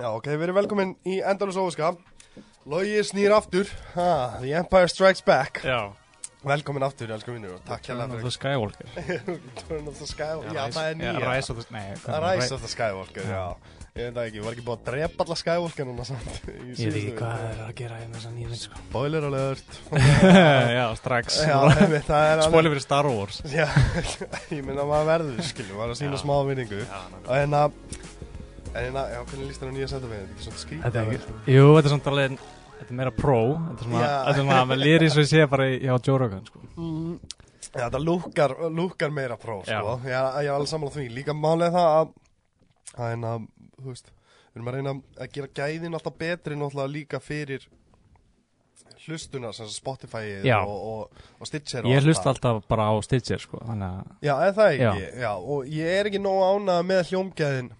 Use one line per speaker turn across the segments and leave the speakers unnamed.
Já, ok, við erum velkomin í Endalus Óviska Logi snýr aftur ha, The Empire Strikes Back
Já,
Velkomin aftur, elsku vinnur og Takk hérna
of
fyrir
the Skywalker
Turn of the Skywalker Já, það er nýja
Rise of the, nei,
Það Rise of the Skywalker, já Ég veit það ekki, var ekki búið að drepa alla Skywalker núna samt í
Ég veit
síðustu
ekki
viku?
hvað er að gera í þessa nýja mynd sko
Spoiler alert
Já, strax
Já, einmitt, það er alveg-
Spoiler fyrir Star Wars
Já, ég minna maður verður, skiljum, maður er að sína
Já.
smá vinningu Og hérna En hérna, já, hvernig líst þér á nýja setafið? Þetta er svona skrítið
Þetta er
að sko.
ekki,
vera-
jú, þetta er samt alveg Þetta er meira pro Þetta er svona,
Já.
þetta er svona, maður lýri eins og ég sé bara í- hjá Joe Rogan sko
Já, þetta lúkar, lúkar meira próf,
Já.
sko. Ég, ég er alveg sammála því. Líka málega það að, að, en að, þú veist, við erum að reyna að gera gæðin alltaf betri náttúrulega líka fyrir hlustuna, sem Spotify
Já.
og, og, og Stitcher og
Ég
allt
hlust
það.
alltaf bara á Stitcher sko Þannig að,
Já, er það ekki? Já. og ég er ekki nóg ánað með hljómgæðin.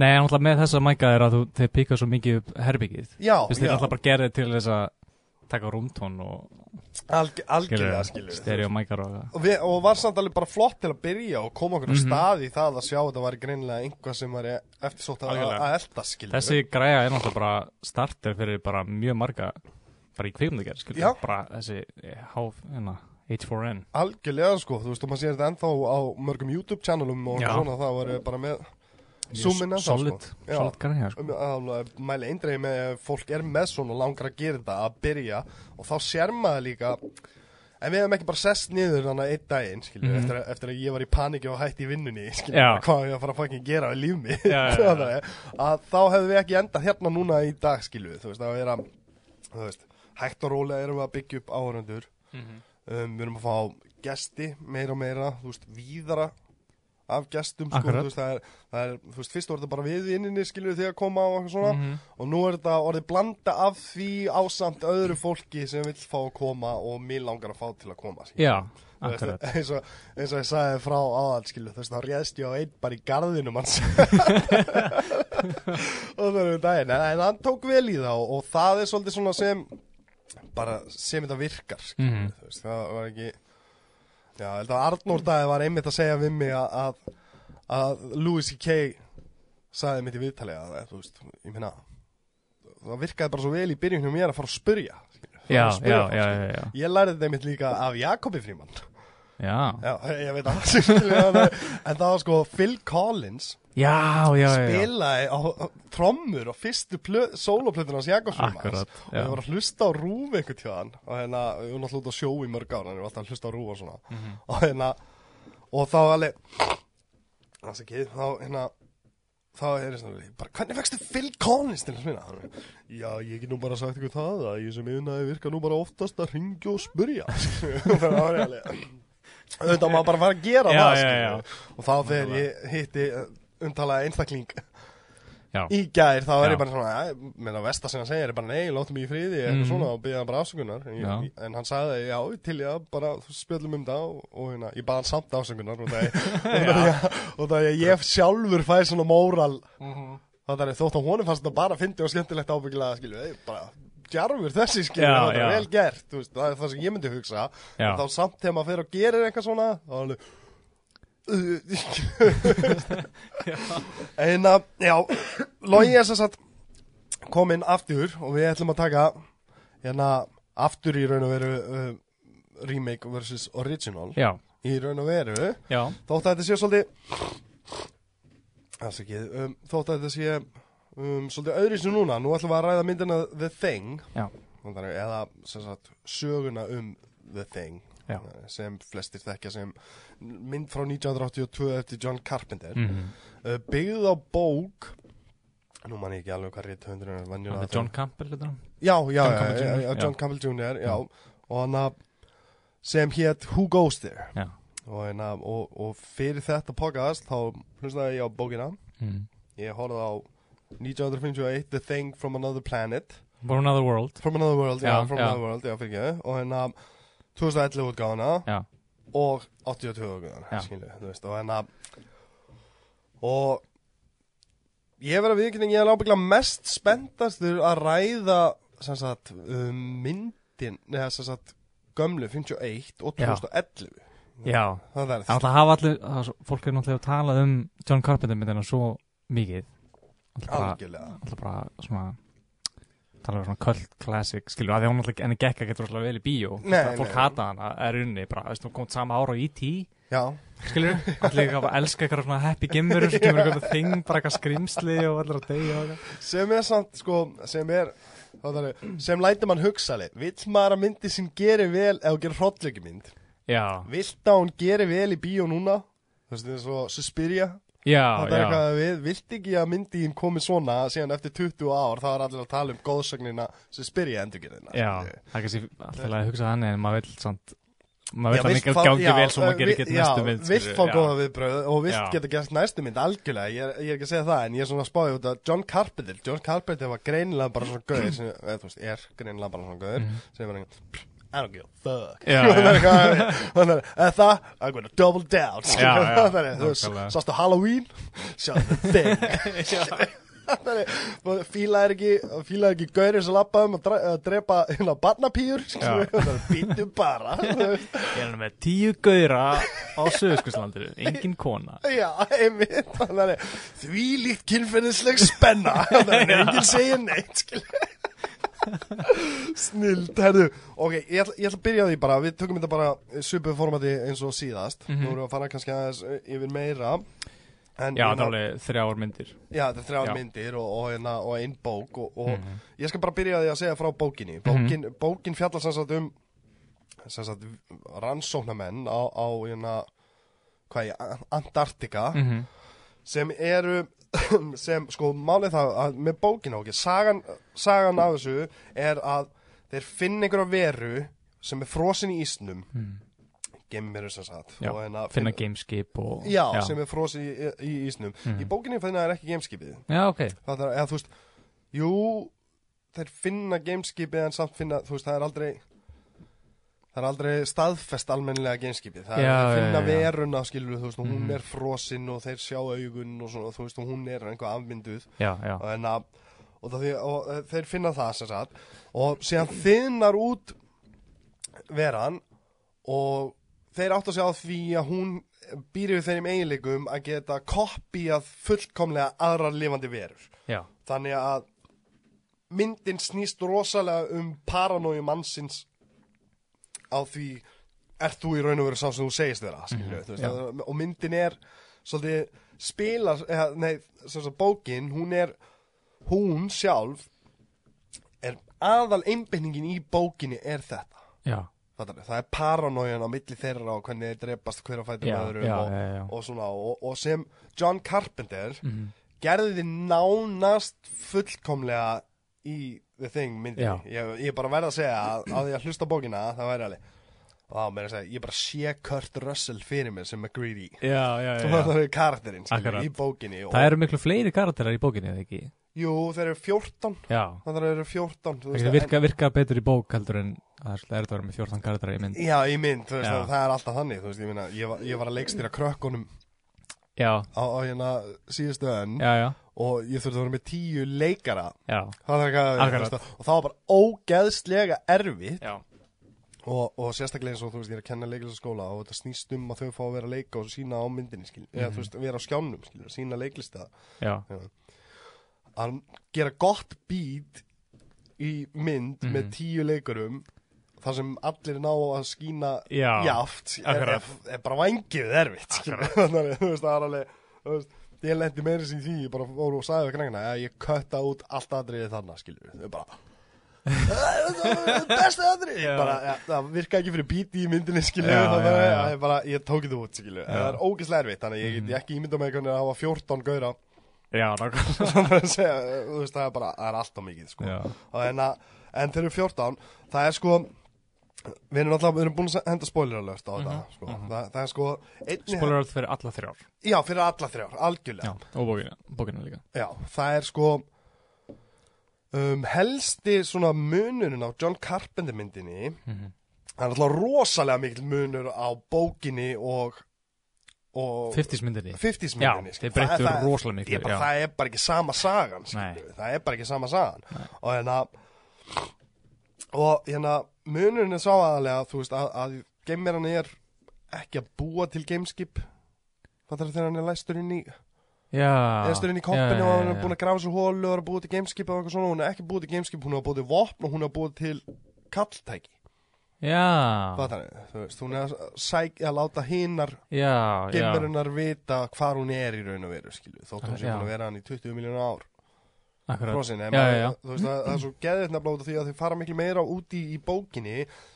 nei, en alltaf með þessa mæka er að þú, þeir píka svo mikið upp herbyggið
Já,
Þú veist,
já,
þeir alltaf bara gerði til þess að taka rúmtón og
alg, algjörlega,
skilur,
skilur.
stereo mækar og
Og, við, og var samt alveg bara flott til að byrja og koma okkur á
Mhm.
stað í það að sjá að þetta var greinlega einhvað sem var eftir sótt að,
Algjörlega.
að elda, skilur.
Þessi græja er náttúrulega bara starter fyrir bara mjög marga bara í kvikmyndagerð, skilur
Já.
bara þessi eh, háf, hérna, H4N
Algjörlega sko, þú veist og maður sér þetta ennþá á mörgum YouTube-channelum og
Já.
svona það var bara með Zoom inn
Mjög
ennþá,
Solid,
sko. Já.
solid græja, sko
um, alveg, mæli eindreið með ef fólk er með svona og langar að gera þetta að byrja og þá sér maður líka en við hefum ekki bara sest niður þannig að einn daginn skilur,
Mhm.
eftir, að, eftir að ég var í paniki og hætti í vinnunni skilur,
Já.
hvað á ég að fara að fucking gera við líf mig
Já, já, já.
Þannig að þá hefðum við ekki endað hérna núna í dag skilur, þú veist að vera þú veist, hægt og rólega erum við að byggja upp áhörundur um, Við erum að fá gesti meira og meira, þú veist, víðara af gestum, sko,
Akkurat.
þú veist, það er, það er, þú veist, fyrst voru þetta bara við vinninni, skilur við þegar koma á og eitthvað svona
Mhm.
og nú er þetta orðið blanda af því ásamt öðru fólki sem vill fá að koma og mér langar að fá til að koma, skilur
Já,
Þú veist,
akkurat
eins, og, eins og ég sagði frá áðan skilu, þú veist, þá réðst ég á einn bara í garðinum hans og það erum daginn, en, en hann tók vel í það og, og það er svolítið svona sem bara sem þetta virkar skilu,
Mhm.
þú veist, það var ekki já, ég held að Arnór dagi var einmitt að segja við mig að, að, að Louis C.K. sagði mitt í viðtali að, þú veist, ég minna það virkaði bara svo vel í byrjunum mér að fara að spurja skilu, fara
Já,
að
já,
spurja fólk, sko.
já,
skilu.
já, já,
Ég lærði þetta einmitt líka af Jakobi Fríman
já
Já, ég veit að skilja, En það var sko Phil Collins
Já, já, já, já
spilaði á á trommur á fyrstu soloplötun hans Jakobsson
Akkurat,
og
já.
ég var að hlusta á rúf einhvern tíðan og hérna, ég var náttúrulega út á sjó í mörg ára en ég var alltaf að hlusta á rúf og svona
Mhm.
og hérna, og þá alveg það sé ekki, þá hérna þá er ég svona, bara, hvernig fegstu Phil Collins til að smina? Já, ég get nú bara sagt ykkur það að ég sem yfirnaði virka nú bara oftast að ringja og spurja það var ég alveg auðvitað á maður bara að fara að gera
Já,
það
já,
skilur
já.
við. og þá þegar ég hitti umtalaði einstakling
Já,
í gær þá er
Já.
ég bara svona, "Æ, meðan Vesta sem hann segir er bara nei, látum mig í friði eitthvað
Mhm.
svona og byrjaði hann bara afsökunar en,
Já.
ég, en hann sagði já, til ég að bara þú spjöllum um það og, og hérna, ég baði hann samt afsökunar og það er- og það er- og það er ég sjálfur fæði svona móral
Mhm.
það er þótt að honum fannst þetta bara fyndi og skemmtilegt ábyggilega skilju, ei, bara djarfur þessi skilju,
Já,
það er
já.
vel gert þú veist, það er það sem ég myndi hugsa
Já.
en þá samt þegar maður fer og gerir eitthvað svona þá er alveg Þú veist. en að, já logi er sem sagt komin aftur og við ætlum að taka hérna aftur í raun og veru uh, remake versus original
já,
í raun og veru
já
þótt að þetta sé svolítið afsakið, um, þótt að þetta sé um, svolítið öðru sem núna nú ætlum við að ræða myndina The Thing
Já,
þannig, eða sem sagt söguna um The Thing eh,
já
sem flestir þekkja sem mynd frá 1982 eftir John Carpenter
Mhm.
uh, byggð á bók nú man ég ekki alveg hvað rétt höndur er
Það
venjulega
er John Campbell, hlutur hann
já, já,
John
já,
Campbell
já, já,
Jr., já.
John Campbell Jr. Já, og hann að sem hétt Who Goes There
Já
og, hérna, og, og fyrir þetta podcast þá hlustaði ég á bókina
Mm.
ég horfði á 1951 The Thing from Another Planet
Born Another World
From Another World, já,
Já,
From
já.
Another World, já, fyrir ekki og hérna 2011 útgáðuna
Já,
og 82 útgáðuna,
Já.
skilu, þú veist og hérna og ég verið að viðkynning ég er ábygglega mest spenntastur að ræða sem sagt um, myndin, neða sem sagt gömlu 51 og
Já.
2011
já
það er
Það er náttúrulega hafa allir, það- fólk er náttúrulega að tala um John Carpenter myndina svo mikið Og bara,
algjörlega
alltaf bara svona tala um svona cult classic skilur, að því að hún alltaf enni gekka getur alltaf vel í bíó
Nei,
Þú veist, fólk
nei.
hata hana, er unni bara, veist, hún kom sama ára á E E.T.
Já,
skilur, allir ekki að elska eitthvað svona happy gimmer, sem kemur eitthvað þing, bara eitthvað skrimsli og allir að deyja og eitthvað.
sem er samt sko sem er þá þar er- sem lætur mann hugsa leið vill maður að myndi sem gerir vel eða gerir hrottleiki mynd
já,
vilt að hún gerir vel í bíó núna þú veist eins og Suspiria
já,
það er
já
eitthvað við vilt ekki að myndin komi svona síðan eftir 20 ár þá er allir að tala um góðsögnina Suspiria endurgerðina
já, það er kannski alltaf að hugsa þannig en maður vil samt maður vil að mikil
fá-
gangi
já,
vel svo maður gerir
vi-
gett næstu
já,
mynd
vilt
skilurðu,
fá
já.
góða viðbröð og vilt
Já.
geta gert næstu mynd algjörlega, ég er, ég er ekki að segja það en ég er svona að spáði út að John Carpenter John Carpenter var greinilega bara svona gauður sem, eða, þú veist, er greinilega bara svona gauður sem er einhvern I don't give a fuck
Mhm. Já,
Hann er
já.
eitthvað- hann er- eða það, I'm gonna double down
Já, já,
Það er, þú veist,
nákvæmlega.
sástu Halloween sjá the thing Þannig, bara fílaðir ekki fílaðir ekki gaurið sem lappaðum að dre- að drepa hérna barnapýur býtum bara þú veist.
Ég er hann með tíu gauðra á Suðuskurslandir, engin kona
Já, einmitt þannig, að Því líkt kynferðisleg spenna Þannig að enginn segir neitt skilur. Snild, herðu Ok, ég ætla, ég ætla að byrja á því bara Við tökum þetta bara svipuð formati eins og síðast Nú erum við að fara kannski aðeins yfir meira en,
Mhm. Já,
ég
það er
meina-
alveg þrjáar myndir
Já, þetta er þrjá
Já. Mhm.
myndir og, og, hérna, og einn bók og, og ég skal bara byrja á því að segja frá bókinni Bókin, bókin fjallar sem sagt um sem sagt rannsóknamenn á, á hérna, hvað ég, Antartika
Mhm.
sem eru sem sko málið það að með bókina okkur, sagan, sagan af þessu er að þeir finna einhverja veru sem er frosin í ísnum mm. gemmiru sem sagt
Mhm. Já,
og hérna,
finna gameskip og
Já, sem er frosin í, í ísnum
Mhm.
Í bókinni finna það er ekki gameskipið
Já, ok
það er, eða þú veist, jú þeir finna gameskipið en samt finna, þú veist, það er aldrei það er aldrei staðfest almennilega gameskipið, það
Já,
er að finna
já, Mhm. já.
veruna skilur, þú veist, og hún er frosin og þeir sjá augun og svona, þú veist, og hún er einhver afmynduð
Já, já,
og, en að, og, það, því- og eh, þeir finna það sem sagt og síðan þinnar út veran og þeir átt að segja á því að hún býr yfir þeirnum eiginleikum að geta kopíað fullkomlega aðrar lifandi verur
já
þannig að myndin snýst rosalega um paranói mannsins á því ert þú í raun og veru sá sem þú segist þeirra skilju, þú veist,
já.
að- og myndin er svolítið spilar eða, nei, sem sagt bókin, hún er hún sjálf er aðal einbytningin í bókinni er þetta
Já,
Fattar, það er paranójan á milli þeirra og hvernig þeir drepast hver að fæta
Já,
öðrum
já,
og,
já, já. Mhm.
og svona og, og sem John Carpenter gerði þið nánast fullkomlega í The Thing myndinni
Já.
ég, ég bara verð að segja að á því að hlusta á bókina það væri alveg Vá, meira að segja, ég bara sé Kurt Russell fyrir mér sem McGreedy
já, já,
það er karakterinn skilur,
Akkurat.
í bókinni og,
Það eru miklu fleiri karakterar í bókinni, eða ekki?
jú þeir eru 14
Já
það eru 14 þú
Það
veist,
getur virka, virka betur í bók heldur en það er svolítið erfitt að vera með 14 karakterar í mynd
en, já í mynd þú veist,
Já.
það, það er alltaf þannig þú veist, ég, meina, ég, var, ég var að leikstýra krökkunum
Já,
á, á hérna síðustu önn
já, já,
og ég þurfti að vera með tíu leikara
já,
það er eitthvað,
Akkurat.
þú veist, og það var bara ógeðslega erfitt
já.
og, og sérstaklega eins og þú veist ég er að kenna leiklistaskóla og þetta snýst um að þau fá að vera að leika og sína á myndinni skil, eða
Mhm.
þú veist vera á skjánum skil, sína leiklista
já.
að gera gott beat í mynd með
Mhm.
tíu leikurum þar sem allir ná að skína
Já,
jáft er,
akkurat.
er, er bara vangið erfitt skilur. þannig að þú veist það er alveg þú veist, ég lendi meira sem því ég bara voru og sagði við knægna að ég kötta út allt aðriðið þarna skilur þau bara besta aðrið
Já.
bara, ja, það virka ekki fyrir bíti í myndinni skilur
Já,
þannig
já,
að
já. Mhm.
ég bara ég tók þetta út skilur það er ógeðslega erfitt þannig að ég get ekki ímynda með hvernig að hafa 14 gauðra
Já, nákvæmlega
Svona að segja, þú veist, það er bara, það er alltaf mikið, sko.
Já.
Og En, að, en þegar við 14, það er sko, við erum alltaf, við erum búin að henda spoiler alert á þetta, sko. það, það er sko, einni,
Mhm, Spoiler alert fyrir alla þrjár
já, fyrir alla þrjár, algjörlega.
Já, og bókina, bókina líka
Já, það er sko um, helsti svona munurinn á John Carpenter myndinni
Mhm.
það er alltaf rosalega mikil munur á bókinni og, og
50s myndinni
50s
Já,
myndinni sko.
þeir breyttu
Það- það-
rosalega miklu,
ég bara,
já.
Það er bara ekki sama sagan
Nei.
skilurðu. Það er bara ekki sama sagan Og hérna Og hérna munurinn er sá aðalega Þú veist að, að gameran er ekki að búa til gameskip Það þarf þegar hann er læstur inn í
Já
eða stöðin í kompinu og hún er búin að grafa sér hólu og er að búið til gameskip og eitthvað svona hún er ekki búið til gameskip, hún er búið til vopn og hún er búið til kalltæki
Já,
Fattar þau? þú veist, hún er að, sæk, að láta hinnar
já, já
gemurinnar vita hvar hún er í raun og veru skilju, þótt hún sé
Já.
búin að vera hann í 20 miljónu ár
Akkurat
Frosin,
Já,
já,
já, já.
þú veist það, það er svo geðið nefnilega út af því að þau fara miklu meira út í, í bókinni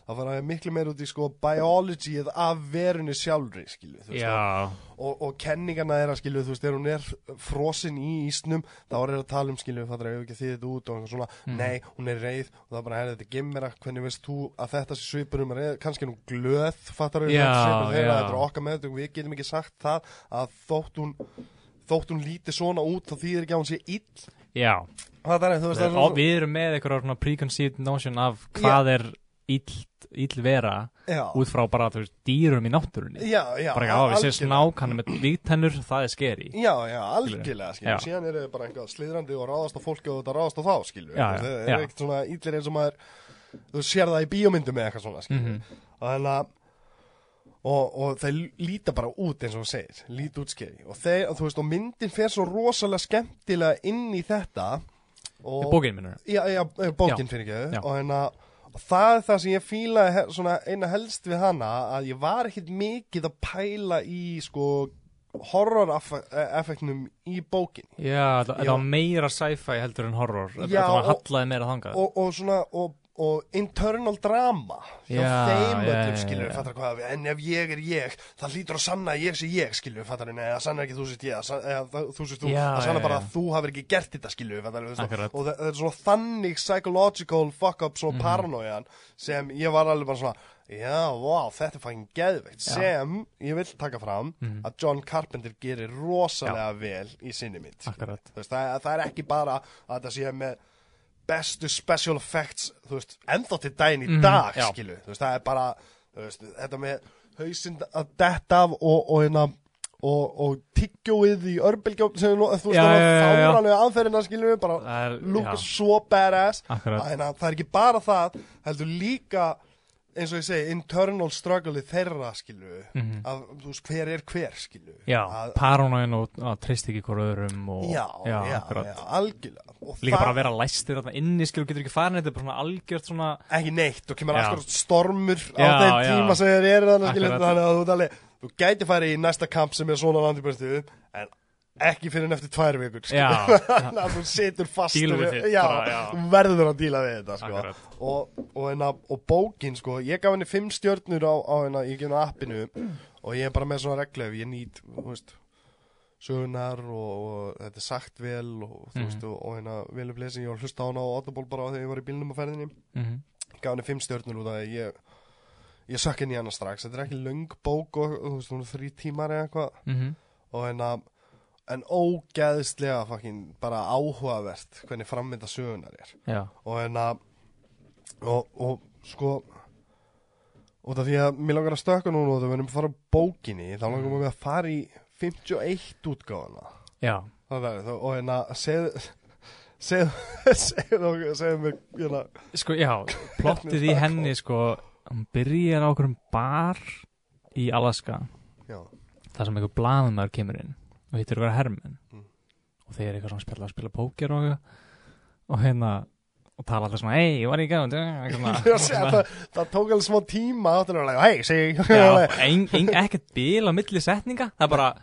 það fara miklu meira út í sko biology eða af verunni sjálfri skilju, þú veist,
Já,
og, og kenningarna er að skilju, þú veist, þegar hún er frosin í ísnum, þá er það að tala um skilju, það er ekki þið þetta út og eitthvað svona
Mhm.
nei, hún er reið og það er bara, herri, þetta er gimmera hvernig veist þú að þetta sé svipur um reið kannski er hún glöð, fattar þau
Já, já.
þetta er okkar með við getum ekki sagt það að þótt hún þótt hún líti svona út þá þýðir ekki að hún sé ill
já
það er, þú veist, það er
Og við erum með eitthvað svona preconceived notion af hvað er ill, ill vera
Já,
út frá bara þú veist dýrum í náttúrunni
já, já
bara ekki að við séum
algjörlega.
snák hann er með vígtennur, það er skeri
Já, já, algjörlega,
Já.
skilju Síðan eru þau bara eitthvað sliðrandi og ráðast á fólki og þetta ráðast á þá, skilju
Já,
Það
já.
er ekkert svona íllir eins og maður Þú sér það í bíómyndum eða eitthvað svona, skilju
Mhm.
Og þannig að Og, og þeir líta bara út eins og þú segir Líta út skeri og, þeir, og þú veist, og myndin fer svo rosalega skemmtilega inn í þetta og,
bókinn minnur
Já, já, eh, bókin
Já.
fyrir
Já.
ekki og, hérna, og það er það sem ég fílaði he- svona eina helst við hana að ég var ekkit mikið að pæla í sko horror-effektnum í bókinni
já, það það
Já.
var meira sci-fi heldur en horror já,
Já,
þetta var
og-
hallaði meira þangað
og, og svona og, og internal drama hjá
Já,
þeim
já,
öllum
já,
skilur
já.
fattar hvað við, en ef ég er ég það hlýtur að sanna að ég sé ég skilur fattar við, neða sanna ekki að þú sést ég að sann- eða það- þú sést þú,
Já,
það
já,
sanna bara
já.
að þú hafir ekki gert þetta skilur fattar við, svona,
Akkurat. Mhm.
og það, það er svona þannig psychological fuck up svona paranoian sem ég var alveg bara svona já, wow, þetta er fucking geðveikt sem ég vil taka fram
Mhm.
að John Carpenter gerir rosalega vel í sinni mitt
Akkurat.
Þú veist, það, það er ekki bara að það sé með bestu special effects þú veist, ennþá til daginn í dag
Mhm, já.
skilu, þú veist, það er bara þú veist, þetta með hausinn að detta af og, og, hérna, og, og tyggjóið í örbelgjóð sem er nú- þú veist,
Já,
það
já, já,
er
já.
fáralega aðferðina skilu, bara
Það er-
lúka
já.
svo badass
Akkurat.
að, hérna, það er ekki bara það, heldur líka eins og ég segi, internal struggle þeirra skilu
Mhm.
að, þú veist, hver er hver skilu
já,
að,
paranoin og að treyst ekki hvort öðrum og,
já, já, já,
akkurat
algjörlega Og
líka
það-
bara að vera læstir þarna inni skilur getur ekki farin þetta er bara svona algjört svona
ekki neitt og kemur
Já.
alltaf stormur á
Já,
þeim
já.
tíma sem þeir eru þannig skilur
Akkurat.
þannig að þú talið þú gæti farið í næsta kamp sem er svona landibörstu en ekki fyrir en eftir tvær vikur skilur.
Já.
þannig að þú situr fast
Dílar við
og-
þitt
já,
bara, já.
þú verður að díla við þetta sko.
Akkurat.
og, og, enna, og bókin sko, ég gaf henni fimm stjörnur á, á enna, ég gef henni appinu og ég er bara með svona reglu ef ég nýt þú veist, sögunar og, og þetta er sagt vel og
Mhm.
þú veist og, og hérna velum lesin ég var að hlusta á hana og autoból bara þegar ég var í bílnum á ferðinni
mhm,
gaf henni fimm stjörnur út af því að ég ég sökk henni í hana strax, þetta er ekki löng bók og þú veist, hún er þrý tímar eða eitthvað
mhm,
og en að en ógeðslega fucking bara áhugavert hvernig frammynda sögunar er
já,
og en að og, og sko út af því að mér langar að stökka núna og það verðum að fara á bókinni þá langar mér að fara í 51 útgáðana
já
það verður og en að segð segð segð segð segð mér hérna,
sko, já, plottið í henni sko, hún byrjar á okkur um bar í Alaska
já,
þar sem einhver blaðumæður kemur inn og hittir ykkur hermenn og þeir eru eitthvað svona að spila, spila póker og, og hérna og tala alltaf svona, ei, ég var í gæðum
Já, sé, það, það tók alveg smá tíma áttúrulega, hei, segi
já, ein, ein, ekkert bil á milli setninga það er bara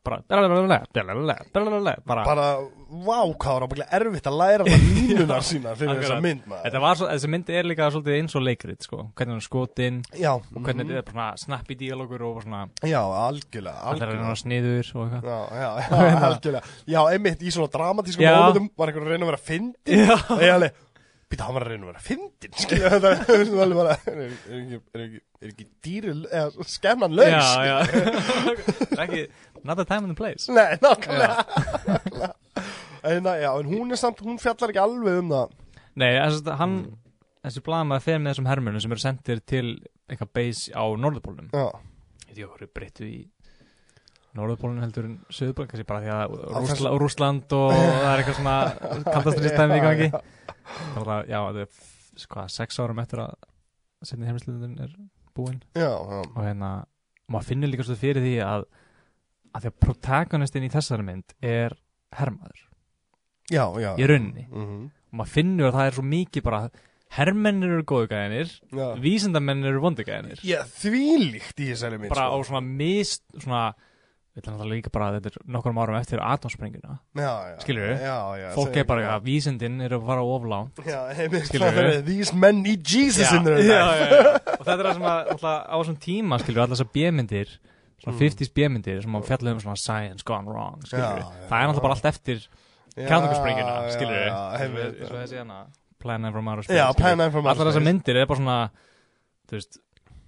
bara, blablabla, blablabla, blablabla, bara
bara, vá, hvað var ábygglega erfitt að læra það línunar sína fyrir
Akkurat.
þessa mynd maður.
þetta var svo, þessi mynd er líka svolítið eins og leikrit sko, hvernig hún er skotin
Já, Mm,
og hvernig þetta er bara svona snappi díalogur og bara svona,
já, algjörlega,
allir er
algjörlega.
hann sniður og eitthvað
Já, já, já, algjörlega Já, einmitt í svona dramatískum
Já.
mómentum var einhver að reyna að vera fyndin
Já.
Það er alveg, býta, hann var að reyna að vera fyndin Skilja, það er það er alveg bara Er er ekki, er ekki, er ekki dýri, eða skemman laus
Já, já Það er ekki, Not the time and the place
Nei, nákvæmlega En, að- já, en hún er samt, hún fjallar ekki alveg um það
Nei, þess að hann Þessi blamaði fer með þessum hermönum sem eru sendir til eitthvað base á Norðupólnum
Já
Ég veit ég okkur breyttu í Norðupólnum heldur en Suðupólnum kannski bara því að
Að
Rúsla, Rúsland og það er eitthvað svona kaldastrístæmi í gangi Þannig að, já, það er f- sko, sex árum eftir að setni heimsliðin er búin
Já, já
og hérna, maður finnir líka svo fyrir því að að því að protagonistin í þessari mynd er hermaður
já, já
í rauninni
mm -hmm.
og maður finnur að það er svo mikið bara hermennir eru góðu gæðinir
já.
vísindamennir eru vondu gæðinir
já, þvílíkt í þessari mynd
bara á
sko.
svona mist svona, við ætlum náttúrulega líka bara að þetta er nokkrum árum eftir atomspringuna
já, já,
Skilurðu?
já, já,
fólk
segir-
er bara að vísindin eru að fara oflá
já, heimil,
Skilurðu?
skilur these men need Jesus in their
já,
life
já, já. og þetta er það sem að alltaf, á þessum tíma skilur alltaf þessar bjömyndir svona
Mm.
50s bjömyndir sem að fjalla um svona science gone wrong skilur
Já, já,
það er alltaf bara allt eftir
Já,
kjarnakurspringina
já,
skilur
já, heimil,
svo þessi hana Plan from Outer Space
já,
skilurðu.
Pan Am from
allar þessar myndir er bara svona þú veist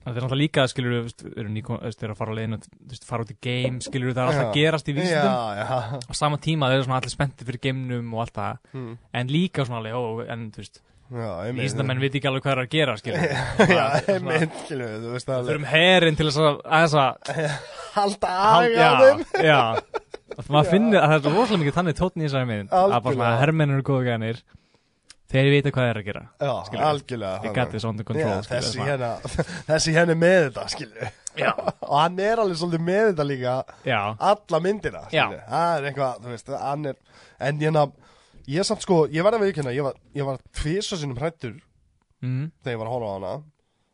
Það er alltaf líka, skilur við, eru nýkom, þú veist, eru að fara á leiðinu, þú veist, fara út í game, skilur það er alltaf að
Já.
gerast í vísindum.
já, já,
Á sama tíma þeir eru svona allir spenntir fyrir gameunum og allt það,
hm,
en líka svona alveg, ó, en þú veist,
já, heimil
vísindamenn veit ekki alveg hvað er að gera, skilur
já, heimil, skilur þú veist
Við
að
þurfum herin til þess að aðeins að
halda
hal-
aga á þeim
já, já. Að maður finnir að það er svo rosalega mikið þannig tótn í þessari mynd að bara svona
Algjörlega.
hermennir eru góðu gænir þegar ég veit hvað það er að gera
já,
skilurðu.
algjörlega
ég
þannig.
gæti þessu under control
Já,
skilurðu,
þessi
svona.
hérna, þessi hérna er með þetta, skilju Og hann er alveg svolítið með þetta líka
já,
Alla myndina, skilju
Já.
Það er eitthvað, þú veist, hann er En hérna, ég samt sko, ég var að viðkynna Ég var, ég var tvisa sinum hrættur
mm,
Þegar ég var að horfa á hana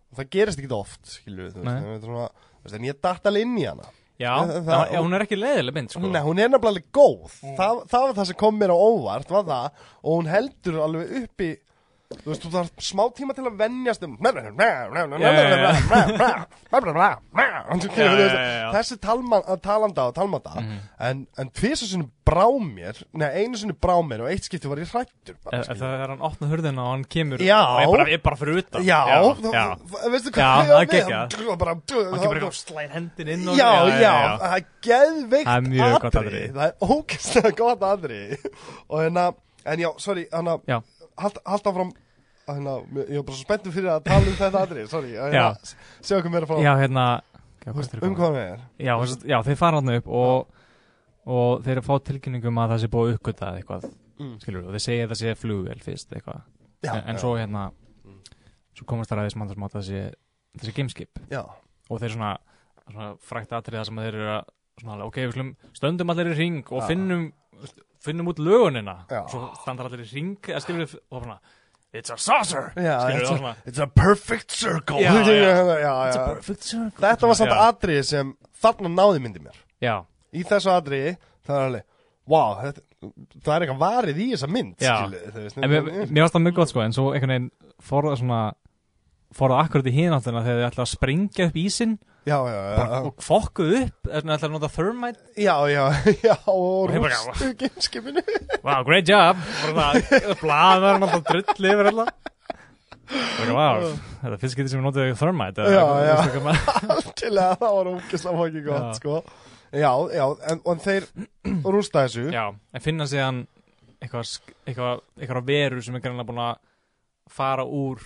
Og það gerist ekki oft, skilju þú
Nei.
veist, en þetta er svona, þú veist, En ég datt alveg inn í hana
já,
Það-
já,
það-
já, hún er ekki leiðileg mynd sko.
Nei, hún er nefnilega alveg góð
Mm.
það, það var það sem kom mér á óvart var það, Og hún heldur alveg uppi Þú veist, þú þarf smá tíma til að venjast um Þessi talma- uh, talanda og talmanda
Mhm.
En, en tvisar sinni brá mér Nei, einu sinni brá mér og eitt skipti var ég hrættur bara,
Ef- ef
skilur.
það er hann opna hurðina og hann kemur
Já.
og ég bara, ég bara fyrir utan
Já,
já,
þú-
já.
þú- veistu
Já,
hvað
það er
ég
geggjað.
Og bara-
hann kemur ekki og slæðir hendin inn
Já,
og
já, það er geðveikt
Það er mjög gott
atriði.
atriði.
Það er ógæslega gott aðri Og hérna, en já, sorry hérna,
Já.
hald, hald áfram hérna, Ég er bara svo spenntur fyrir að tala um þetta aðri Sorry,
Já.
hérna, segja okkur meira frá
já, hérna
Þú veist, Um hvað hann er
Já, þú veist, já þeir fara hann upp og, og þeir eru að fá tilkynningum að það sé búið að uppgöta eitthvað
Mm.
skilur, og þeir segja að það sé flugvel fyrst eitthvað
Já,
en, en
já,
svo hérna
Mm.
svo komast þar aðeins mann sem átt að það sé þessi gameskip
Já,
og þeir svona, svona frækt atriða sem þeir eru að svona, alveg, ok, við slum, stöndum allir í ring og
Já.
finnum finnum út lögunina
Já.
og svo standar allir í ring eða skilur við og svona It's a saucer!
Já,
skilur við
it's
og
a-
svona
it's a perfect circle
Já, já.
já, já,
It's a
já.
perfect circle
Þetta var samt
Já.
aðri sem Þarna náði myndi mér
Já,
Í þessu aðri, það er alveg Vá, þetta, það er eitthvað varið í þessa mynd
Já.
skilurðu, þú veist,
En mér, mér varst það mjög gott sko, en svo einhvern veginn fór það svona fór það akkurat í hináttina þegar þið ætlaði að springja upp ísin
Já, já, já, já.
og fokkuð upp, þannig ætlaði að nota thermite
Já, já, já, og
Ég bara-
rústu gameskipinu
Wow, great job bara það, blaðar hann alltaf drull yfir alltaf Bara, wow, þetta er fyrst getið sem við notaði thermite eða
Já,
eitthvað,
já.
veistu hvað maður-
Algjörlega, það var ógislega fokki
Já.
gott, sko Já, já, en, en þeir rústa þessu
Já, en finna síðan eitthvað, sk- eitthvað, eitthvað veru sem er greinlega búin að fara úr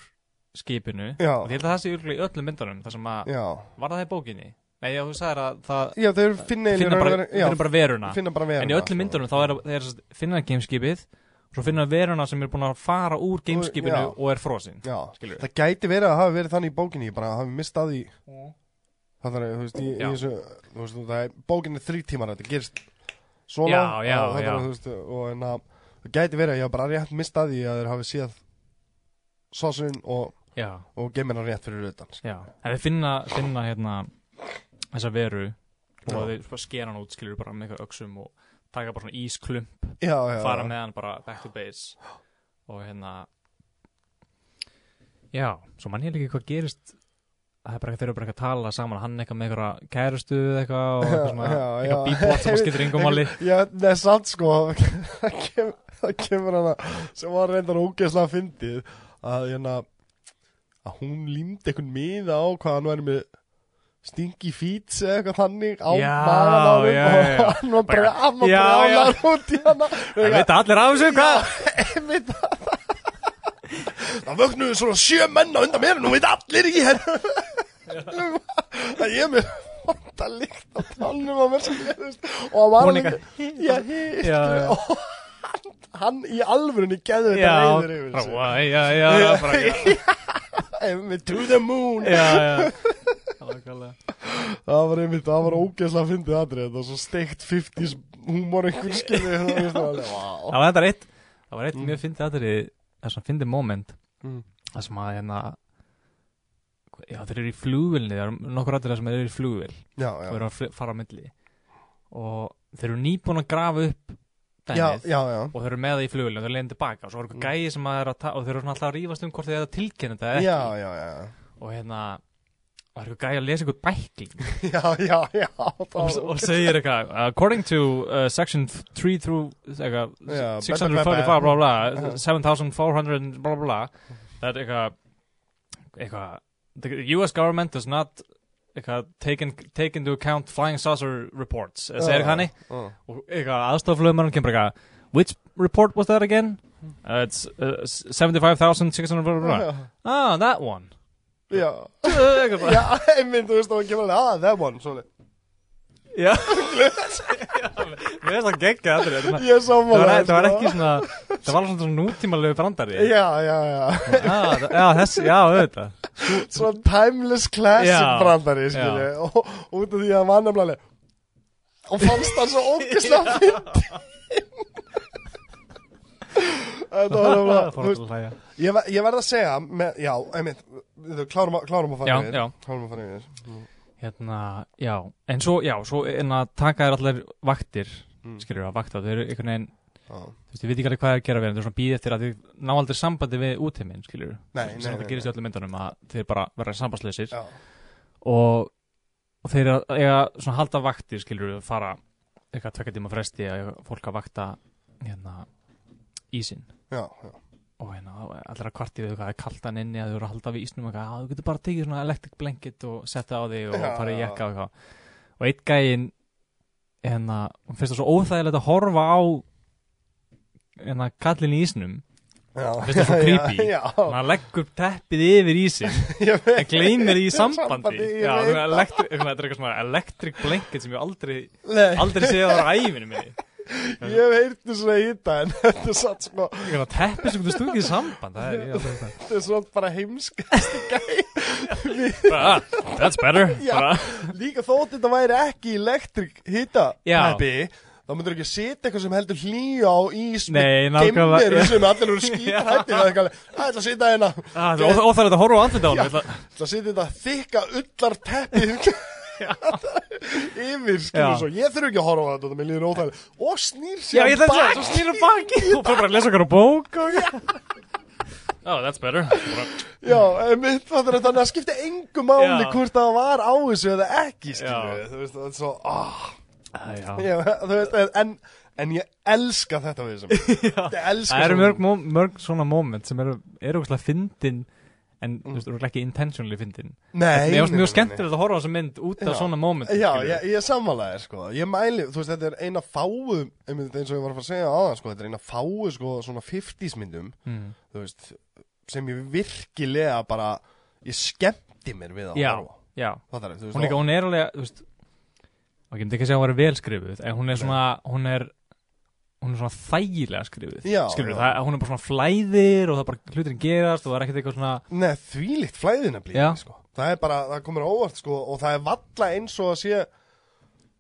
skipinu
Já.
og ég held að það sé örugglega í öllum myndunum þar sem að,
já,
var það í bókinni? Nei, já, þú sagðir að það
já, þeir finna
finna bara,
já,
finna bara veruna
finna bara sko. veruna
en í öllum myndunum þá er, er finna gameskipið svo finna veruna sem er búin að fara úr gameskipinu
Já.
og er frosin
Já,
Skilurðu?
það gæti verið að hafa verið þannig í bókinni Ég bara hafi mistað í Það þarf að, þú veist, í, í
Já.
þessu Þú veist, það er, bókinni er þrý tímar Þetta gerist svona
Já, já,
og, það þarf
já.
að, þú veist, og en að Það gæti verið að ég hafi bara rétt mistað í að þeir hafi séð Sásun og,
já,
og geimina rétt fyrir utan
já en við finna, finna hérna þessa veru og
Já.
þeir bara skera hann út skilur bara með eitthvað öksum og taka bara svona ísklump
Já, já,
fara með hann bara back to base og hérna já, svo mann ég líka hvað gerist það er bara eitthvað þeir eru bara eitthvað að tala saman hann eitthvað með eitthvað kærustu eða eitthvað og eitthvað, svona,
já,
eitthvað
já.
bíbót sem að skiptir yngum máli
Já, neða samt sko það kem- það kemur hana sem var reyndar ógeðslega fyndið að hérna að hún límdi einhvern miða á hvað hann væri með stingi fýts eða eitthvað þannig á
Já,
magan á
já,
honum
já, já.
og hann var bara
Bara-
amma
Já,
brálar út í hana
Það veit allir af þessu, hvað?
einmitt það Það vögnuðu svona sjö menn á undan mér Nú veit allir í hennu Það ég er mér Vonda líkt á tannum á mér sem gerist Og hann var
Hún
alveg- Já, hí-
Já, já.
Og hann- Hann í alvörunni geðu
Já,
þetta reyður yfir
bara,
þessu.
"Why, já, já, já, bara, já,
Einmitt, To the moon
já, já, nákvæmlega.
það var einmitt, það var ógeðslega að fyndið aðrið, það var svo steikt 50s humor einhver skilði það veist, það var alveg, vá.
Það var þetta eitt Það var eitt
Mm.
mjög fyndið aðrið Það sem fyndið moment
Mm.
Það sem að hérna Já þeir eru í flugvilni Það eru nokkur aðrið sem eru í flugvil
já, já,
og eru að fl- fara á milli og þeir eru nýbúin að grafa upp
já,
dæmið
já, Mm. já
og þeir eru með það í flugvélina og þeir eru leiðin tilbaka og svo er eitthvað gæi sem að er að ta- og þeir eru svona alltaf að rífast um hvort þeir eru að tilkynna þetta eða
já,
ekki
já, já,
og hérna og það er eitthvað gæi að lesa eitthvað bækling
já, já, já, það
og,
var-
og segir eitthvað according to uh, section 3 through eitthvað,
Já,
635 bla bla
Uh-huh.
7400 bla bla bla that eitthvað eitthvað the US government does not eitthvað take, in, take into account flying saucer reports eða segir eitthvað hannig
Já,
og eitthvað aðstoflöfumarinn kemur eitthvað which report was that again? Uh, it's uh, 75,600 bla bla bla
já.
ah that one
Já,
eitthvað bara
já, einmitt, þú veist, það var ekki alveg, ah, that one, svolítið
já mér finnst það geggja aðrið þetta er bara-
Ég er
Það
sammála sko.
var, það var ekki svona, það var svona svona nútímalegu brandari
Já, já, já,
ah, það- já, þess, já, auðvitað
svona timeless classic
Já,
brandari,
já.
skilji og og út af því að það var nefnilega alveg- og fannst það svo ógeðslega fyndi Þetta var nefnilega, þú veist,
Fórhaldslega
Ég, ver, ég verð að segja, með, já, einmitt, við klárum, að- klárum að fara
Já,
yfir.
já.
Klárum að fara yfir.
Hérna, já, en svo, já, svo en að taka þér allir vaktir
Mm.
skilur að vakta, þau eru einhvern veginn
Já.
þú veist, ég veit ekki alveg hvað er að gera við þeim, þau eru svona býð eftir að þau ná aldrei sambandi við útheiminn, skilur
Nei, nei,
sem
nei,
það gerist í öllum myndunum að þeir bara verða sambandslausir
Já,
og, og þeir eru að eiga svona halda vaktir, skilur fara eitthvað tvekja tíma fresti að eiga fólk að vakta hérna, ísinn
já, já.
og hérna þá er allir að kvarti við eitthvað það er kalt hann inni að þau eru að halda við ísnum og eitthvað, að þú getur bara tekið svona electric blanket og setta á þig og
Já,
fara í
já.
jakka og eitthvað og eitt gæinn hérna, hún finnst það svo óþægilegt að horfa á hérna kallin í ísnum
Já,
Finnst það svo
já,
creepy?
Já,
og hann leggur teppið yfir ísin
ég veit.
en gleymir því í
Sambandi,
sambandi
ég
já,
veit
svona elektri, eitthvað, þetta er eitthvað svona electric blanket sem ég aldrei,
Nei,
aldrei séð á æfinu minni
ég hef heyrti svona í þetta, en þetta er satt sko,
eitthvað teppið sem getur stungið í samband það er ég aldrei það
þetta er svona bara heimskasti gæ.
Bara, ah, that's better
Já.
Bara,
Líka þótt þetta væri ekki elektrik hita,
Já.
peppi, þá myndur ekki setja eitthvað sem heldur hlýja á ís
Nei, nákvæmlega.
geimveru sem allir eru skýta hættið og eitthvað, "Æ, ég ætla að setja hérna, ég
ah, það er óþ- óþægilegt að horfa á andlita á
Já.
hann
ætla að setja þetta þykka ullar teppið yfir, skilur
Já.
svo, ég þurfi ekki að horfa á þetta, mér líður óþægilega, og snýr sér
Já, ég ætla að segja, svo snýrum baki og fór bara að lesa okkar á bók og... Oh, that's better bara,
Já, einmitt, það er þannig að skipta engu máli
Já.
hvort það var á þessu eða ekki, skilur
Já.
þú veist, það er svo, ah,
ah, já.
já, þú veist, en, en ég elska þetta við þessum, ég elska
Það eru
svona-
mörg, mó- mörg svona moment sem eru er ógæslega fyndin en þú veist, eru ekki intentionally fyndin
Nei,
Mér varst
nei,
mjög
nei, nei.
skemmtilegt að horfa á þessa mynd út af
Já.
svona moment
Já, ég, ég samanlega, sko, ég mæli, þú veist, þetta er eina fáu, einmitt eins og ég var að fara að segja aðan, sko, þetta er eina fáu, sko, svona 50s myndum,
mm.
þú veist, sem ég virkilega bara, ég skemmti mér við að
já,
horfa.
já.
Það er, þú veist,
Hún, líka, hún er alveg þú veist, ok, ég myndi ekki að segja að hún er velskrifuð en hún er svona hún er, hún er svona þægilega skrifuð
Já,
Skilurðu,
já.
það, hún er bara svona flæðir og það bara hluturinn gerast og það er ekkert eitthvað svona
Nei, þvílitt flæðina
Já.
blíði, sko. Það er bara, það komur á óvart, sko, og það er valla eins og að sé,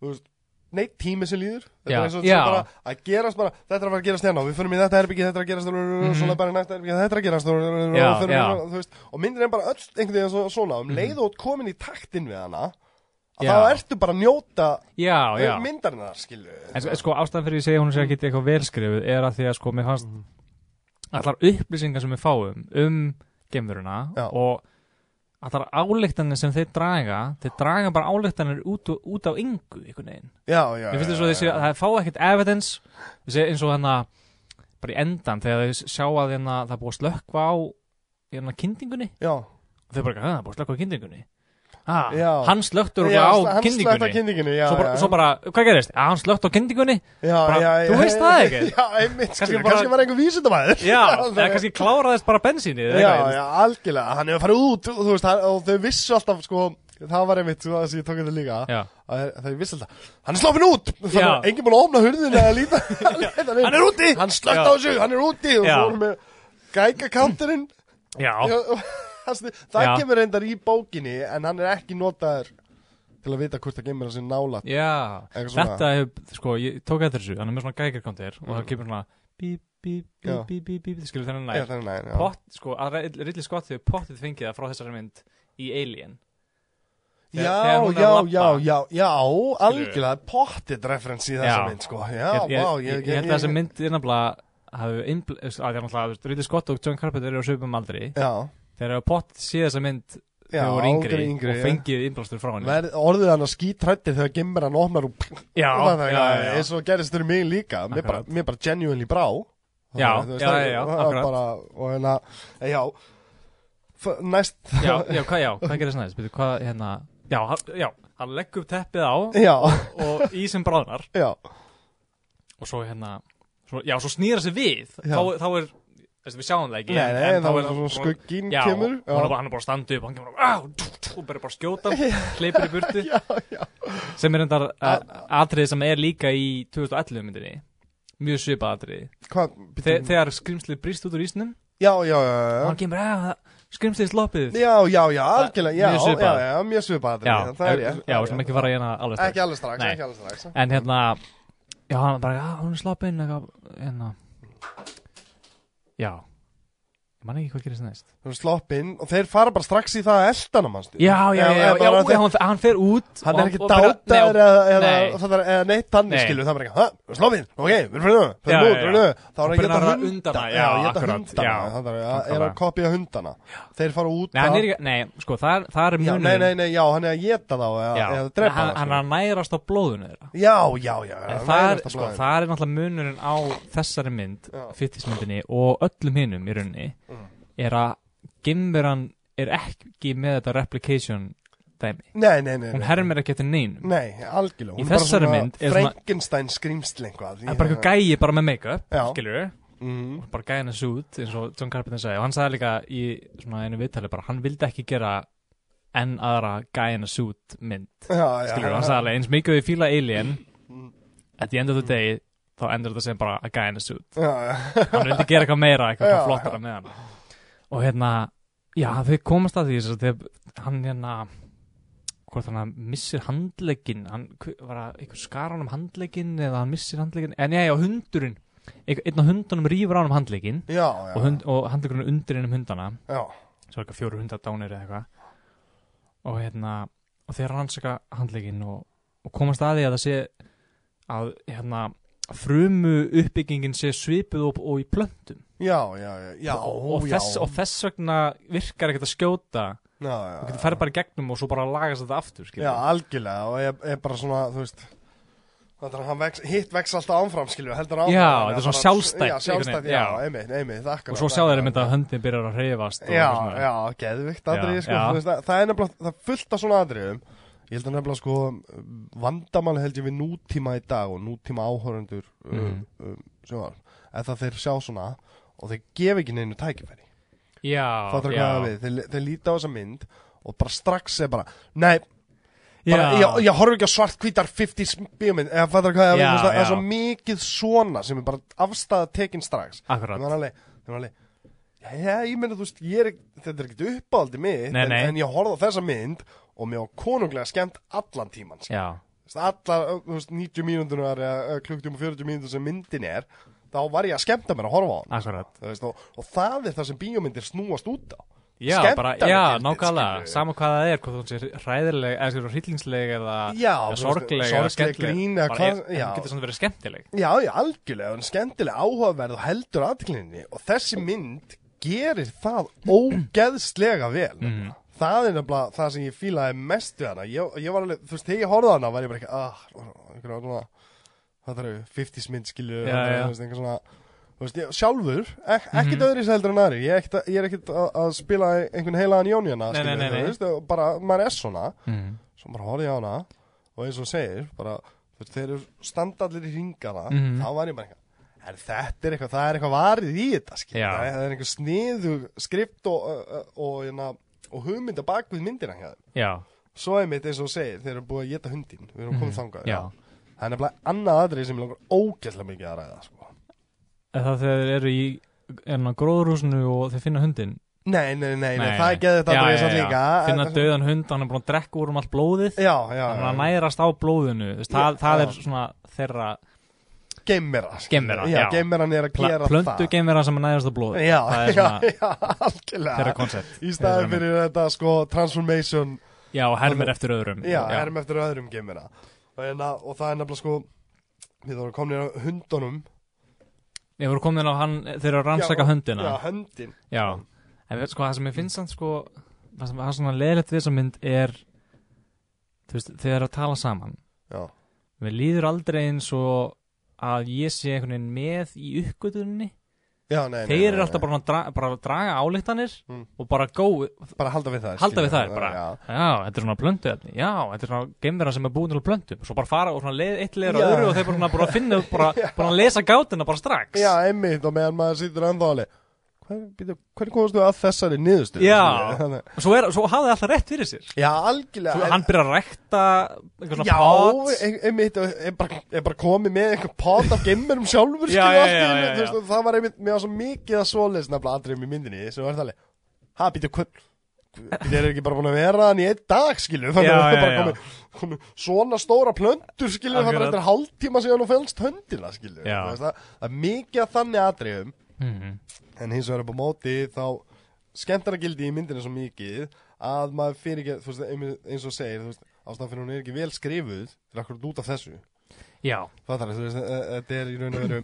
þú veist, neitt tími sem líður. Þetta
Já,
er eins og
já.
þetta er bara að gerast bara, þetta er að fara að gerast hérna og við förum í þetta herbyggi, þetta er að gerast, mm. svona bara í næsta herbyggi, þetta er að gerast, og förum
Mhm. Já,
í-
já. Mhm.
þú veist, og myndir er bara öll einhvern veginn svo- svona, um leið og þú ert komin í taktin við hana, að
Já.
þá ertu bara að njóta eh,
Já, já
myndarinnar, skilju.
En sko- sko ástæðan fyrir ég segja hún sé ekki eitthvað velskrifuð er að því að sko mér fannst
Mhm.
allar upplýsingar sem við fáum um gemveruna
Já.
og allar álíktanir sem þeir draga þeir draga bara álíktanir út, og- út á yngu einhvern veginn.
Já, já,
Mér
já,
finnst þess að
já,
þeir séu-
já.
það fá ekkert evidence Þeir séu eins og þannig að bara í endan þegar þeir sjá að hérna, það er búið að slökkva á hérna, kyndingunni
Já,
og þeir bara, "Ha, það er búið að slökkva á kyndingunni ah,
Já.
hann slökktur
Já,
á
hann slökkt á
kyndingunni
kyndingunni, já,
svo bara,
já.
svo bara, hvað gerist? Ah, hann slökkt á kyndingunni
Já,
Bara,
já, já,
þú veist
já,
það
já,
ekki?
Já, einmitt,
Kannski
kannski,
bara-
kannski var einhver vísindamæður
Já, eða kannski kláraðist bara bensínið eða
Já,
eitthvað.
já, algjörlega, hann hefur farið út þú veist, hann, og þau vissu alltaf, sko það var einmitt, það sem ég tók þetta líka
Já.
að þau vissu alltaf, hann er sloppin út þannig
Já.
að enginn búin að opna hurðina að líta hann hérna.
Hann er úti!
hann slögt
Já.
á þessu, hann er úti og
Já.
svo erum við gækakanturinn
Já,
það
Já.
kemur reyndar í bókinni en hann er ekki notaður til að vita hvort það gemur þessi nála
Já,
eitthvað svona
þetta hefur, sko, ég tók eftir þessu, hann er með svona gækjarkontir og það
Mm.
kemur svona bíp, bíp,
Já.
bíp, bíp, bíp, bíp, skilur þennan
Já,
nær.
þannig næ, já.
Pott, sko, að Rid- Ridley Scott hefur pottið fengið það frá þessari mynd í Alien.
já,
þegar- þegar hún er að
já,
labba.
já, já, já, algjörlega pottit referens í þessa
Já.
mynd sko. já,
ég,
vá,
ég, ég, ég held að þessi
ég-
mynd er nefnilega hafi innbl- þú veist, að það er náttúrulega, þú veist, Ridley Scott og John Carpenter eru á sögum aldri
já,
þegar hafa pott séð þessa mynd
já,
þegar voru yngri,
aldrei yngri
og fengið innblástur frá henni
Verð, orðið hann að skítrættir þegar gemur hann opnar og
já,
það, það,
já, já, já.
eins og gerist fyrir mig líka mér bara,
Akkurat.
mér bara genuinely brá
Já,
Þú
já, já, já,
það var
akkurat.
bara, og hérna, já f- næst
já, já, hvað, já, hvað gerist næst Byrju, hvað, hérna, já, hann- já, hann legg upp teppið á
já,
og ísinn bráðnar
já,
og svo hérna, svo, já, svo snýra sig við
Já.
þá, þá er, þessi, við sjáum það ekki
nei, nei, þá er
hann
svona
bara-
skugginn
já,
kemur
og hann er bara- hann er bara að standa upp og hann kemur bara, á, tú, tú, og bara bara að skjóta hleypur í burtu
já, já,
sem er endar atrið sem er líka í 2011 myndinni mjög svipað atriði
hvað,
Þe,
býtum-
þegar skrimslið brýst út úr ísnum
já, já, já,
og
já
hann kemur að skrimslið sloppið
Já, já, já, algjörlega, já,
mjög
já,
svipað.
já, mjög svipað
já,
atriði, það er ég
já, sem ekki fara í hérna alveg strax.
Ekki alveg strax,
Nei.
ekki alveg strax
en hérna, já, hann bara já, hún er sloppin eitthvað, hérna já ég man ekki hvað gerist næst
Þú slopp inn og þeir fara bara strax í það að eldanum hans
já, já, já, já, já,
bara þeir-
hann, hann fer út
Hann
og-
er ekki
og bara-
dátar
nei, og-
eða, eða,
nei.
það er- eða neitt tannig
Nei.
skilur, það er bara ekki, hæ, sloppinn, ok, við fyrir það,
Já,
fyrir nút,
já,
fyrir nút, þá er
Og
að
byrjar
geta
að
hundana,
undana, já,
að geta
akkurat,
hundana,
já,
það er að- er að
nákvæmlega.
kopja hundana, þeir fara út
Nei, hann er
að-
ekki, nei, sko, það er, það er
já,
munurinn
nei, nei, nei, já, hann er að geta þá eða
Já,
eða
en
drepa
hann,
þá,
hann er
skilur.
að nærast á blóðinu þeirra
já, já, já, já,
En það, er,
nærast á
sko,
blaðinu.
það er náttúrulega munurinn á þessari mynd
Já.
fyrtismyndinni og öllum hinum í rauninni
Mm.
er að Gimberan er ekki með þetta replication dæmi
nei, nei, nei,
hún
nei.
hermir ekki eftir neinum
Nei, algjörlega Hún
Í
er bara
þessari
svona
mynd er svona-
Frankenstein skrimsl einhvað
en bara eitthvað gæi bara með make-up
Já.
skilur
mm,
bara gæin þessu út eins og John Carpenter sagði og hann sagði líka í svona einu viðtali bara hann vildi ekki gera enn aðra gæin þessu út mynd
já, já,
skilur
já,
hann sagði alveg eins mikið og ég fíla Alien
Mm.
at the end of the day þá endur þetta sem bara a guy in a suit
já, já,
hann vildi gera eitthvað meira, eitthvað
Já,
já, flottara með hann og hérna já þau komast að því þess að þegar hann hérna hvort hann missir handlegginn hann hver- var að eitthvað skar hann um handlegginn eða hann missir handlegginn, en já já hundurinn einhver- einn af hundunum rýfur hann um handlegginn
já, já,
og, hund, og handleggurinn er undir innum hundana
já.
svo eitthvað fjóru hundar dánir eða eitthvað og hérna og þeir rannsaka handlegin og, og komast að því að það sé að hérna frumu uppbyggingin sé svipuð og, og í plöntum
Já, já, já, já,
og, og,
já.
þess, og þess vegna virkar ekkert að skjóta
já,
og
já,
getur ferð bara í gegnum og svo bara lagast þetta aftur skilur.
já, algjörlega og ég er bara svona, þú veist Þannig að hann vex, hitt vex alltaf ámfram, skilju, heldur ámfram
Já,
Þannig
þetta er
að
svona
bara-
sjálfstætt,
Já, sjálfstætt,
einhvern
já,
veginn, já.
einmitt, einmitt, akkurat
og svo sjá þeir mynda að höndin byrjar að hreyfast og
Já,
eitthvað svona.
já, geðvikt aðrið,
Já,
sko,
já.
þú veist, það, það er nefnilega, það er fullt af svona aðriðum Ég held að nefnilega, sko, vandamál held ég við nútíma í dag og nútíma áhörundur um,
Mhm.
um, sem var Eða þeir sjá svona og þeir gefa ekki neinu tækifæri
já,
Það er hvað
já.
það við, þeir, þeir líta á þessa mynd og bara strax er bara, nei, bara,
já,
ég, ég horf ekki á svart hvítar 50s bíómynd Eða fattar hvað það við,
Já,
þú veist, það er
já.
svo mikið svona sem er bara afstæða tekin strax
akkurat
Það var alveg, það var alveg Já, ég meina, þú veist, ég er, ekki- þetta er ekkert uppáhaldi mitt
Nei, nei.
En, en ég horfði á þessa mynd og mér var konunglega skemmt allan tíman
já,
Allar, ö, þú veist, 90 mínúndunar eða klukktum og 40 mínúndur sem myndin er Þá var ég að skemmta mér að horfa á hann
akkurat
Þú veist, og, og það er það sem bíómyndir snúast út á
já, bara,
Skemmtanagildið,
já, nákvæmlega
skilurðu.
sama hvað það er, hvort hún sé hræðileg eða skilur hryllingsleg eða
Já,
eða
þú veist,
sorgleg eða
sorgleg
skemmtileg
grín eða
Bara
hvað-
er- en
já.
hún getur svona verið skemmtileg
Já, já, algjörlega, hún er skemmtileg áhugaverð og heldur aðtiklinni og þessi mynd gerir það ógeðslega vel mm. það er nefnilega það sem ég fílaði mest við hana, ég, ég var alveg, þú veist, þegar ég horfði á hana var ég bara ekki, ah, einhverja svona það eru 50s mynd skilju
Já, já. Mhm.
þú veist, einhver svona þú veist, ég, sjálfur, ek, ekkit öðris heldur en aðri ég er ekkit, að- ég er ekkit að, að spila einhvern heilaðan jónjana,
Nei, nei, nei, nei.
þú veist og bara, maður er svona
mm.
svo bara horfði ég á hana og eins og þú segir bara, þú veist, þeir eru standallir í ringana
Mhm.
þá var ég bara eitthvað Er þetta er eitthvað, það er eitthvað varið í þetta skil,
Já.
það er það er einhver sniðu skrift og, ö, ö, og, og, og hugmynda bak við myndina hjá þeim
já,
svo er mitt eins og þú segir, þeir eru búið að geta hundin við erum komið þangað
Mhm. já
það er nefnilega annað aðrið sem ég langar ógæslega mikið að ræða sko.
eða þegar þeir eru í enna gróðrúsinu og þeir finna hundin
Nei, nei, nei, nei,
Nei,
það
nei.
er geðið þetta að
Já, já,
breysa
já.
líka
finna döðan hund, hann er búin að drekka úr um allt blóðið
Já, já, já,
hann er að nærast á blóðinu Þú veist, það,
Já,
það
já.
er svona þeirra
geimera skilur.
Geimvera, já.
Geimveran er að gera
plöndu
það
geimverðan sem er nærast á blóðinu
Já,
það
já,
er svona
já,
þeirra
algjörlega
koncept
Í staðin
þeirra-
fyrir þetta sko transformation
já, og hermir eftir öðrum
Já, erum eftir öðrum geimina og, hérna, og það er nefnilega sko Við vorum komin á hundunum
Ég voru komin á hann, þeir eru að rannsaka
Já,
höndina
Já, höndin
Já, en við, sko, það sem ég finnst hann sko, það sem það svona leðilegt við þessa mynd er þú veist, þeir eru að tala saman
Já,
Mér líður aldrei eins og að ég sé einhvern veginn með í uppgötuninni
já nei, nei,
Þeir
nei,
eru alltaf
nei.
bara að, dra, bara að draga álíktanir
eh, Mm.
og bara gó,
Bara halda við það
halda við
skilur,
þær bara Já,
já.
þetta er svona plöndu efni Já, þetta er svona geimverða sem er búin til plöndum Svo bara fara og svona leið, eitt leður
Já.
og öðru og þeir bara, svona bara finna, út, bara, bara lesa gátina bara strax
Já, einmitt og meðan maður sýtur ennþáli Hvernig komast þú að þessari niðurstöð
Já. Svo, er, svo hafði alltaf rétt fyrir sér
Já,
Svo
algjörlega
hann byrjar að rækta einhvern svona
Já, e-
pots
ein- einmitt, og er bara, er bara komið með einhver pot af gimmurum sjálfur
Já,
skilur,
já,
allt í
já,
einu,
já,
þú veist,
já.
og Það var einmitt, mér var svo mikið að svoleiðs nefnilega atriðum í myndinni sem var þalli, ha, býtu, hvern Þið eru ekki bara búin að vera hann í einn dag, skilju Þannig
Já,
að það
já,
bara
já.
komið, komið svona stóra plöndur, skilju Þannig að
Akkurat.
þetta er hálftíma síðan og fælst höndina, skilju
Já.
það, það er mikið að þannig atriðum
Mhm.
En hins vegar upp á móti þá skemmtara gildi í myndinni svo mikið að maður fyrir ekki, þú veist, einmitt eins og segir, þú veist, ástæðan fyrir hún er ekki vel skrifuð fyrir akkur út af þessu.
Já,
Það er, þú veist, eh, eh, þetta er í raun og veru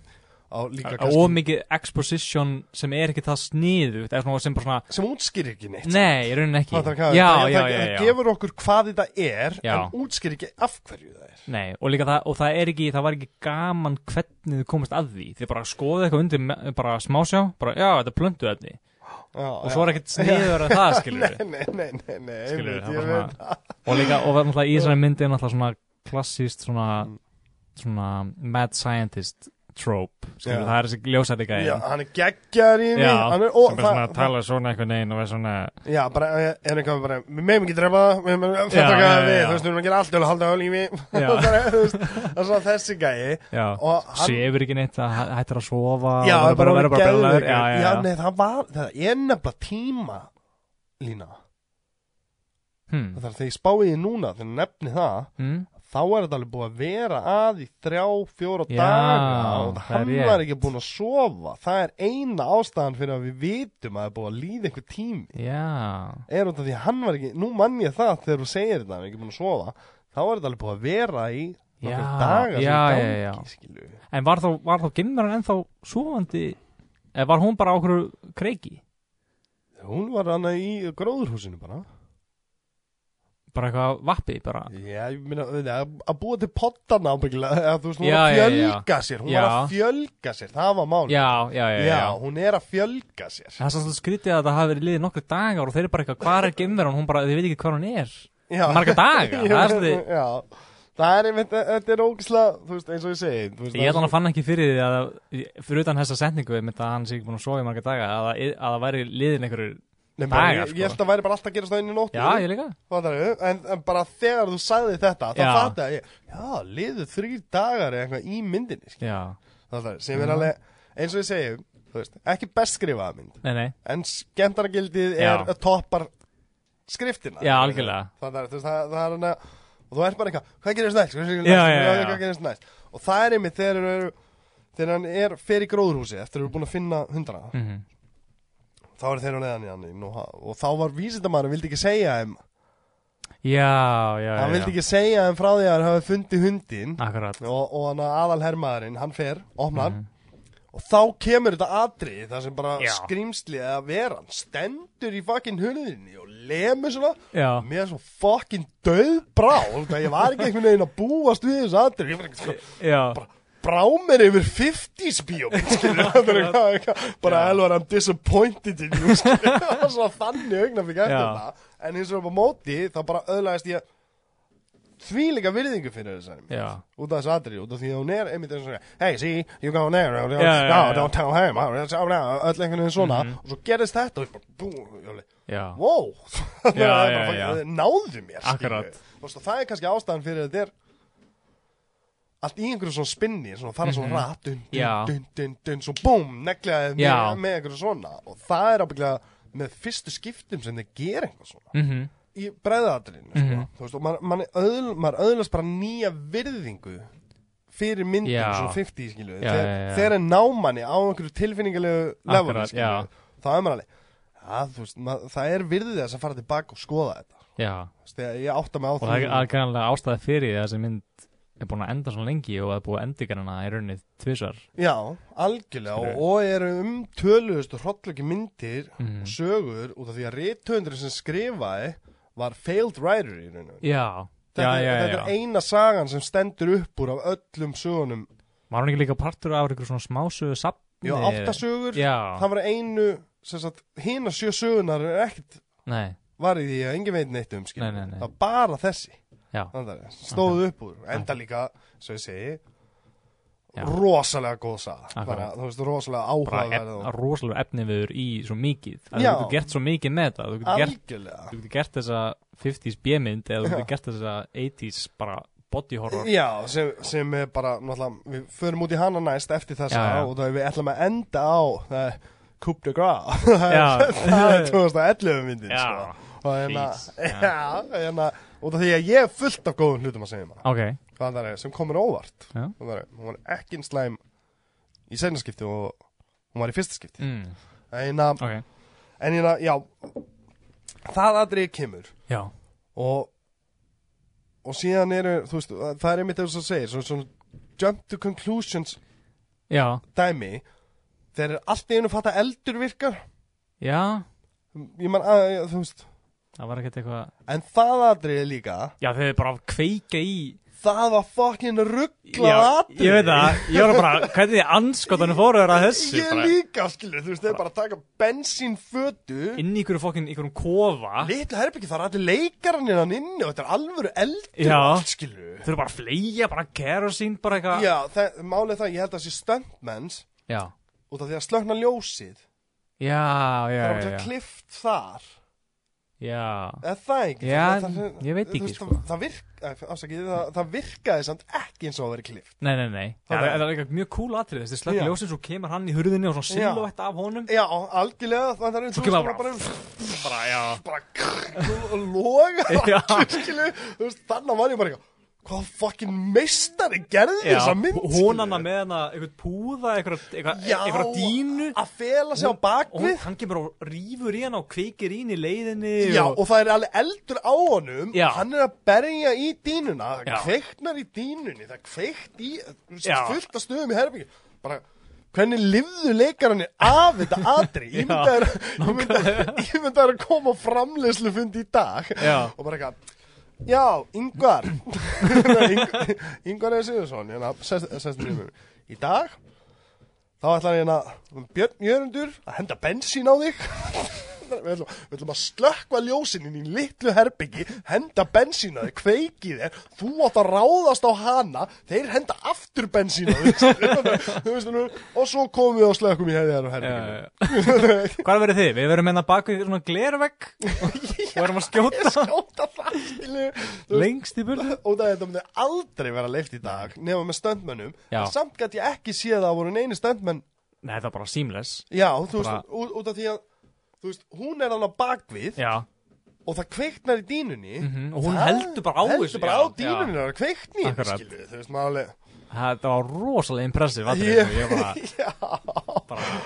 á líka
og mikið exposition sem er ekki það sniðugt eða svona sem bara svona,
sem útskýrir ekki neitt.
nei, í rauninni ekki
Það, það,
já,
það,
já,
það,
já,
það
já,
gefur okkur hvað þetta er
Já.
en útskýrir ekki af hverju það er.
Nei, og líka það, og það er ekki, það var ekki gaman hvernig þið komast að því þið bara skoðið eitthvað undir, me- bara smásjá bara, já, þetta er plöndu efni
Já,
og svo er ekkert sniður en það, skilur við
Nei, nei, nei, nei,
Skilur,
einmitt,
það
ég
var
veit
og líka, og verður náttúrulega í þessari myndi er náttúrulega svona klassíst svona,
Mm.
svona mad scientist trope, skilur
Já.
það er þessi ljósætti
Já,
gæði
hann er geggjar í mig hann er, og,
sem bara svona tala svona eitthvað neginn og er svona
Já, bara, eh, er eitthvað bara, við meðum ekki drepa það, við meðum ekki
Já,
drepa
já,
það,
já,
við,
já.
þú veist, við erum að gera allt til að halda á lífi,
Já.
bara, þú veist, það er svona þessi gæi,
já,
og hann,
sefur ekki neitt, það hæ- hættir að sofa
já,
og verður bara að vera bara
geðveikur.
brjálæður já, já,
já,
já,
nei, það var, það er nefnilega tíma, Lína,
hmm.
það er þegar ég spáði því núna, þegar ég nefni það,
Hmm?
þá er þetta alveg búið að vera að í þrjá, fjóra
Já,
daga og
það er
hann
rétt.
var ekki búin að sofa, það er eina ástæðan fyrir að við vitum að það er búið að líða einhver tími.
já,
er út af því að hann var ekki, nú mann ég það þegar þú segir þetta, hann er ekki búin að sofa þá er þetta alveg búið að vera í nokkra
Já,
daga
já,
sem
já, já.
gangi, skilju
en var þá, var þá gimmeran ennþá sofandi eða var hún bara á okkur kreiki
hún var hann í gróðurhúsinu bara
bara eitthvað vappi bara
já, ég meina, auðvitað, að- að búa til pottana ábyggilega, eða þú veist, hún
Já,
var að
já, já.
fjölga sér hún var að
Já.
fjölga sér, það var mál
já, já, já, já,
hún er að fjölga sér
Það er svolítið skrítið að það hafi verið liðið nokkru dagar og þeir eru bara eitthvað, hvað er gemveran, hún bara, þið veit ekki hvað hún er.
já.
Marga daga,
Ég
það
meina,
er svolítið,
já, það er einmitt, þetta er ógislega þú veist, eins og ég segi þú veist,
Ég
það er
held hann að fann ekki fyrir því að, fyrir utan þessa setningu, með það hann sé ekki búin að sofa í marga daga, að, það- að það væri liðin einhverju,
Nei, bara,
daga,
ég,
sko.
ég held að væri bara alltaf að gerast það inn í nóttu
já, ég líka,
Fattaru, en, en bara þegar þú sagði þetta þá
Já.
fattaði ég, já, liðu þrýr dagar eða eitthvað í myndinni skilur.
já,
Fattaru, sem er
Já.
alveg, eins og ég segi þú veist, ekki best skrifaða mynd
nei, nei,
en skemmtaragildið
Já.
er að toppar skriftina
Já, algjörlega.
Fattaru, þú veist, það, það er hann að og þú ert bara eitthvað, hvað gerist næst, hvað gerist næst,
Já, já, já.
hvað gerist næst og það er einmitt þegar, þeir eru, þegar hann er fer í gróðurhúsi eftir að eru búin að finna hundra
mhm,
þá er þeir á neðan í hann inn og, og þá var vísindamæður vildi ekki segja þeim
já, já,
hann
já,
vildi ekki segja þeim frá því að hann hafi fundið hundin
akkurat,
og, og hann aðal hermaðurinn, hann fer, opnar og þá kemur þetta atrið þar sem bara
Mhm. Já.
skrýmslið að vera hann stendur í fucking hulðinni og lemur svona
já,
mér er svo fucking döð brá ég var ekki einhvern veginn að búast við þessu atrið ég var ekki sko
já,
brá mér yfir 50s bíómynd skilur þetta er eitthvað- eitthvað bara elvar I'm disappointed in you skilur það var svona þannig augnafík eftir
Já.
það en eins og upp á móti þá bara öðlaðist ég þvílíka virðingu fyrir þessari mynd
Já.
út af þessu aðri út af því að hún er einmitt eins og svona hey see you go there no,
Já, já, já, já.
don't tell him oh, that's- oh, no," öll einhvern veginn svona og svo gerist þetta og ég bara bú ég alveg,
já,
wow Það er bara
já,
fucking-
já.
þeir náðu mér skilur.
Akkurat.
Þú veist, og það er kannski ástæðan fyrir að þetta er allt í einhverju svona spinni svona fara svona rætt dun, dun,
Mhm. Já.
dun, dun, dun, svo búm, negliðaði
Já.
með, með einhverju svona og það er ábygglega með fyrstu skiptum sem þeir gera eitthvað svona
mm -hmm.
í bræðaðatrinu mm
Mhm.
þú veist, og maður man öðl, man öðlast bara nýja virðingu fyrir myndum
Já.
svona 50 skilu
Já,
þegar,
já, já.
þegar er námanni á einhverju tilfinningalegu leveli
Akkurat, já.
skilu þá sko. er maður alveg ja, þú veist, mað, það er virðið þess að fara tilbaka og skoða þetta
Já,
Þú veist, þegar ég átta mig á
og það er aðgæðanlega ástæði fyrir því að þessi mynd er búin að enda svona lengi og að búið að endigar hana í raunnið tvisvar
já, algjörlega og,
Skilurðu?
og eru um töluðustu hrollöki myndir
Mhm.
og sögur út af því að rithöndurinn sem skrifaði var failed writer í rauninu
Já, já,
þetta,
já,
er-
já,
þetta er
já.
eina sagan sem stendur upp úr af öllum sögunum
Var hún ekki líka partur af ykkur svona smásögu sapni?
Já, áttasögur,
Já,
það var einu sem sagt, hina sjö sögunar er ekkert
nei,
var í því að engin veit neitt um skil
Nei, nei, nei.
það var bara þessi
já,
Andari, stóðu upp úr, enda líka svo ég segi
Já.
rosalega góð saga
Akkurat.
bara, þú veist, rosalega
bara ef,
áhugaverð og
rosalega efniviður í svo mikið að
Já.
þú getur gert svo mikið með þetta þú getur gert,
algjörlega
þú getur gert þessa 50s B-mynd eða þú
Já.
getur gert þessa 80s bara body horror
Já, sem, sem er bara, náttúrulega, við förum út í hana næst eftir þessa
Já, já.
og það við ætlum að enda á uh, Coupe de Gras
Já.
það er 2011 myndin
Já.
sko. og hérna,
Please.
já, hérna út af því að ég er fullt af góðum hlutum að segja maður
Ok,
það er sem komur óvart
Já.
það er, hún var ekki eins slæm í seinnaskipti og hún var í fyrsta skipti
mm.
en hérna,
ok,
en hérna, já það aðrið kemur
já,
og og síðan eru, þú veist, það er einmitt eins og segir, svona, svona jump to conclusions
já,
dæmi þegar er allt í einu fatta eldur virkar
já
ég man, að, þú veist
það var ekkert eitthvað
en það aðrið líka,
Já, þau bara að kveika í
það var fucking rugglað
Já,
atrið
ég veit það, ég var bara, hvernig þið anskotanum fóruður að þessu
Ég
bara,
líka, skilur, þú veist, þeir bara taka bensínfötu
inn í ykkur fokkin, ykkur um kofa,
Litla herbyggi, það er allir leikarannir hann inni og þetta er alvöru eldur
Já.
og allt, skilur
þau eru bara að fleia, bara kerosín, bara eitthvað.
Já, það, málið er það, ég held að það sé stuntmenns
já,
út af því að slökna ljósið
já,
Það
já,
er
já,
bara klift þar
já, já,
Er það ekki?
Já,
það, það-
ég veit
þú
ekki,
veist,
sko.
það, það, virk, eh, afsakið, það, það virkaði samt ekki eins og að vera klift
nei, nei, nei, já,
Það
það
er-
er eitthvað mjög cool atrið, þessi
Já.
slökk ljósið, svo kemur hann í hurðinni og svona
Já.
silhouette af honum,
Já, algjörlega það er
svo kemur hann bara, bara, já,
bara krr- og loga
Já.
allir, skilur, þú veist, þannig var ég bara eitthvað, hvað fucking meistari gerði
já,
þessa mynd skilur?
honanna með hana, eitthvað púða, eitthvað, eitthvað,
Já.
eitthvað dínu,
að fela sig á
og hún-
bakvið
hann kemur og rýfur í hana og kveikir í henni í leiðinni
Já,
og,
og það er alveg eldur á honum
Já.
hann er að berja í dýnuna það
Já.
kveiknar í dýnunni, það kveikt í þú veist,
Já.
fullt af stöðum í herbyggi bara, hvernig lifðu leikararnir af þetta atri ég myndi að ég myndi að- ég myndi að koma á framleiðslufundi í dag
Já.
og bara eitthvað Já, Yngvar Yng- Yngvar eða Sigurðsson hérna, sest, sest mér yfir. Í dag þá ætlar ég hérna Björn Jörundur að henda bensín á þig við ætlum, við ætlum að slökkva ljósinin í litlu herbyggi henda bensín á þig, kveiki þér þú átt að ráðast á hana þeir henda aftur bensín á þig Þú veist, nú, og svo komum við og slökkum í hérna hefðið herbygginu
Hvað verður þið? Við verðum hérna bak við svona glervegg og verðum að skjóta
skjóta það skilu Þú
lengst í burðu
og það þetta myndi aldrei vera leift í dag nema með stöndmönnum
Já.
en samt gæti ég ekki séð að það voru neini stöndmenn
Nei, það er bara seamless
já, þú
Bara-
veist, út, út af því að þú veist, hún er hann á bakvið
Já,
og það kveiknar í dýnunni
Mhm, og hún
Það-
heldur bara á þessu,
heldur bara á
já, já.
dýnunni það kveikni í henni,
Akkurat.
skilur við, þú veist, maður alveg
það var rosalega impressive atrið
Ég-
yeah. Ég bara,
já,
bara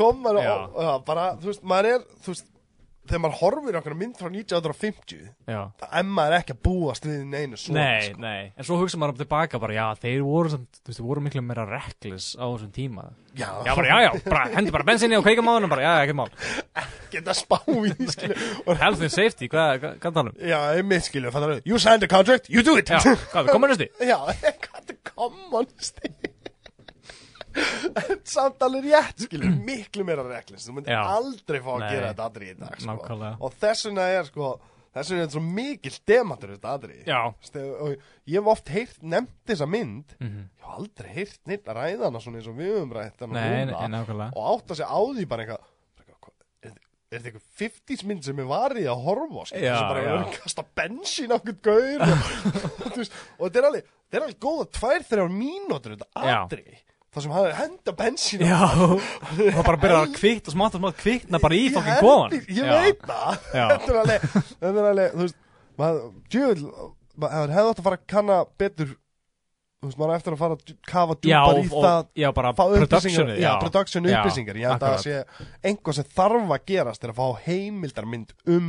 kom maður
Já.
og já, bara, þú veist, maður er þú veist, þegar maður horfir okkur mynd frá 1950
Já
það er maður ekki að búast við neinu svona
Nei,
sko.
nei, en svo hugsa maður um tilbaka bara, já, þeir voru, samt, þú veist, þeir voru miklu meira reckless á þessum tíma
já,
Já, bara, já, já, bara, hendi bara bensinni og kveika maðurinn bara, já, já, ekkert mál
geta spá í því, skilur og
Health and safety, hvað, hvað, hvað talum?
Já, einmitt skilur, fattar þú? You signed the contract, you do it
Já, hvað, við komum næstu?
Já, hvað er kommunisti? En Samt alveg rétt, skilur, miklu meira reglins Þú myndir
Já.
aldrei fá að
Nei.
gera þetta aðri í dag sko.
Nákvæmlega.
Og þess vegna er, sko, þess vegna er svo mikill demantur þetta aðri
Já.
eh, Og ég hef oft heyrt, nefnt þessa mynd Ég hef aldrei heyrt neitt að ræða hana svona eins og við höfum rætt hana
Mhm. Nei,
núna.
nei, nákvæmlega.
Og átta sig á því bara eitthvað bara eitthvað, hvað- Er er þetta eitthvað 50s mynd sem er varið að horfa á skilur,
Já,
sem bara
já.
er að kasta bensín á einhvern gaur og, þú veist, og þetta er alveg þetta er alveg góða tvær, þrjár mínútur þetta
Já.
atri þar sem hann er að henda bensín
Já, og bara byrjar að kvikna smátt og smátt kvikna bara í fokkin góðan
Ég veit það
Já.
Þetta er alveg, þetta er alveg, þú veist maður, djöfull, maður hefði átt að fara að kanna betur þú veist, maður á eftir að fara að djú- kafa
Já,
djúpar í
og-
það
já, bara
fá upplýsingar,
productionið,
já, production
Já,
upplýsingar ég held að það sé einhvað sem þarf að gerast er að fá heimildarmynd um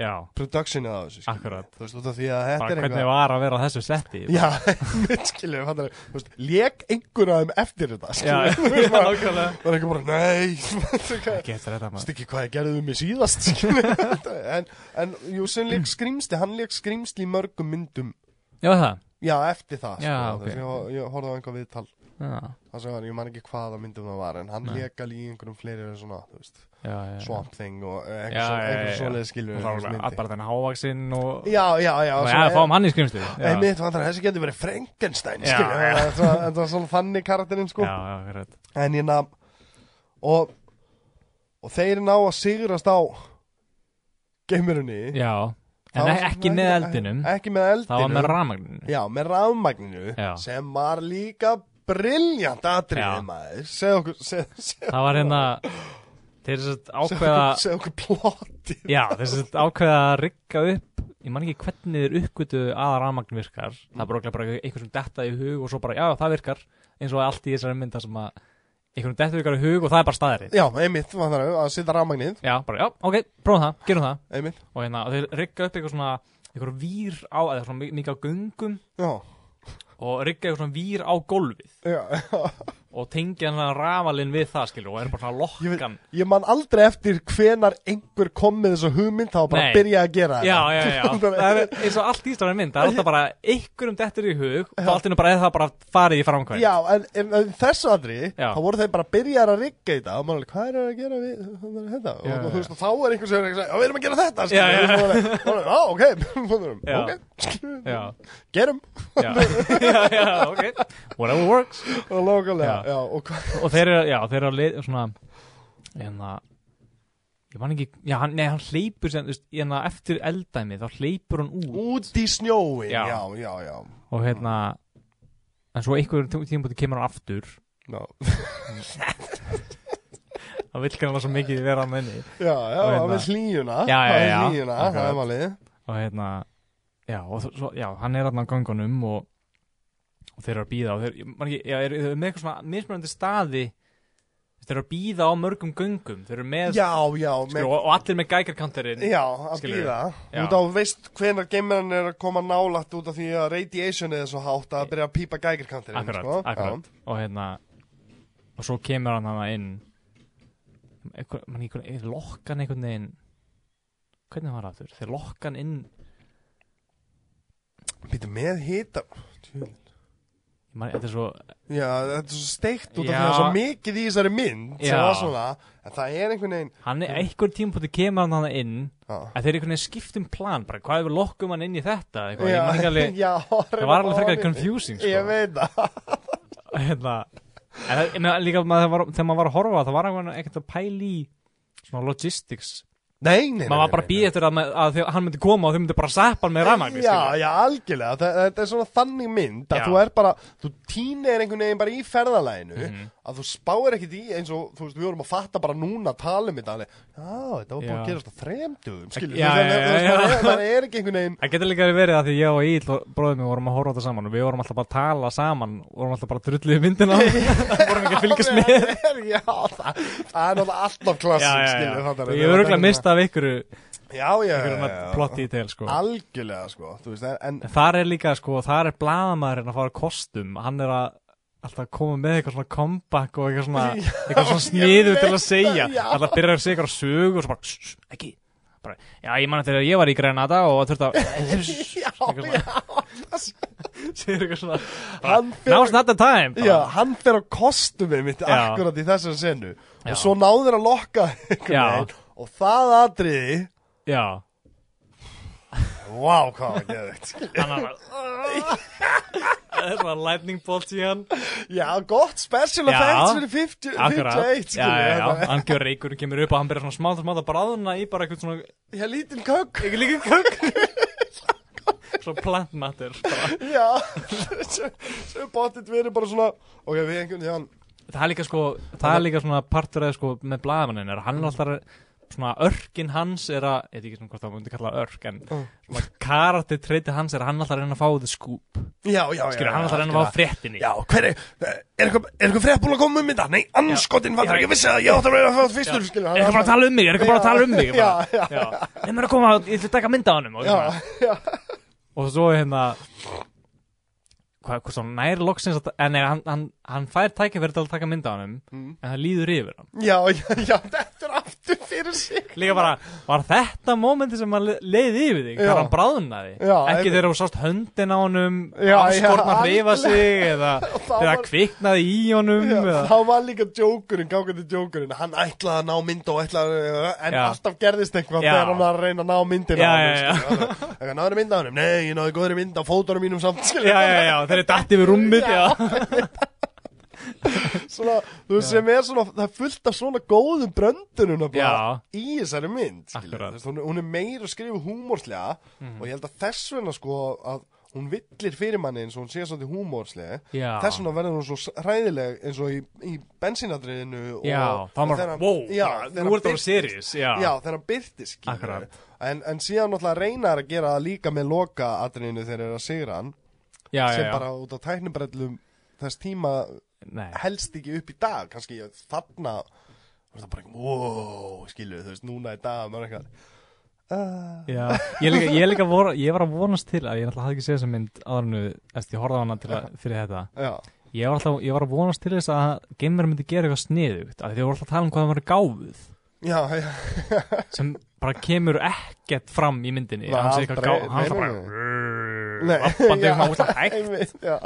Já,
productionið af þessu skilur.
Akkurat.
þú veist, út af því að þetta
bara
er
hvernig
eitthvað
var að vera á þessu setti
já, mitt skilur, fattar við, þú veist, lék einhverja þeim eftir þetta,
já,
skilur við, þú veist, maður-
nákvæmlega
maður er ekki bara, nei þú veist,
Ekki eftir þetta maður
ekki hvað ég gerði um mig síðast skilur við. en, en Júsin leik skrýmsli, hann leik skrýmsli í mörgum myndum,
Já, það
já, eftir það
Já,
sko,
ok.
þess, ég, ég horfði á einhver viðtal
Já,
það sem var, ég man ekki hvaða myndum það var en hann
Nei.
leik alveg í einhverjum fleiri svona, þú veist
já, já
Swamp Thing og eh,
Já, já, já,
eitthvað
já.
svoleið skilur
Og þá var bara þennan hávaksinn og
Já, já, já
og
svo
Já,
er-
fáum hann í skrimsli Já, já,
Einmitt, vandrar, þessi getur verið Frankenstein
Já,
skilur
já.
En það var svona þannig karakterinn sko
já, akkurat
En ég nafn og, og þeir ná að sigrast á Geimurunni
Já,
Það
en
var
ek-
svona-
ekki með eldinum
Ekki með
Það var
eldinum
með rafmagninu
Já, með rafmagninu
Já.
Sem var líka briljant
Já.
atriðið maður Segð okkur seg, seg,
Það var hérna Þeir eru sett
seg,
ákveða
okkur, seg okkur plottið
Já, þeir eru sett ákveða að rigga upp Ég man ekki hvernig þeir uppgötu að rafmagn virkar Það er bara örugglega bara einhver sem detta í hug og svo bara, já, það virkar eins og allt í þessari mynda sem að einhverjum detta virkar í hug og það er bara staðarinn
Já, einmitt, vandrar, að setja rafmagnið
Já, bara, já, ok, prófum það, gerum það
Einmitt
og hérna, og þeir rigga upp eitthvað svona eitthvað vír á, eða svona mi- mikið á göngum
Já,
og rigga eitthvað svona vír á gólfið
já, já.
og tengja hann rafalinn við það, skilur, og er bara svona
Ég veit-
lokkan
Ég man aldrei eftir hvenar einhver kom með þessu hugmynd þá bara
Nei.
að byrja að gera
Já,
þetta.
já, já, það er eins og allt ístofnir mynd, það er alltaf bara einhverjum dettur í hug og allt innum bara eða það bara farið í framkvæm
Já, en, en, en þessu aðri,
Já.
þá voru þeir bara að byrja að rigga í þetta og maður alveg, hvað er að gera við þetta?
Já,
og
já.
þú veist, og þá er einhver sem er ekki að segja, "Já, við erum að gera þetta,
Já, já.
skilur Já, ok, fórum,
Já.
ok,
Já,
gerum
já, já, já, ok, whatever works
og lókulega,
Já.
já, og hvað
Og þeir eru, já, þeir eru að leið, svona, hérna, ég man ekki, já, hann, nei, hann hleypur sem, þú veist, hérna, eftir eldæmi, þá hleypur hann út
út í snjóin,
Já.
já, já, já,
og hérna en svo einhverjum tí- tímapunkti kemur hann aftur
já,
það vil kannar svo mikið vera hann inni
já, já, já
Og hérna-
með hlýjuna,
Já, já,
með
já.
hlýjuna, það
Akkurat.
er málið
og hérna já, og þ- svo, já, hann er hann á gangunum og, og þeir eru að býða og þeir, ég man ekki, já, er, er með eitthvað svona mismunandi staði þeir eru að býða á mörgum göngum þeir eru með,
Já, já, með
skilur, og, og allir með gækarkantarinn
Já, að
Skilurðu?
býða
Já.
Út á veist hvenar geimurinn er að koma nálagt út af því að radiation er svo hátt að byrja að pípa gægirkantir
Akkurat,
sko.
akkurat og hérna og svo kemur hann hann inn einhver, man, einhver, einhver, lokkan einhvern veginn hvernig var það aftur? þeir lokkan inn
Býta með hita
ég man, þetta er svo
Já, þetta er svo steikt út af því
Já.
að það er svo mikið í þessari mynd sem
Já.
var svona, En það er einhvern veginn
hann er einhver tímpúti kemur hann hann inn
Já,
að þeir einhvern veginn skiptum plan bara hvað ef við lokkum hann inn í þetta eitthvað, ég
Já,
man ekki alveg,
já,
það var alveg frekar confusing
Ég
sko.
veit það
hérna, en það- en það- líka maður, var, þegar maður var að horfa á það var einhvern veginn ekkert að pæla í svona logistics
Nei, nei, nei
maður var
nei,
bara að
nei.
býja eftir að, ma- að þegar hann myndi koma og þau myndi bara sappa hann með rafmagni
Já,
skilurðu.
já, algjörlega, Þa- þetta er svona þannig mynd að
Já.
þú er bara, þú týnir einhvern veginn bara í ferðalæginu
Mhm.
að þú spáir ekkit í eins og, þú veist, við vorum að fatta bara núna að tala um þetta, alveg, já, þetta var búin
Já.
að gerast á þremdugum, skilur,
Já,
þú veist,
já,
það- þú veist,
já,
það
já.
er- það er ekki einhvern veginn
Það getur líka verið að því ég og Íl og bróðum við vorum að horfa á þetta saman og við vorum alltaf bara að tala saman og vorum alltaf bara að drullu í myndina vorum ekki að fylgjast með
Já, Já, það, það er náttúrulega alltaf klassik, skilur, það
Ég er örgulega mista af ykkur
Já, já, já, já,
plott í tel sko
algjörlega, sko, þú veist, en, en
En þar er líka sko, þar er blaðamæðurinn að fara á kostum Hann er að alltaf koma með eitthvað svona comeback og eitthvað svona,
Já,
eitthvað svona
ég
sniðu
veit
til að
það,
segja
já.
Alltaf byrjar að segja eitthvað sögu og svo bara, "Shh, shh, ekki bara, Já, ég man eftir að ég var í Grenada og þurfti að
Já,
eitthvað
já,
svona- segir eitthvað svona
Hann fer-
Now's not the time bara.
Já, hann fer á kostumið mitt
Já.
akkurat í þessar senu
Já.
og svo náður að lokka einhvern
Já.
veginn og það atriði
Já,
Vá, wow, hvað var geðvikt
hann er bara Það er svona lightning bolt í hann
Já, gott special
Já.
effects fyrir 50, 51
Akkurat, já,
skilur
já,
við,
já,
þetta er-
hann gefur reykur og kemur upp og hann byrjar svona smátt og smátt að bráðuna í bara eitthvað svona
Já, lítinn kökk
Ekki líka kökk Svo plant matter bara.
Já, sem bóttið verið bara svona Ok, við einhvern veginn
það er líka sko það er líka svona partur eða sko með blaðamannin er að hann er alltaf svona örkin hans er að, ég veit ekki svona hvort það myndi kalla það örk en
Mm.
svona karakter treyti hans er að hann alltaf er að reyna að fá þið skúp
Já, já, já
skilur, hann alltaf er að reyna að fá fréttinni
Já, hver er, er eitthvað, er eitthvað frétt búin að koma um mynda? Nei, anskotin var það, ég vissi það, ég átti að vera að fá fyrstur, skilur
er ekki bara að tala um mig, er ekki bara að tala um mig
Já,
bara.
já.
já Nei, maður er að koma, ég ætla að taka mynda á honum og, svona.
Já, já,
og svo hérna hvað, hvað svona nær loksins að, en nei, hann, hann, hann fær tækifæri til að taka mynda á honum
Mm.
en það líður yfir hann
já, já, já, þetta er aftur fyrir sig
líka bara, var þetta mómenti sem hann leiði yfir þig,
Já.
þegar hann bráðnaði
Já,
ekki
einmitt.
þegar þú sást höndin á honum
Já,
afskorna
já,
hreyfa sig eða
það
þegar
var-
kviknaði í honum
Já,
eða,
þá var líka djókurinn, gangandi djókurinn Hann ætlaði að ná mynd og ætlaði að- En
Já.
alltaf gerðist eitthvað
Já.
þegar hann var að reyna að ná myndina
Já,
á honum,
já, já.
skilur. Alveg, Eitthvað náður mynd á honum Nei, ég náði góðri mynd á fótunum mínum samt skilur.
já, já, já, þeir eru dætt yfir rúmið já,
svona, þú veist sem er svona það er fullt af svona góðum bröndunum bara í þessari mynd skilur.
Akkurat. Mhm.
Þú veist, hún, er- hún er meira að skrifa húmórslega og ég held að þess vegna sko að hún villir fyrir manni eins og hún sé svolítið húmórslega
Já.
þess vegna verður hún svo hræðileg eins og í, í bensínadriðinu og,
já, þá
og
var
þegar hann-
wow,
já, þegar
nú
hann
er það
birtist.
serious já,
Já, þegar hann byrtist skilur
Akkurat.
við. en, en síðan náttúrulega reynar að gera það líka með loka atriðinu þegar er að sigra hann
já, já,
sem
já.
bara út á tæknibrellum þess tíma
Nei.
helst ekki upp í dag kannski ég- þarna var það bara eitthvað, wow, skilur þú veist, núna í dag maður er eitthvað, "Eh."
Já, ég, líka, ég, líka vor, ég var að vonast til að ég náttúrulega hafði ekki séð þessa mynd áðurnu eftir ég horfði á hana til að, fyrir þetta
já,
ég var, alltaf, ég var að vonast til þess að gamer myndi gera eitthvað sniðugt af því þau voru alltaf að tala um hvað það var gáfuð
já, já,
sem bara kemur ekkert fram í myndinni
Nei,
hann sé eitthvað
aldrei,
gáð hann
nei,
er bara
nei,
"Rrrr", labbandi
já,
svona óslega hægt
einmitt, já,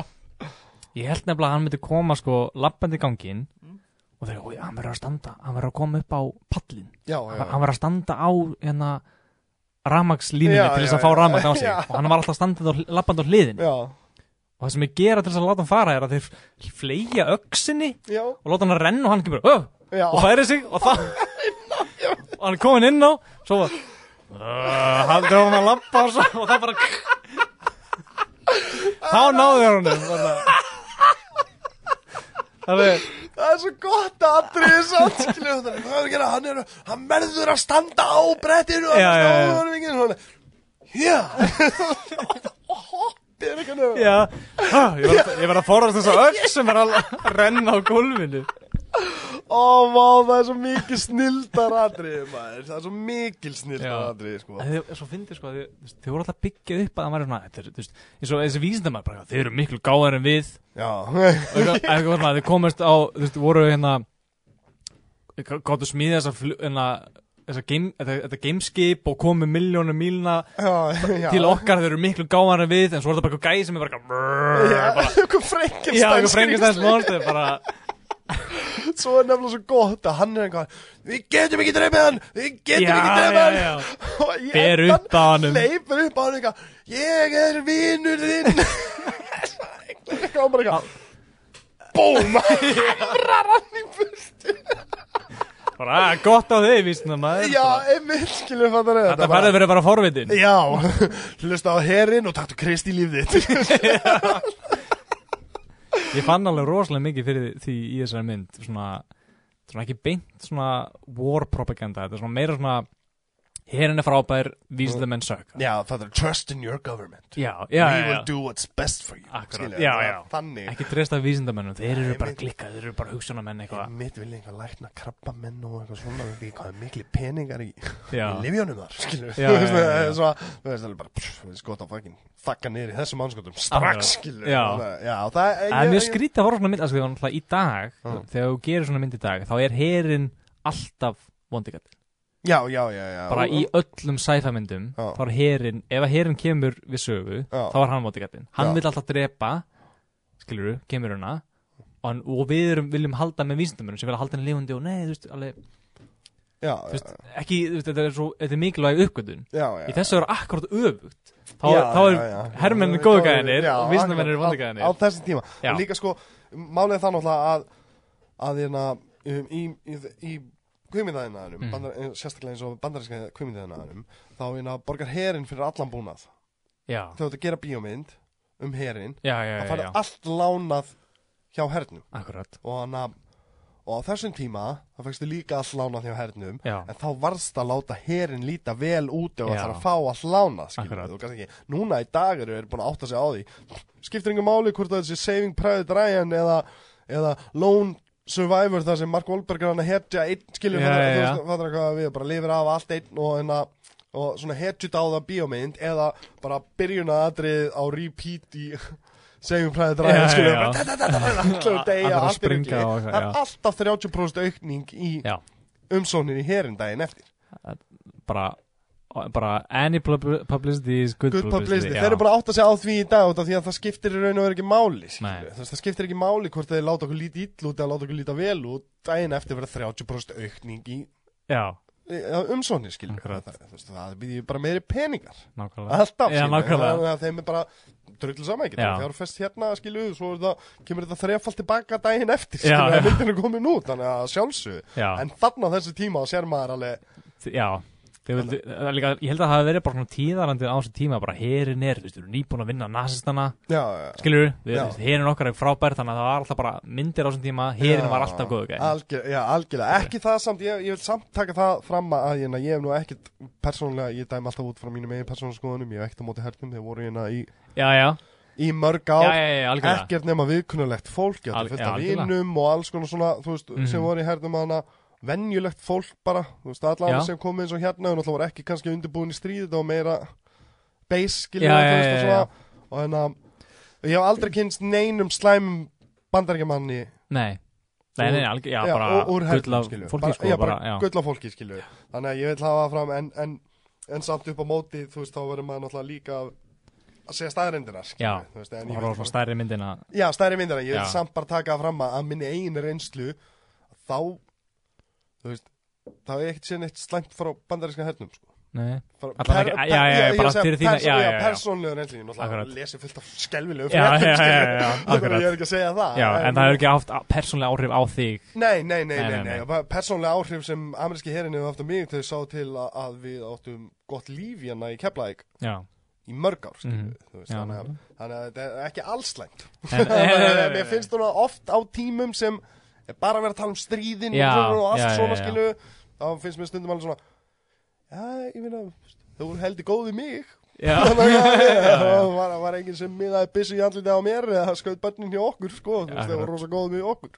ég held nefnilega að hann myndi koma sko labbandi í gangin og þegar "Oj, hann verður að standa hann verður að koma upp á pallin
já, já,
hann verður að standa á hérna ramakslínunni
Já,
til þess
já,
að fá
já.
ramakt á sig
Já.
og hann var alltaf standið og labbandi á hliðin
já,
og það sem ég gera til þess að láta hann fara er að þeir fleigja öksinni
já,
og láta hann að renna og hann kemur "Ö!"
já,
og færi sig og það og hann er komin inn á svo var Ah, "Ö, hann dróð hann að lappa og, svo, og það bara þá náðu þér honum bara. það er
það er svo gott að atriði samt, skilur þú veist, hvað er að gera, hann er, hann verður að standa á brettinu,
Já, já, já.
já, já, já, og hoppir eitthvað niður.
já, Ö, ég var, að- ég var að forast þess að öll sem er að renna á gólfinu
Ó, vá, það er svo mikið snildar atriði, maður, það er svo mikil snildar
Já.
atriði, sko.
En Þið, svo fyndið sko, að þið, þú veist, þið voru alltaf að byggja upp að það væri svona, þetta er, þú veist, eins og þessi vísindamæður bara, þið eru miklu gáðar en við,
Já,
og eitthvað- eitthvað svona, þið komist á, þú veist, voru hérna, gáttu smíðið þessar, flu- hérna, þessar game, þetta, þetta gameskip og komið miljónum mílna
já, já.
til okkar, þið eru miklu gáðar en við, en svo er þetta bara eitthvað gæði sem er bara, eitthvað,
Já,
bara,
eitthvað
já,
Frankenstein
eitthvað frengistæðis monster, bara,
Svo er nefnilega svo gott að hann er eitthvað Við getum ekki dreipið hann Við getum
Já,
ekki
já,
dreipið
já.
hann
Ber upp að honum.
Leipur upp á hann eitthvað Ég er vinur þinn Eitthvað hann bara eitthvað Búm Hamrar hann í burtu
bara, "Ah, gott á þig, vísindamæður,
Já,
bara,
einmitt skilur við fattar
þetta færði verið bara forvitin,
Já, hlusta á herrin og taktu krist í líf þitt
Ég fann alveg rosalega mikið fyrir því í þessari mynd svona, svona ekki beint svona war propaganda, þetta er svona meira svona herin er frábær, vísindamenn sökka
Já, fattar, trust in your government
Já,
We
já, já,
will
já.
do what's best for you
Akkurat,
Skilurðu,
já,
það er
já.
Þannig
ekki treysta vísindamennum, þeir eru
Nei,
bara
mitt-
klikkað, þeir eru bara hugsunamenn eitthvað
mitt vil einhver lækna krabba menn og eitthvað svona við því hvað er mikli peningar í, í
Já,
livjónum þar skilur við,
Já,
þú veist
já, já,
það
já.
er svo að- þú veist það er bara pff, við skot á fækin þakka niður í þessum anskotum strax
Akkurat.
skilur
Já.
það, já það er
það er
ég-
mjög
ég-
skrítið að horfa á svona sko, mynd, alveg náttúrulega í dag
Já.
þegar þú gerir svona mynd í dag, þá er herin alltaf vondigat
já já já já
bara í öllum sci-fi myndum
Já.
þá er herin, ef að herin kemur við sögu
Já.
þá er hann mótigatinn, hann
Já.
vil alltaf drepa skiluru, kemur hana og, hann, og við erum, viljum halda með vísindamörnum sem vilja halda hann lifundi og nei, þú veist, alveg,
já,
þú veist ekki, þú veist, þetta er svo, þetta er mikilvæg uppgötun
já, já,
í þessu eru akkurat öfugt þá,
Já,
þá er
já, já.
hermennin
Þá
góðu
eru-
gæðinir
já,
og vísindamenn eru
akkurat,
vondi
á, á
gæðinir
þessum tíma
Já.
og líka sko málið er það náttúrulega að að hérna um, í, í, í kvimindæðinaðinum
Mhm.
sérstaklega eins og bandarinska kvimindæðinaðinum þá hérna borgar herin fyrir allan búnað
já,
þegar þú ert að gera bíómynd um herin
já, já,
það
já,
færði
já,
allt lánað hjá hernum
akkurat
og hann að og á þessum tíma þá fækstu líka all lánað hjá hernum
já,
en þá varst að láta herin líta vel út ef það
Já.
þarf að fá all lánað
Akkurat.
skilur, þú kannski ekki, núna í dag eru þeir búin að átta sig á því skiptir yngur máli hvort það er þessi Saving Private Ryan eða, eða Lone Survivor þar sem Mark Wahlberg er hann að hetja einn skilur
Já,
fattar-
já, já.
þú veist, fattar hvað við bara lifir af allt einn og hérna og svona hetjut á það bíómynd eða bara byrjuna aðrið á repeat í Saving Private
Já,
Ryan
já,
skilur
já.
bara da, da, da, da, da, allir að
Allir
deyja
að
allt í
springa
rugli.
og eitthvað,
það
já.
er alltaf 30% aukning í
já
umsóknir í herin daginn eftir
bara, bara any pub- publicity is good,
Good publicity,
já.
þeir eru bara átt að segja á því í dag út af því að það skiptir í raun og veru ekki máli
Nei.
skilurðu. Þú veist, það skiptir ekki máli hvort þeir láta okkur lítið ill út eða láta okkur lítið vel út daginn eftir verða 30% aukning í
já,
umsóknir skilur
Akkurat.
það, það, það býðir bara meiri peningar
nákvæmlega
alltaf
Já,
skilurðu.
nákvæmlega.
Þannig að þeim er bara drullu saman ekki
Já.
þegar þú fest hérna skilur svo er það, kemur þetta þrefald tilbaka daginn eftir
Já,
skilur
já.
að myndin er komin út þannig að sjálfsög
já,
en þarna á þessu tíma sér maður alveg
já Þau Vildu, það er líka, ég held að það hafi verið bara svona tíðarandi á þessu tíma, bara herin er, þú veist, við erum nýbúin að vinna nasistana,
já, já, já.
skilur við,
Já.
þú veist, herin okkar er frábær, þannig að það var alltaf bara myndir á þessum tíma, herin
Já,
var alltaf góðu gæði.
algjör, Já, algjörlega, ekki það samt ég, ég vil samt taka það fram að ég, ég hef nú ekkit persónulega, ég dæm alltaf út frá mínum eigin persónulega skoðunum, ég hef ekkit á móti hernum þeir voru hérna í,
Já, já,
í mörg
já,
ár
já, já, algjörlega.
ekkert nema viðkunnulegt fólk ég
Al-
átti fullt
já,
af
algjörlega.
vinum og alls konar svona þú veist,
Mhm.
sem voru í hernum hana venjulegt fólk bara, þú veist,
Já.
allan sem komið eins og hérna og náttúrulega voru ekki kannski undirbúin í stríð þetta var meira base skilur
Já,
við, þú
já,
veist, og
já,
svona og hérna, ég hef aldrei kynst neinum slæmum bandaríkjamanni
Nei, nei, nei, algjör, já,
Já,
bara
og- úr hernum,
gull af
skilju.
fólki,
Bara-
sko,
já,
bara, já.
gull af fólki skilju þannig að ég vil hafa það fram en, en, en samt upp á móti þú veist þá verður maður náttúrulega líka að segja staðrendina
Já,
skilju þú veist, en ég
og horfa á
vil,
svona stærri myndina
já staðri myndina ég vil
Já.
samt bara taka það fram að að minni eigin reynslu þá þú veist þá er ekkert sér neitt slæmt frá bandaríska hernum sko.
Nei,
Frá-
Allan ekki- já, já, já,
ég- ég
bara
segja
fyrir þína-
persó-
já, já,
já,
já.
persónlegu reynslu ég náttúrulega
Akkurat.
lesi fullt af skelvilegu
Já, já, já, já, já, akkurat.
ég er ekki að segja það
já, en það hefur ekki haft persónlega áhrif á þig
Nei, nei, nei,
Nei,
nei,
nei,
nei, nei. persónlega áhrif sem ameríski herin hefur haft á mig þau sá til að, að við áttum gott líf hérna í Keflæk
Já,
í mörg ár, skilju,
Mhm.
þú veist,
já,
þannig að,
nákvæmlega.
þannig að þetta er ekki allslæmt.
En- eh,
Mér finnst þú oft á tímum sem er bara verið að tala um stríðin
Já,
og, svona og allt
já, já,
svona,
já.
skilju, þá finnst mér stundum alveg svona, já, ég finna, þú voru heldur góð við mig,
Já,
þannig að það var, var enginn sem miðaði byssu í andlitið á mér eða skaut bönnin hjá okkur, sko, þú veist,
Akkurat.
það voru rosa góð við okkur.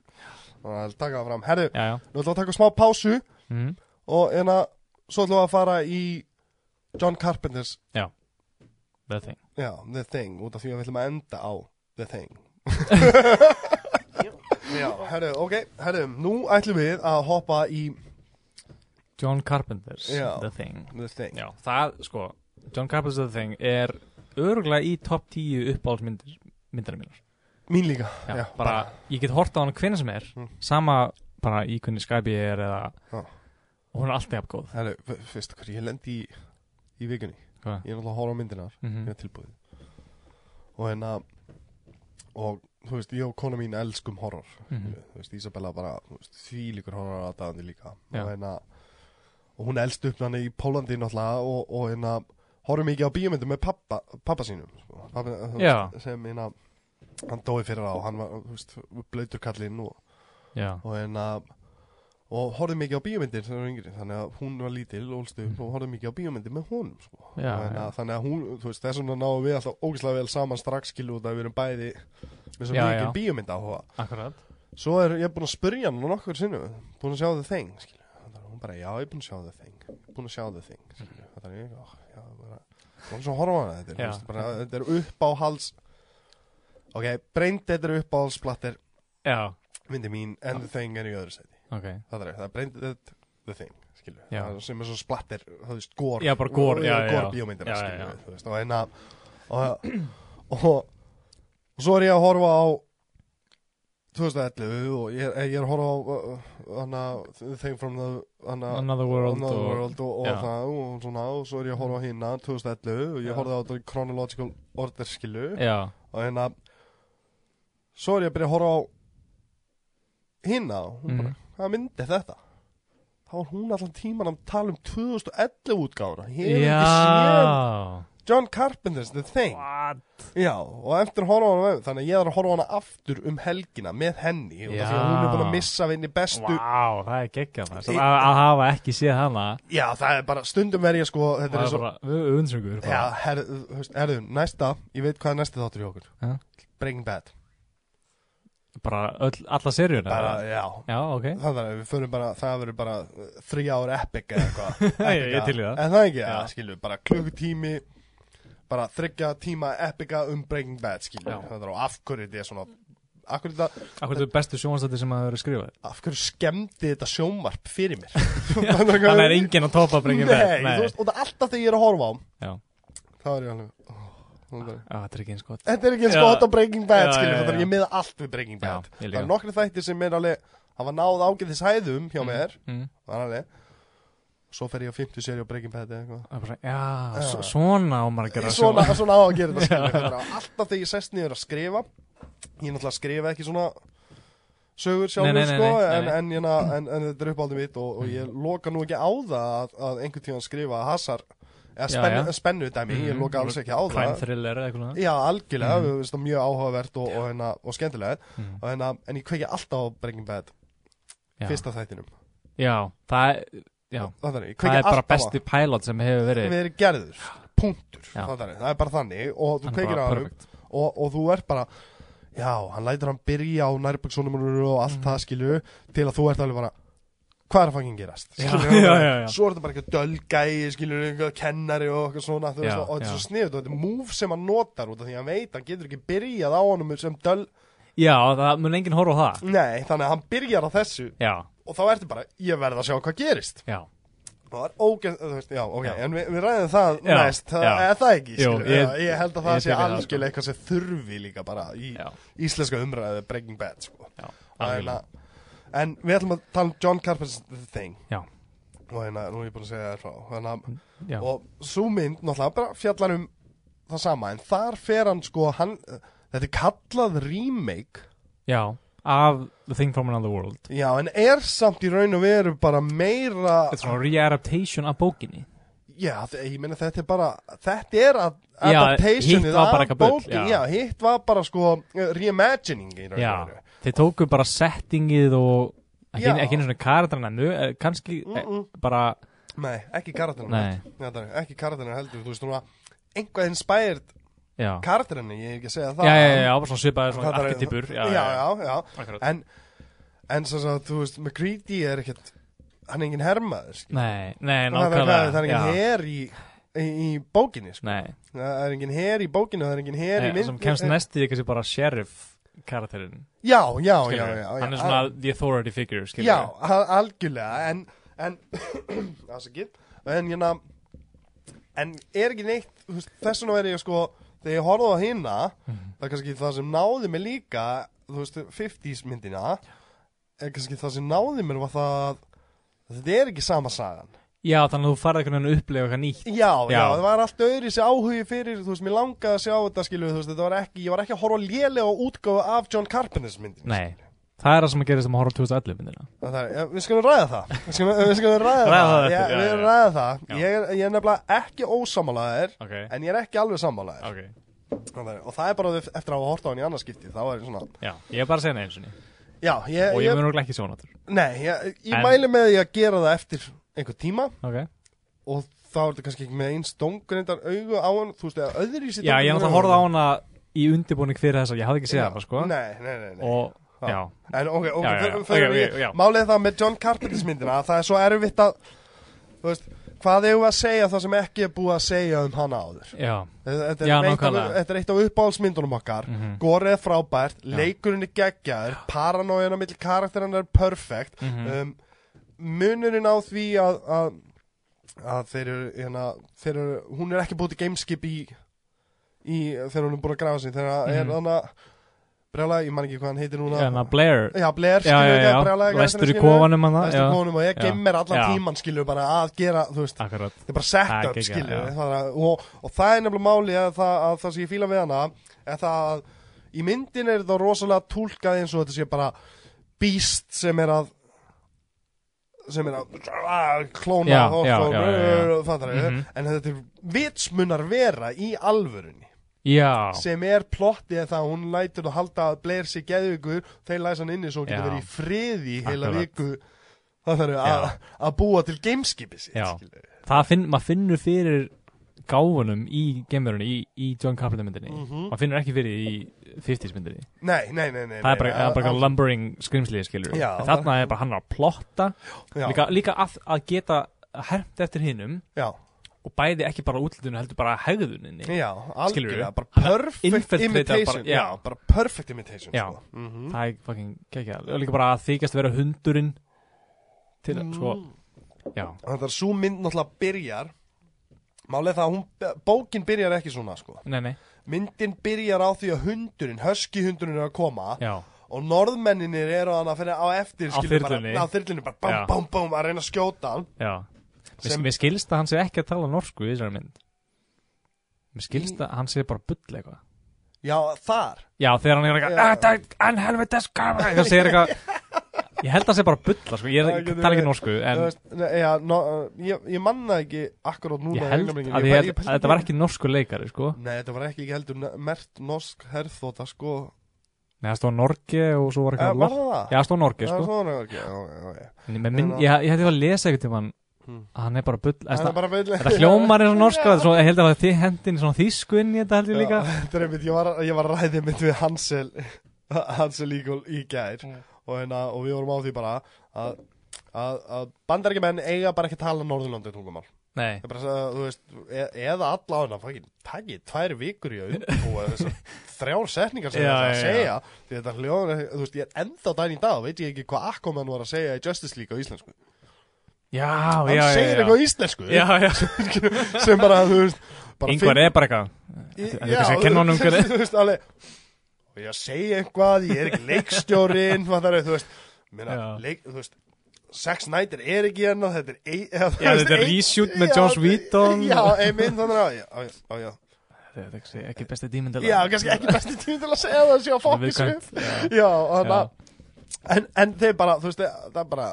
Þannig að taka það fram, herðu,
já, já
Nú ætlum við að taka smá pásu
mm.
og en að svo ætlum við að fara í John Carpenters,
The thing
já, The Thing, út af því að við ætlum að enda á The Thing. já, herru, ok, herru, nú ætlum við að hoppa í
John Carpenter's
Já.
The Thing
The Thing.
Já, það, sko, John Carpenter's The Thing er örgulega í top 10 uppáhaldsmyndir myndina mínar
Mín líka,
já,
já,
bara, ég get hort á hann hvenna sem er
Mm.
sama bara í hvernig Skype ég er eða
Já.
og hún er alltaf jafn góð
Herru, veistu hvað, ég lendi í, í vikunni,
Hvað?
ég er náttúrulega að horfa á myndina þar,
Mhm.
ég er tilbúið. Og en að, og þú veist, ég og kona mín elskum horror.
Mhm.
þú veist, Isabella bara þú veist, því líkur horror aðdæðandi líka
Já.
og, hérna, og hún elst upp hann í Pólandi náttúrulega og, og hérna horfum mikið á bíómyndum með pappa, pappa sínum sko. pappa, þú
Já.
veist, sem hérna hann dói fyrir á, hann var þú veist, blöytur kallinn og,
Já,
og hérna og horfum mikið á bíómyndir þegar hún var yngri, þannig að hún var lítil og ólst upp og horfum mikið á bíómyndir með honum sko.
Mm. já,
Og hérna,
já,
þannig að hún, þú veist, þess vegna náum við alltaf ógislega vel saman strax skilu út að við erum bæði með svo
Já,
mikið
já.
bíómynda
akkurat
Svo er ég búin að spyrja hann nokkur sinnum Búin að sjá The Thing skilju. Þannig að Hún bara, já, ég er búin að sjá The Thing Búin að sjá The Thing skilju. Þannig að ég, ó, já, bara Búin að svo horfa á hana þetta er,
Já.
þú veist, bara, þetta er upp á hals Ok, breynd þetta er upp á hals Plattir,
Já,
myndi mín En The Thing er í öðru seti
ok
Það er, það er breynd þetta The Thing skilju.
Já.
Það er sem er svo splattir, þú veist, gór
Já, bara gore, já, já, já.
Gór bíómyndina,
Já, já,
skilju,
já.
þú veist, og einna og, og, og svo er ég að horfa á 2011 og ég, er- ég er að horfa á hana, Thing from the hana,
Another World
Another
og-
World og, og
já.
það og svona og svo er ég að horfa á hina 2011 og
Já.
ég horfði á þetta í chronological order skilu
Já,
og hérna svo er ég að byrja að horfa á hina og hún bara,
Mhm.
hvað myndi er þetta? Þá var hún allan tíman að tala um 2011 útgáfuna, hefur ekki séð John Carpenter's The Thing
What?
Já, og eftir að horfa á hana Þannig að ég þarf að horfa á hana aftur um helgina Með henni, og það því að
Já.
hún er búin að missa Vinni bestu,
Vá, það er geggjað maður
Í-
Svo að, að hafa ekki séð hana
já það er bara Stundum verið sko, þetta
Það
er
er
svo
bara undsöngur
Já, herðu, þú veist, herðu, næsta Ég veit hvað er næsta þáttur í okkur
Já.
Breaking Bad
Bara öll, alla seríuna
bara,
eða?
Já,
Já, ok
það verður, við förum bara Það verður bara uh, þrjá ára epic eða eitthvað
Ég- ég
Epica.
til í það.
En það ekki, já,
Já.
skilju, bara klukkutími Bara þryggja tíma epica um Breaking Bad, skilju
Já.
Það er á af hverju þetta er svona Af hverju þetta
Akkur þetta er bestu sjónastætti sem að vera skrifað
af hverju skemmdi þetta sjónvarp fyrir mér
Þannig er enginn að toppa brengið
Nei, þú veist, og það er alltaf þegar ég er að horfa á hann,
Já,
þá er ég alveg ó, núna er ég-
Á, þetta er ekki eins gott
Þetta er ekki eins
Já.
gott á Breaking Bad
Já,
skilur,
já,
þannig að
já.
ég miða allt við Breaking Bad
Já, ég
Það
líka.
er nokkri þættir sem er alveg hafa náð ágæðis hæðum hjá mér
mm.
Það er alveg Svo fer ég á 50 seri á Breaking Bad eða eitthvað
Það er bara, Já,
Já.
svo- svona á maður að gera
Svona,
sjónvarp.
svona á að gera þetta skilur Bara Alltaf þegar ég sest niður að skrifa Ég náttúrulega skrifa ekki svona sögur sjálfur
Nei, nei, nei,
sko
nei, nei,
en,
nei.
en, en, en, en þetta er uppáldum mitt og, og ég loka nú ekki á það að, að einhvern tíðan skrifa hasar eða
Já,
spennu,
já.
spennu dæmi, ég
Mhm.
loka alls ekki á það
Crime thriller eða eitthvað
Já, algjörlega,
Mhm.
mm -hmm. mjög áhugavert og, og, hérna, og skemmtilegt
Mhm.
og, hérna, En ég kveiki alltaf á Breaking Bad
Já.
Fyrsta þættinum
Já, það er, já,
Það er, ég kveiki
það
alltaf
er bara
á
besti pilot sem hefur
Við
verið
erum gerður, punktur
Já.
það er, það er bara þannig Og þú
Hann er
kveikir
bara
á hann
perfect.
og, og þú ert bara Já, hann lætur hann byrja á nærböksunum og
Mm.
allt það skilu Til að þú ert alveg bara Hvað er að fangin gerast?
Já,
Skilurðu,
já,
bara-
já, já.
Svo er þetta bara eitthvað dölgæi, skilur eitthvað kennari og eitthvað svona þú veist,
Já,
og þetta er
já.
svo sniðut og þetta er move sem hann notar út af því að hann veit, hann getur ekki byrjað á honum sem döl,
Já, það mun enginn horfa á það
Nei, þannig að hann byrjar á þessu
Já,
og þá ertu bara, ég verð að sjá hvað gerist
já,
og það er ógeð, þú veist, já, ok
Já.
en við, við ræðum það
Já,
næst, það
já.
er það ekki
Jú,
skilur,
ég-
ég, ég held að það
ég
sé
tek við það, sko.
algjörlega eitthvað sem þurfi líka bara í
já,
íslenska umræðu Breaking Bad, sko
já
Það er
algjörlega.
að- en við ætlum að tala um John Carpenter's The Thing
Já.
og hérna, nú er ég búin að segja það frá þannig,
Já,
að- og svo mynd, náttúrulega, bara fjallar um það sama, en þar fer hann, sko hann, þetta er kallað remake
já, af The Thing from Another World
já, en er samt í raun og veru bara meira
Þetta er svona re-adaptation af bókinni
Já, þ- ég meina þetta er bara þetta er að
Já,
adaptationið
hitt var
af
bara eitthvað bull,
bókinni, já.
já.
hitt var bara sko eh, reimagining í raun og
Já,
veru.
þeir tóku bara settingið og ekki,
Já.
ekki einu svona karatrana mjög, eh, kannski mm
Mm-mm.
bara,
Nei, ekki karakterinu
Nei.
heldur Nei, Ekki karakterinu heldur, þú veist núna eitthvað inspired
já
karakterinu ég er ekki að segja það
Já, já, já, já, bara svona svipaði svona
Það er-
arkitipur
Já, já, já
Akkurat.
En, en svo svo, þú veist, McCready er ekkert hann er engin hermaður skilur.
Nei, nei,
það er,
nákvæmlega
það er
já.
engin her í, í, í bókinni sko.
Nei,
það er engin her í bókinni það er engin her í
nei sem
mynd eh,
kemst næst í kannski bara sheriff karakterinn
já, já, já, já,
skilurðu.
já
Hann er
já,
svona the authority figure, skilur
Já, al- algjörlega en, en afsakið, en hérna en er ekki neitt þú veist, þess vegna verið ég sko þegar ég horfði á hina það er kannski það sem náði mig líka þú veist, 50s myndina er kannski það sem náði mér var það að þetta er ekki sama sagan
Já, þannig að þú farið einhvern veginn að upplega eitthvað nýtt
Já, já,
Já.
það var allt öðri sér áhugi fyrir, þú veist, mér langaði að sjá þetta skilu, þú veist, þetta var ekki, ég var ekki að horfa lélega á útgáfu af John Carpenter's myndin
Nei, það er það sem að gera sem að horfa á 2011 myndina
Það er, ja, við skulum ræða það Við skulum, við skulum ræða,
Ræða
það,
það
Ég,
eftir, já,
Við
já.
ræða það
Já.
ég, er- ég er nefnilega ekki ósamálaðir
Ok,
En ég er ekki alveg sammálaðir
ok,
okay. Og það er bara ef- eftir að hafa hort á hann í annarskipti Þá er ég svona
já, ég er bara að segja neins og
Já, ég,
ég
Eh, ég,
mun okkur ekki svona þurr
nei, ég, ég
En-
mæli með því að gera það eftir einhver tíma
Ok,
Og þá er þetta kannski ekki með eins dóngrindar augu á hann Þú veist, eða öðri sér
Já, ég náttúrulega horfði á hana í undirbúning fyrir þess að ég hafði ekki séð hana, sko.
Nei, nei, nei, nei.
Og,
Já.
já,
En ok, ok,
Já, já, já.
förum- förum
Ok,
í-
ok, já.
Málið er það með John Carpenters myndina að Það er svo erfitt að Þú veist, hvað eigum við að segja það sem ekki er búið að segja um hana áður
já,
Þetta
Já,
er, eitt af,
nákvæmlega.
þetta er eitt af uppáhaldsmyndunum okkar mm
Mhm.
er frábært, leikurinn er geggjaður Paranóin á milli karakterinn er perfect
Mhm.
um, Munurinn á því að, að, að þeir eru, hérna, þeir eru Hún er ekki búið til gameskip í, í Þegar hún er búin að grafa sig Þegar mm er
Mhm.
hann að Brjála, ég man ekki hvað hann heitir núna
en að Hérna Blair,
Já, Blair,
já, já,
skilur
já,
brjála
vestur í kofanum hann,
Vestur
já,
í kofanum og ég
Já.
gemmer allan
Já.
tíman skilur bara að gera, þú veist
akkurat,
þetta er bara set
Það er
up
geggjað,
skilju
já.
það er að- og, og það er nefnilega máli að það, að það sem ég fíla við hana er það að í myndin er þetta rosalega tólkað eins og þetta sé bara býst sem er að sem er að ah, klóna
Já,
og
já,
klóna
já, já, já.
Fattar,
Mhm.
en þetta er vitsmunar vera í alvörunni
já,
sem er plottið það að hún lætur að halda að Blair sér geðvíkur þeir læsa hann inni svo hún getur
Já.
verið í friði í heila
Akkurat.
viku það þarf að, að búa til gameskipi sitt
Já.
skilurðu.
það finn, maður finnur fyrir gáfunum í gemverunni í, í John Carpenter myndinni
Mhm.
maður finnur ekki fyrir í 50s myndinni
nei, nei, nei, nei
það er bara,
nei,
það er bara
al-
lumbering skrimslið skilur við.
Já,
En þarna er bara hann að plotta
já,
líka, líka að, að geta hermt eftir hinnum
já,
og bæði ekki bara útlutinu heldur bara hegðuninni
já, algjörlega
Skilurðu?
bara
Hann er
perfect
infiltrator
imitation
bara-
já.
já.
bara perfect imitation
Já.
sko. Mhm.
það er fucking kekja og líka bara að þykjast vera hundurinn til að, sko,
Mm.
já
þannig að svo mynd náttúrulega byrjar málið það að hún, bókin byrjar ekki svona sko.
nei, nei,
myndin byrjar á því að hundurinn höskihundurinn er að koma
já,
og norðmenninir eru hann að finna á eftir
Á
skilur bara,
þyrlunni.
á þyrlunni bara bám,
Já.
bám, bám að reyna að skjóta hann
já Mér-
Sem-
mér skilst að hann sé ekki að tala norsku í þessari mynd mér skilst að hann sé bara bull eitthvað
já, þar
Já, þegar hann er
Já.
eitthvað En helvites kamera Það segir eitthvað Ég held að það sé bara bulla sko. Ég er-
Það
ég
getur
tala ekki
verið.
norsku En
Þú veist, ne, já, no, uh, ég, ég manna ekki akkurát núna
ég
í
held
augnablikinu.
að,
Ég
ég,
bara- ég
að
pældi
þetta var ekki norsku leikari sko.
nei, þetta var ekki, ekki heldur ne- mert norsk herþóta sko
Nei, það stóð Norge og svo var
Eh, var
eitthvað lott-
það það?
Já, það stóð Norge
það
sko.
var það ekki já, já, já.
En ég- minn,
Já.
ég, ég hefði að lesa eitthvað til hann
Hmm.
Að hann er bara bull
Það er
Þetta
bara veitlega-
þetta hljómar eins og norska svo, Ég held að þið hendin svona þýsku inn í þetta held ég líka
Já, þetta er einmitt, ég var, ég var að ræði mitt við Hansel Hansel Eagle í gær
Mm.
og, hérna, og við vorum á því bara að, að, að bandarækjumenn eiga bara ekki að tala Norðurlandi tungumál
Nei,
Það er bara, að, þú veist, e eða allavega fækki, takki tvær vikur í að umbúa þessar þrjár setningar sem
Já,
það er að
já,
segja því þetta hljóðan, þú veist, ég er ennþá dæn í dag veit ég ekki hvað Akkoman var að segja í Justice League á íslensku
já,
hann
já, já,
segir
já.
eitthvað á íslensku
já, já.
sem bara, þú veist bara
Yngvar er bara eitthvað
Þetta
er kannski að kenna honum hvernig-
Þú veist, alveg Og ég að segja eitthvað, ég er ekki leikstjórinn Hvað það er, þú veist minna,
Já.
leik, Þú veist Sex Snyder er ekki hérna Þetta er ei, eða, þú
Já,
veist,
þetta er
ei-
reshoot með
Já,
Joss Whedon.
Já, einmitt, þannig að já, já, já, já,
Þetta er kannski ekki besti dímyndilega
já, kannski ekki besti tími til að segja það Sér að fokkis upp
Já,
Já, þannig að en, en þeir bara, þú veist, það er bara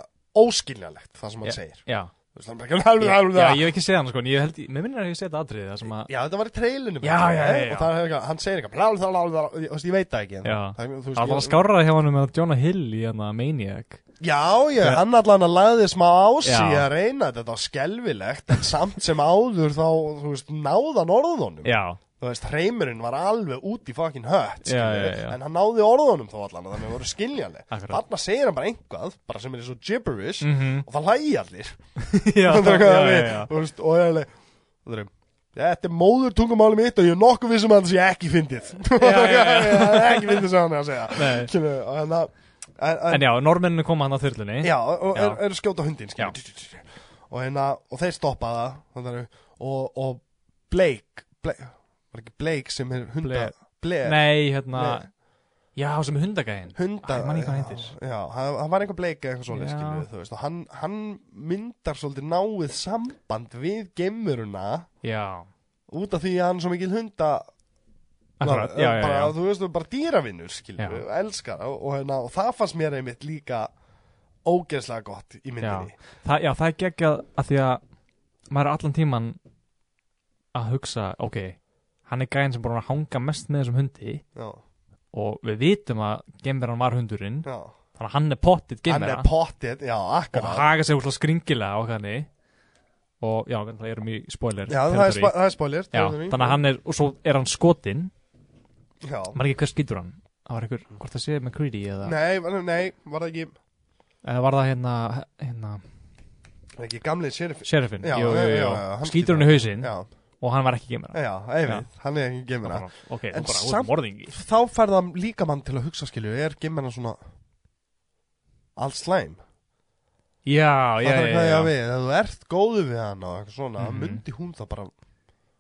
óskiljanlegt Það sem hann
Já.
segir
já.
Þú veist, hann er bara ekki alveg
já,
það
ég hef ekki séð hann sko en ég held, mér minnir að ég hef séð þetta atriði það sem að
Já, þetta var í treilinu
Já, já, já, já.
Og það er eitthvað, hann segir eitthvað blá, blá, blá, blá, Þú veist, ég veit það ekki en
Já.
það, þú veist,
það var
ég-
skárraði hjá hann með Jonah Hill í hana Maniac
Já, já,
Þegar-
hann allan að laði smá á sig
Já.
að reyna þetta, þetta var skelvilegt en samt sem áður þá, þú veist, náðan orðunum
já,
Þú veist, hreimurinn var alveg út í fucking hött
Já,
skilurðu,
já, já.
en hann náði orðunum þá allan þannig að það voru skiljanleg
Akkurat.
Þarna segir hann bara einhvað, bara sem er svo gibberish
Mhm.
og það hlægi allir
já,
Þú veist,
já, já, já.
Þú veist, og ég er alveg, þú veist, Þetta er móður tungumáli mitt og ég er nokkuð vissum að það sé ekki fyndið
já, já.
Það er ekki fyndið sem hann er að segja
Nei.
Kynnu, og hann að en- en-
en já, normenninu koma hann að þurlunni
Já, og
Já.
eru er að skjóta á hundin skilur. og, hérna, og þeir stoppa það þannig, og, og Blake, Blake var ekki Blake sem er hunda
Blair.
Blair,
nei, hérna
Nei.
já, sem er hundagæðin
hunda
Æ, ég man ekki hvað hann heitir.
Já, hann, hann var einhver Blake eða eitthvað svoleið
Já.
skilur, þú veist, og hann, hann myndar svolítið náið samband við gemuruna
já,
út af því að hann er svo mikil hunda
akkurat,
Ná,
já, já,
bara,
já
þú veist, bara dýravinnur skilur,
Já.
elskar og, og, hérna, og það fannst mér einmitt líka ógeðslega gott í myndinni
Þa, já, það er geggjað að því að maður er allan tíman að hugsa, ok hann er gæðin sem búin að hanga mest með þessum hundi
Já,
og við vitum að gemveran var hundurinn
já.
þannig að hann er pottitt
hann
gemvera
er pottið, já,
og
akkurat
haga sig úrslega skringilega og þannig og já, það erum í spoiler
Já, það er,
territory.
spo það er spoiler
já, þannig að hann er, og svo er hann skotinn
Já,
maður ekki hver skýtur hann það var einhver, hvort það sé með Creedy eða,
nei, var- nei, var það ekki,
eða var það hérna, hérna
var ekki gamli sheriffin
sheriffin,
Já,
jú, jú,
já,
jú,
já,
jú.
já, hann skýtur
skýtur hann í hausinn
Já,
og hann var ekki gemur
já, einmitt, hann er ekki gemina
ok,
En
þú bara, þú
samt-
er morðingi
Þá færða líka mann til að hugsa skilju, er gemina svona allt slæm
já,
Það þarf
já, já,
ekki
já,
að við, ef þú ert góðu við hann og eitthvað svona,
Mhm.
myndi hún það bara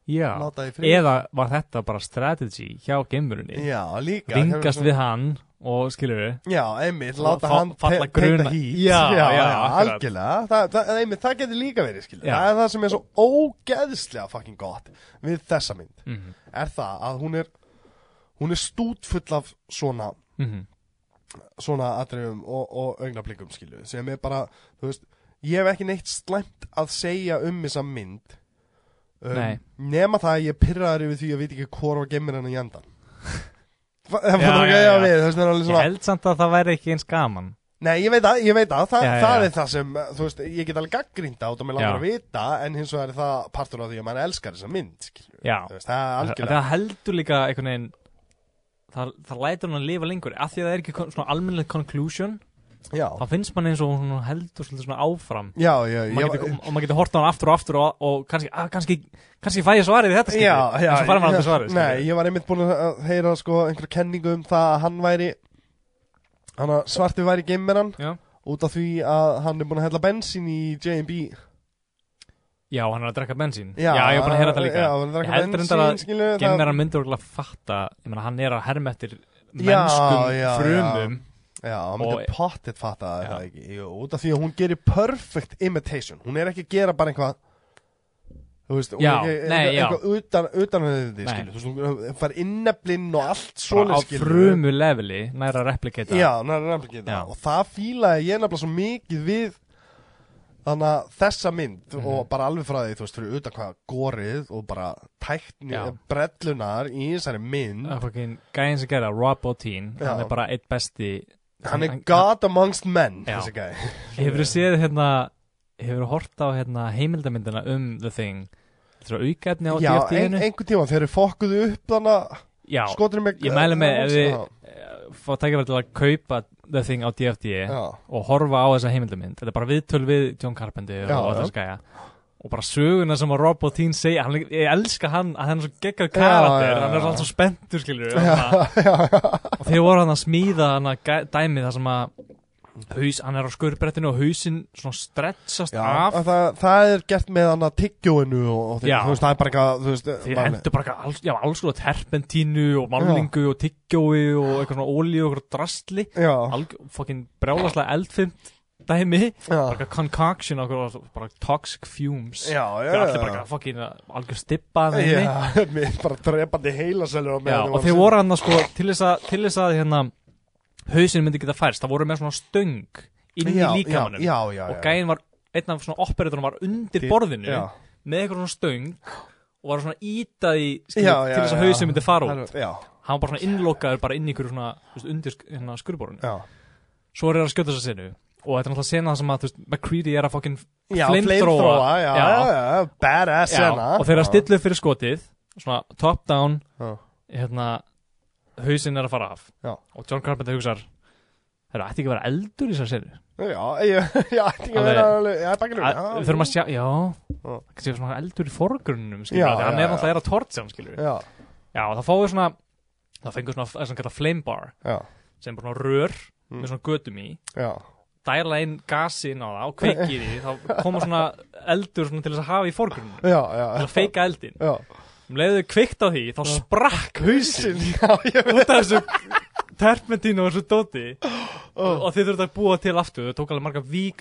já.
láta því frið
eða var þetta bara strategy hjá gemurinni,
Já, líka
vingast
hérna svona-
við hann og skilur við
Já, einmitt, láta
Fa-
hann
falla
te- teita
gruna.
hít
Já,
já,
já, akkurat.
algjörlega Þa, það, einmitt, það getur líka verið skilju
Já.
Það er það sem er svo ógeðslega fucking gott við þessa mynd
mhm,
er það að hún er hún er stútfull af svona
mhm,
svona atriðum og, og augnablikum skilu sem er bara, þú veist ég hef ekki neitt slæmt að segja um þessa mynd um,
Nei.
nema það að ég er pirraður yfir því að ég veit ekki hvort var gemur hennar í endan það
Já,
fann
já,
ekki að
já.
við þess vegna er alveg
Ég
svona
held samt að það væri ekki eins gaman
nei, ég veit að, ég veit að það,
Já, já,
það
já.
er það sem þú veist, ég get alveg gaggrínda át og mér langar
Já.
að vita en hins vegar er það partur af því að maður elskar þessa mynd skilur,
Já.
veist, það er
það,
algjörlega
það heldur líka einhvern veginn það, það lætur hún að lifa lengur af því að það er ekki kon- svona almennilegt conclusion
já,
þá finnst mann eins og hún heldur svolítið svona áfram
já, já,
og
já, eh.
maður getur, og maður getur hort á hann aftur og aftur og, og kannski, að, kannski, kannski fæ ég svarið í þetta skipti,
já, já,
en svo fær maður aldrei
já,
svarið
Nei, ég var einmitt búin að heyra sko einhverja kenningu um það að hann væri hann að svarti væri geimmeran
Já.
út af því að hann er búin að hella bensín í J&B
já, hann er að drekka bensín já, ég er búin að heyra það líka
Já, hann er
Ég
að
held
drekka
reyndar að
bensín, skilju
gemmer hann myndur að fatta ég meina, hann er að herma eftir
Já,
mennskum
já,
frumum
Já, hann myndi
og-
pottit fatta það, er
Já.
það ekki Jú, út af því að hún gerir perfect imitation Hún er ekki að gera bara eitthvað Þú veist, hún
Já,
er ekki
nei, já.
eitthvað utan, utan við
Nei.
þetta, skilju Þú veist, hún fær inneflinn og allt
bara á
svoleið, skilju
frumu leveli næra að replikata
Já, hann er nefnilega ekki
Já.
það og það fílaði ég nefnilega svo mikið við þannig að þessa mynd
Mhm.
og bara alveg frá því, þú veist, fyrir utan hvað gorið og bara tækni
Já.
brellunar í þessari mynd
að fucking gæðin sem gerða, Rob O'Teen
Já.
hann er bara eitt besti
hann er god amongst men
Já.
þessi gæði
hefur þú séð hérna hefur þú hort á hérna heimildamindina um The Thing þetta er aukaefni á
Já, ein, sko-
DFT-inu
einhvern tíma þeir eru fokkuðu upp þannig
já,
að skoturinn með
ég mæli með ef
Já,
þið fá tækifæri til að kaupa The Thing á DFT
já,
og horfa á þessa heimildamind þetta er bara viðtöl við John Carpenter
Já, já.
og alltaf skæja og bara söguna sem að Rob O'Teen segja hann, ég elska hann, að hann er svo geggar
Já, já,
karakter
já,
hann er
já.
alltaf spenntur skilur
já, já,
og þeir voru hann að smíða hann að gæ- dæmi það sem að haus, hann er á skurbrettinu og hausinn svona stretchast
já.
af
að Það, það er gert með hann að tyggjóinu og, og því,
Já.
þú veist, það er bara eitthvað, þú veist
þeir
málið.
hendur bara eitthvað alls, já, alls konar terpentínu og málningu og tyggjói og eitthvað svona ólíu og eitthvað drastli
Já,
alg, fokkin brjálaslega eldfimt dæmi,
já,
bara eitthvað concoction og eitthvað bara toxic fumes
já, já,
þeir allir
já.
bara eitthvað fokkin algjör stippa að þeim
Já, mér bara drepandi heilaselur á
Já,
meðan ég
og
var
þeir
að
voru hann að sko til þess að, til þess að hérna, hausin myndi geta færst, það voru með svona stöng inn í
syngja. Já,
líkamanum
já, já, já,
og gæinn var, einn af svona operatornum var undir
Þi-
borðinu
já.
með eitthvað svona stöng og var svona ítað í skil,
Já, já,
til þess
já.
að hausin myndi fara út
Já,
hann var bara svona innlokaður bara inn í einhverju svona þú veist, undir sk- hérna, skurborinu
já
svo er það að skjóta þess að senu og þetta er náttúrulega sena sem að þú veist, McCready er að fokkin
Já,
Flamethrower.
flamethrower, já,
Já.
já, já, badass hérna
og þeir eru að stilla upp fyrir skotið svona top down
Já.
hérna hausinn er að fara af
Já.
og John Carpenter hugsar þeir ætti ekki að vera eldur í þessar senu
Já, ég, ég ætti ekki að vera alveg, já, bakinu
við þurfum að sjá, já
Já.
kannski svona eldur í forgrunum
Já,
skilur, já, hann
já,
er náttúrulega er að tortja hann skilur já,
Já,
og það fáið svona það fengur svona það sem kallar flame bar
já,
sem er bara svona rör
Mm.
með svona götum í
já
dæla inn gasi inn á það og kveikir í því þá koma svona eldur svona til þess að hafa í forgrunum til
Já, já
að feika eldin
Já,
um leiðu þau kveikt á því þá sprakk hausinn
Hausinn, já, ég veit
út af þessu terpentínu og þessu dóti
Oh.
og þið þurftu að búa til aftur þau tók alveg marga vík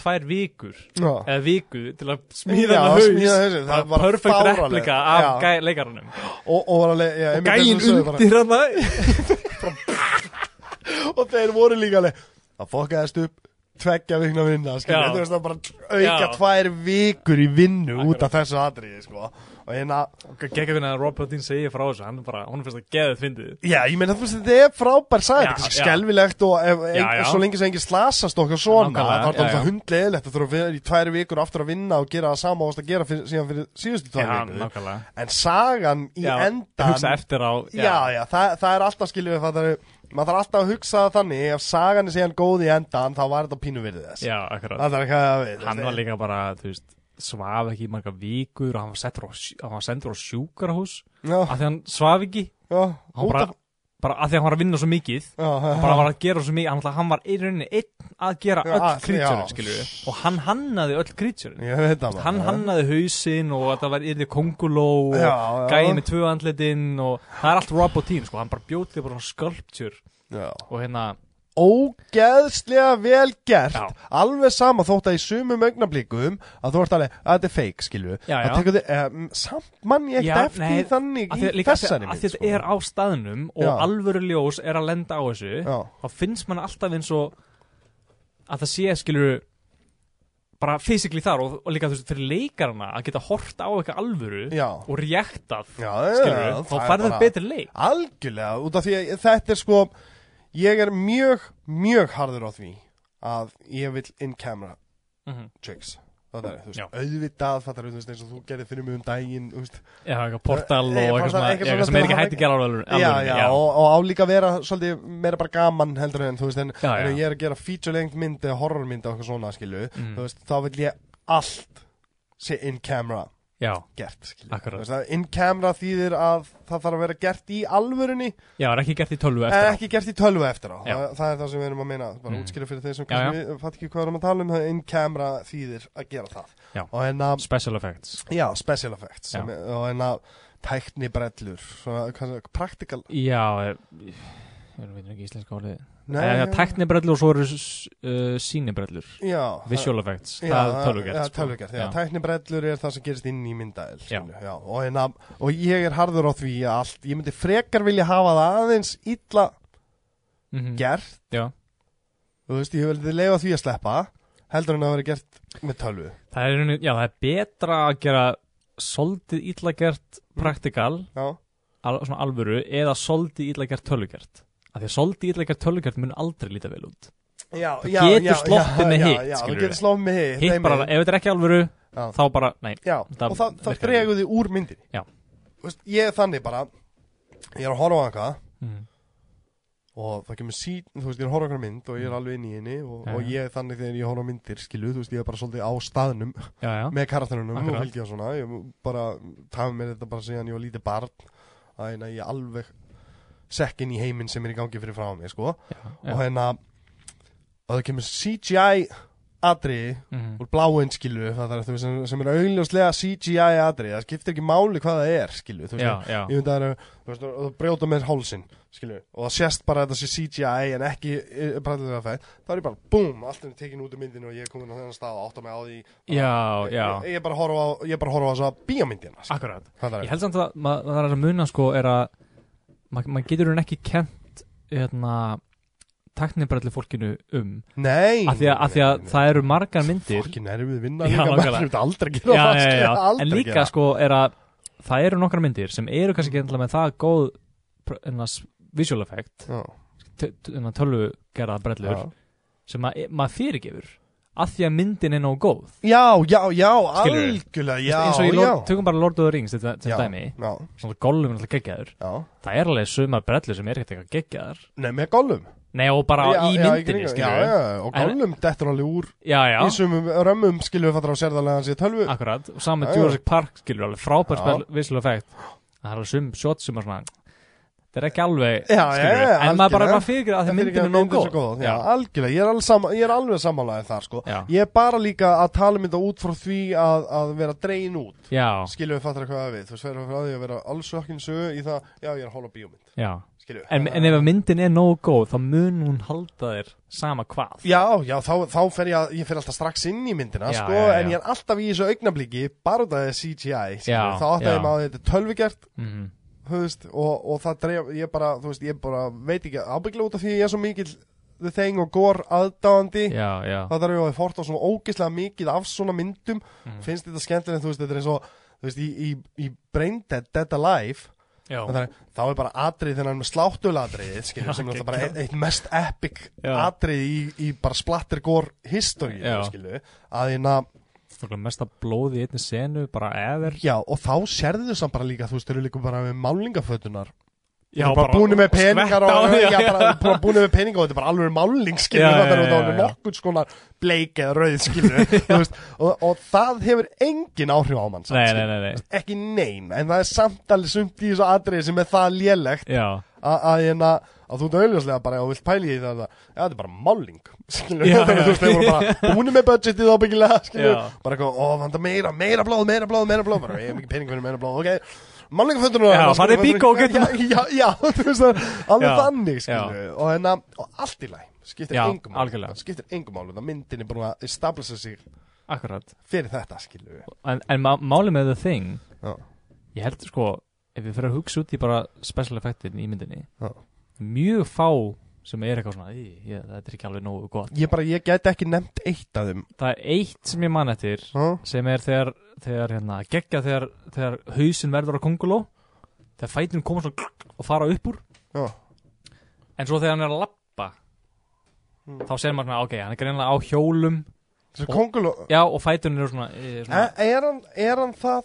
tvær vikur
Já,
eða viku til að
Já,
smíða hann haus
smíða hausinn, það
Bara
var
perfect
fáránlegt.
replika af
Já.
gæ, leikarunum
og, og var alveg, já, einmitt
gæin
eins og þú sagðir bara-
undir hann það
Og þeir voru líka alveg, það fokkaðist upp tveggja vikna vinna, skilja,
Já.
þú veist það bara auka
Já.
tvær vikur í vinnu út af þessu atriði, sko Og hérna,
geggjum við að Robert Dean segir frá þessu hann er bara, hún finnst það geðið fyndið
Já, ég meina þú veist, þetta er frábær sæt,
Já,
þetta er
já.
skelvilegt og ef,
Já,
ein,
já.
svo lengi sem enginn slasast okkur svona,
Nákvæmlega,
þá er
já,
þetta
já.
hundleðilegt að þurfa að vera í tvær vikur aftur að vinna og gera það sama ást að gera fyrir, síðan fyrir síðustu tvær vikur.
nákvæmlega
En sagan í
já,
endan,
hugsa eftir á
já, já, það, það er alltaf skiljum við, það er, maður þarf alltaf að hugsa það þannig, ef sagan er síðan góð í endan, þá var þetta pínu virðið þess.
já, akkurat
Það er ekki að við,
hann var líka bara, þú veist svaf ekki í marga vikur og hann var, settur á, sjú- hann var sendur á sjúkarahús
já,
af því hann svaf ekki
já,
hann
út
bara,
af,
bara að því að hann var að vinna svo mikið
já, já,
bara var að gera svo mikið hann, náttúrulega- hann var í rauninni einn að gera
Já,
öll
að-
krýtjörn
já.
skilur við og hann hannaði öll krýtjörn
ég veit það maður.
hann hannaði hausinn og þetta var yrði konguló
Já,
og
já.
gæði með tvö andlitin og það er allt Rob og Team sko, hann bara bjótið bara skulptjur
Já.
og hérna
ógeðslega vel gert
Já.
alveg sama þótt að í sumum augnablikum að þú ert alveg að þetta er fake skilju
Já, já.
um, samt mann ég
Já,
ekkert eftir
nei,
í þannig
að
í
því, líka,
þessari sko.
þessari að því að þetta er á staðnum og
Já.
alvöru ljós er að lenda á þessu
sko. Já.
þá finnst mann alltaf eins og að það sé skilur bara fysikli þar og, og líka þú veist fyrir leikarana að geta hort á eitthvað alvöru
Já.
og réktað
Já,
skilur,
já,
þá
það er
færðu
bara-
betri leik
Algjörlega, út af því að þetta er sko Ég er mjög, mjög harður á því Að ég vil in camera
mm -hmm.
tricks Það er, þú
Já.
veist, auðvitað Þetta er, þú veist, eins og þú gerir fyrir mig um daginn Þú veist,
Já, eitthvað portal og
Eh, eh,
eitthvað,
fannst það
svona,
eitthvað svona
eitthvað sem
til
er
að
ekki hægt að gera á alvöru
já,
alvöru,
já, og, og á líka að vera svolítið meira bara gaman heldur en þú veist en,
Já,
en
já.
ég er að gera feature length mynd eða horror mynd og eitthvað svona skilju
Mm.
þú veist, þá vil ég allt sé in camera
já,
gert skilju Þú
Akkurat.
veist, að in camera þýðir að það þarf að vera gert í alvörunni
já, er ekki gert í tölvu
en
eftir á.
ekki gert í tölvu eftir á
Já.
það, það er það sem við erum að meina bara
Mm.
útskýra fyrir þeir sem
Já,
kannski við fatt ekki hvað við erum að tala um það in camera þýðir að gera það
Já.
og en að
special effects
já, special effects
Já.
sem, er- og en að tæknibrellur svona, hvað- practical
já, eh, ég veit ekki íslenska orðið
Nei, hérna,
Eh, já, tæknibrellur og svo eru s- uh, sínibrellur
já, það-
visual effects,
Já,
það er tölvugert
Já,
sko.
tölvugert, já, tæknibrellur er það sem gerist inn í myndaðil
Já.
já, og, en, að- og ég er harður á því að allt Ég myndi frekar vilja hafa það aðeins illa
Mhm.
gert
já.
Þú veist, ég vildi leifa því að sleppa Heldur en að vera gert með tölvu
Það, er, í rauninni- já, það er betra að gera soldið illa gert praktikal
Já,
al, svona alvöru eða soldið illa gert tölvugert af því að soldið illa gert tölvugert mun aldrei líta vel út
já,
Þú
já,
getur
já,
sloppið
já,
með
já,
hitt,
Já, þú
skilurðu.
getur sloppið með hitt
hitt
einmitt.
bara, ef þetta er ekki alvöru
Já.
þá bara, nei,
Já,
Það
og það, það
virkar
dregur því úr myndinni
Já.
Þú veist, Ég er þannig bara Ég er að horfa á eitthvað
mm.
og það kemur sín, þú veist, ég er að horfa okkur mynd og ég er alveg inn í henni og,
Já,
og
já.
ég er þannig þegar ég horfa á myndir, skilu, þú veist, ég er bara svolítið á staðnum
já, já,
með karakterunum og
Akkurat.
fylgja svona, ég bara tafi mér þetta bara síðan ég var lítið barn að hérna ég alveg sekk inn í heiminn sem er í gangi fyrir frá mig, sko
já, já.
og hérna og það kemur CGI atriði
Mhm.
úr bláinn, skilu, það er þú veist, sem, sem er augljóslega CGI atriði, það skiptir ekki máli hvað það er, skilu, þú veist,
já, já,
ég myndi að það eru þú veist, og það brjóta með hálsin skilju, og það sést bara að þetta sé CGI en ekki e, prættilega fætt þá er ég bara, búm, allt er tekin út úr myndinu og ég er komin á þennan stað og átta mig á því
já, já.
ég, ég er bara að horfa á, ég er bara að horfa á þessa bíómyndina sko.
akkurat
það
Ég
er,
held samt að maður ma það er að muna sko er að maður ma getur hún ekki kent hérna teknibrelli fólkinu um
nei
af því að, að, því að það eru margar myndir
fokkin erfið vinna
Já,
líka, maður
nákvæmlega.
myndi aldrei
já,
gera
já,
það,
já,
skilju,
já.
aldrei
en líka
gera.
sko er að það eru nokkrar myndir sem eru kannski ekki endilega með það góð pr- hérna, s- visual effect
Já,
tölvu gerða brellur
já.
sem ma maður fyrirgefur af því að myndin er nóg góð
já, já, já,
Skilurðu?
algjörlega já,
eins og í
já.
Lord, tökum bara Lord of the Rings þetta- sem
Já,
dæmi,
já,
svona golfum er alltaf geggjaður
já,
það er alveg suma brellur sem er ekkert eitthvað geggjaðar
nei, með gollum
Nei, og bara
já,
í
já,
myndinni,
kringum.
skilur
já,
við.
já, og
En-
gollum dettur alveg úr
Já, já,
í sumum römmum skilju fattar á sérðarlega hans í tölvu
akkurat. Og saman
Já,
með
já.
Jurassic Park, skilur við, alveg frábært
Já.
spil, visual effect. Það er alveg sum shot sem er svona, það er ekki alveg,
Já, já,
skilur við.
já,
En maður bara
algjörlega.
er að fyrirgera að því myndin er nóg góð.
já, algjörlega, ég er alveg, sama, ég er alveg samanlæðið þar sko
Já.
Ég er bara líka að tala mynda út frá því að, að vera dregin út
já,
Skilju við fattar hvað það við, þú veist, verður frá því að vera alls ökkin sögu í það Já, ég er að hóla bíómynd,
já.
skilju
En, en ef að myndin er nóg góð, þá mun hún halda þér sama hvað.
Já, já, þá, þá fer ég, að- ég fer alltaf strax inn í myndina,
Já,
sko,
já, já.
en ég er alltaf í þessu augnablíki, bara út af því að CGI, skilju,
Já,
þá áttaði
já.
ég maður þetta er tölvugert,
Mhm.
þú veist, og, og það dreif, ég bara, þú veist, ég bara veit ekki, ábyggla út af því að ég er svo mikill The Thing og Gore aðdáandi,
Já, já.
þá þarf ég að fórta svona ógeðslega mikið af svona myndum
Mhm.
finnst þetta skemmtilegt, þú veist, þetta er eins og þú veist, í, í, í Brain Dead, Dead Alive
Já,
það er, þá er bara atrið þennan með sláttuladriðið, skiljum, sem er alltaf bara
geggjað.
eitt, eitt mest epic
Já.
atrið í, í bara splattergór history,
Já.
skiljum, að hérna
það er mesta blóð í einni senu, bara eðir.
já, og þá sérðu þau samt bara líka, þú veist, þau eru líka bara með málingafötunar
Já,
bara, bara búinu með peningar og,
svett á,
já,
já, já.
bara, bara búinu með peningar og þetta er bara alveg máling skilur
Já,
það er
já,
út
já,
af
já.
nokkuð skonar bleik eða rauð skilur veist, og, og það hefur engin áhrif á mann samt,
Nei,
skilurðu.
nei, nei, nei.
ekki nein, en það er samt alveg sumt í þessu atriði sem er það lélegt
Já,
að- að hérna að þú ert auðvitað bara og vilt pæli í því það já, þetta er bara máling skilur,
Já,
þannig að
já.
þú veist, þeir voru bara búinu með budgetið ábyggilega, skilur,
Já.
bara eitthvað, ó, vanda meira, meira blóð, meira blóð, meira blóð bara, ég hef mikið pening fyrir meira blóð, ok málingaföndunum
Já, farið í bíkó og getum-
já, já, já, þú veist það, alveg
Já,
þannig, skilur og hérna, og allt í læg skiptir
Já,
engum máli,
algjörlega.
það skiptir engum máli það myndin er búin að establisa sig
akkurat.
fyrir þetta, skilur
En, en má- málið með The Thing
já,
Ég held sko, ef við fyrir að hugsa út í bara special effectin í myndinni
Já.
mjög fá sem er eitthvað svona, "Í, ég, þetta er ekki alveg nógu gott
Ég bara, ég gæti ekki nefnt eitt af þeim
það er eitt sem ég man eftir
ha?
sem er þegar, þegar hérna, geggja þegar, þegar hausin verður á konguló þegar fætinum koma svona klukk og fara upp úr
Já.
en svo þegar hann er að lappa
Mm.
þá segir maður svona, ok, hann er greinlega á hjólum
Þessi
Og-
konguló
já, og fætunum eru svona, eh, svona
E- Er hann, er hann það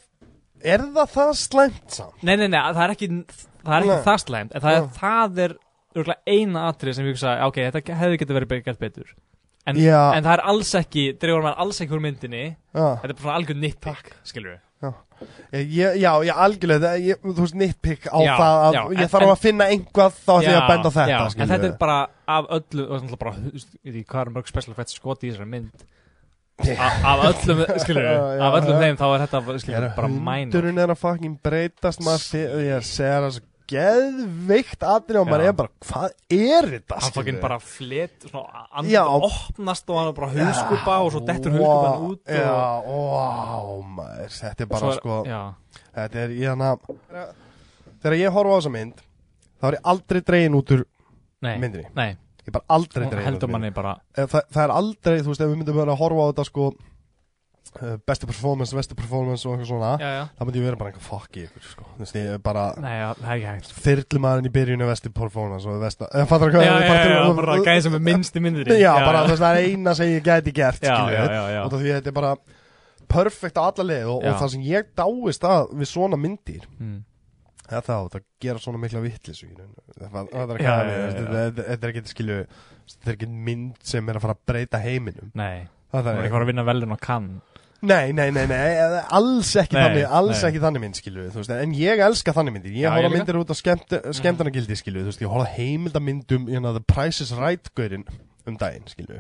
Er það það slæmt samt?
nei, nei, nei, það er ekki, það, er ekki
Nei. Ah.
það slæmt en það er,
Já.
það er örgulega eina atrið sem ég hugsa, ok, þetta hefði getið verið be- gert betur en,
Já.
en það er alls ekki, dregur maður alls ekki úr myndinni
Já,
þetta er bara svona algjör nitpick, skilur við
ég, já, já algjörlega það- ég, Þú veist, nitpick á
Já,
það að,
já,
Ég
en-
þarf
en-
að finna einhvað Þá ætlum ég að benda á þetta
já, en
skilurðu.
þetta er bara af öllu og þannig bara, þú veist, ég veit ekki hvað er mörg special effects skot í þessari mynd A, af öllum, skilur
Já, já,
af öllum
já.
þeim þá er þetta skilur, bara mænur
Hundurinn er að fucking breytast maður fyrir, ég segir það svo geðveikt aðri og maður
Já.
er bara, hvað er þetta?
hann
skilurðu?
fokkin bara flet svona, and,
Já.
opnast og hann er bara haugskupa og svo dettur
Vá,
haugskupan út og,
Já, ó, maður, þetta er bara
svo,
sko,
já,
þetta er, ég hana, þegar ég horfa á þessa mynd, þá er ég aldrei dregin út úr
nei,
myndinni.
nei
Ég er bara aldrei
hún
dregin út úr
heldur
myndinni.
manni bara
Eh, Þa, það er aldrei, þú veist, ef við myndum vera að horfa á þetta sko, eh, besti performance, besti performance og eitthvað svona,
já, já.
þá myndi ég vera bara eitthvað fuck í ykkur, sko, þú veist, ég er bara...
nei, já, það er ekki hægt
þyrlumaðurinn í byrjunu vesti performance og vesta, eða fattar
já,
hvað
já,
ég
já,
bara
já,
til-
bara gæði sem er minnst í myndinni
já, bara þess að það er eina sem ég gæti gert
já,
skilur
já,
við,
já, já.
út af því að þetta er bara perfekt á alla leið og,
Já.
og það sem ég dáist að við svona myndir
Mm.
það er það, það gera svona mikla vittlis það er
Já,
ekki
já, já, já.
þetta er ekki skilju þetta er ekki mynd sem er að fara að breyta heiminum
nei,
það
hún er
er
eitthvað að vinna velun og kann
Nei, nei, nei, nei, eh, alls ekki
Nei,
þannig, alls
nei.
ekki þannig mynd, skilju, þú veist, en ég elska þannig myndir, ég
Já,
horfa
ég líka.
myndir út á skemmt, skemmtarnagildi, skilju, þú veist, ég horfa á heimildamyndum, ég náðu Price is Right-gaurinn um daginn, skilju.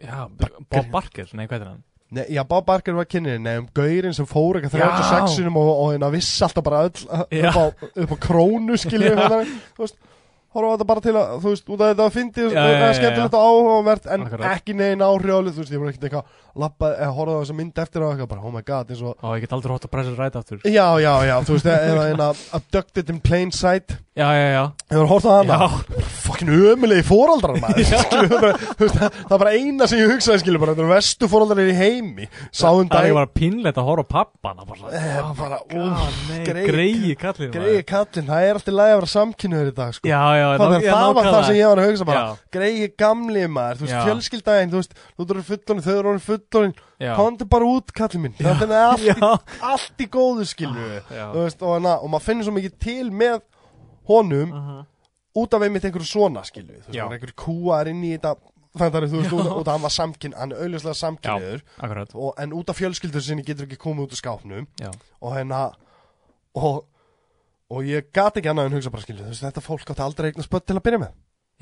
já, Bob Barker, nei, hvað er hann
Nei, já, Bob Barker var kynnin, nei, um gaurinn sem fór eitthvað
Já.
36 sinum og, og hérna vissi alltaf bara öll
Já.
upp á, upp á krónu, skilju,
Já.
þannig, þú veist, horfa á þetta bara til að, þú veist, út af þetta að fyndi,
Já, já, já, já.
skemmtilegt og áhugavert, en
Akkurat.
ekki negin áhrjáli, þú veist, ég var ekkert eitthvað, lappa, horfa á þessa mynd eftir og eitthvað, bara, oh my god, eins og,
Ó, ég get aldrei hótt að pressa ræta aftur
Já, já, já, þú veist, eða eina Abducted in Plain Sight
Já, já, já
Hefur hort á hana?
Já,
Fokkin ömulegi fóraldrar maður skilur, bara, þú veist, það, það er bara eina sem ég hugsaði skilur bara, þetta er vestu fóraldrar í heimi Sáðum
það er
dag
ekki bara pínlegt að horfa á pappan Það bara,
Eh, bara,
oh, nei,
grey-
greiði kallin
Greiði kallinn, það er alltaf læg að vera samkynnuður í dag sko.
Já, já,
það, það, það var það sem ég var að hugsa bara
Já.
Greiði gamli maður, þú
Já.
veist, fjölskyldaðin Þú veist, þú eru fullorinn, þau eru fullorinn
Já,
Komdu bara út kallinn minn Þannig að allt í
já, Ah,
allt í góðu skilju
Já.
þú veist, og, na, og maður finnir svo mikið til með honum
Uh-huh.
út af einmitt einhverju svona skilju þú veist,
Já.
hann er einhverju kúar inn í þetta þannig að þú veist, út, út af hann var samkinn hann er auðvitað samkinniður
akkurat
og- en út af fjölskyldur sinni getur ekki komið út úr skápnum
Já,
og hérna og, og ég gat ekki annað en hugsa bara skilju þú veist, þetta fólk átti aldrei eignar spött til að byrja með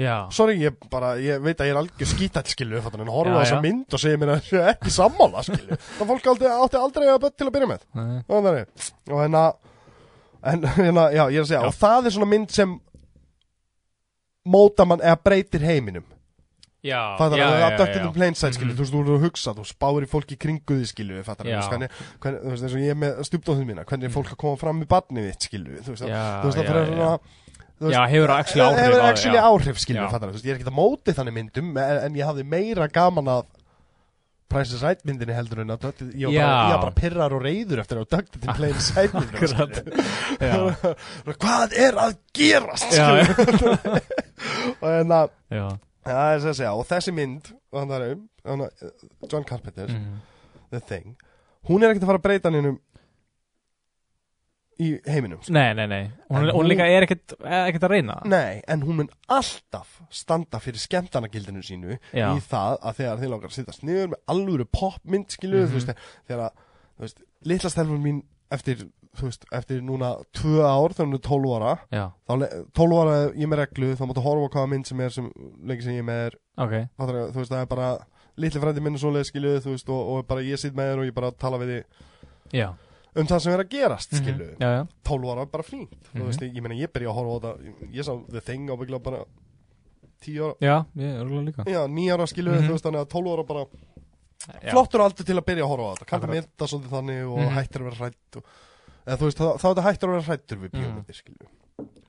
já,
sorry, ég bara, ég veit að ég er algjör skítall skilju, fattar, en horfa
Já,
á þessa
já.
mynd og segja mér að ég er ekki sammála skilju, það fólk átti, átti aldrei eignar spött til að byrja með
nei,
og þannig og hérna en hérna, já, ég er að segja
Já.
og það er svona mynd sem móta mann eða breytir heiminum
já
það er
já,
að
já,
abducted
já. Mhm.
in plain sight skilju, þú veist, þú eru að hugsa, þú spáir í fólki í kringu því skilju, fattar þú
Já.
veist, hvernig, hvernig þú veist, eins og ég er með stjúpdóðum mína, hvernig er fólk að koma fram með barnið þitt skilju, þú veist,
Já,
það- þú veist, það
já,
fyrir
já.
svona þú veist,
Já, hefur actually áhrif á
hefur
þig,
actually
já.
áhrif skilju,
Já.
fattar þú veist, ég er ekkert að móti þannig myndum, en en ég hafði meira gaman af Price is Right myndinni heldur en að Abducted- ég var bara,
Já.
ég var bara pirrar og reyður eftir að Abducted in plain sight myndinni
Akkurat Já,
hvað er að gerast
já,
skilur?
já,
og, hérna, enna,
já
ja, segja, og þessi mynd og hann þar um, hann, uh, John Carpenter
mhm.
The Thing hún er ekkert að fara að breyta hann í heiminum sko.
Nei, nei, nei Hún,
En
hún
hún-
líka er ekkert, ekkert að reyna
nei, en hún mun alltaf standa fyrir skemmtanagildinu sínu
Já.
í það að þegar þið langar að sittast niður með alvöru popmynd skilur
Mhm.
þú veist, þegar að, þú veist, litla stelfur mín eftir, þú veist, eftir núna tvö ár þegar hún er 12 ára
Já,
þá le- 12 ára er ég með reglu þá máttu horfa á hvaða mynd sem er sem lengi sem ég er með er
ok
fattar, þú veist það er bara litli frændi minn og svoleið skiljuð þú veist og, og bara ég sitt með þér og ég bara tala við þig
Já,
um það sem er að gerast
Mhm.
skiljuð
já, já
12 ára er bara fínt
Mhm.
þú veist ég meina ég byrja að horfa á þetta ég- ég sá The Thing ábyggla bara 10 ára
Já, ég er örgulega líka
já 9 ára skiljuð
Mhm.
þú veist þannig að 12 ára bara
Já.
flottur aldur til að byrja að horfa á þetta kannski
Akkurat.
mynda svolítið þannig og
Mhm.
hættir að vera hrætt og, eða þú veist þá, þá er þetta hættir að vera hrættur við
Mhm.
bíómyndir skiljuð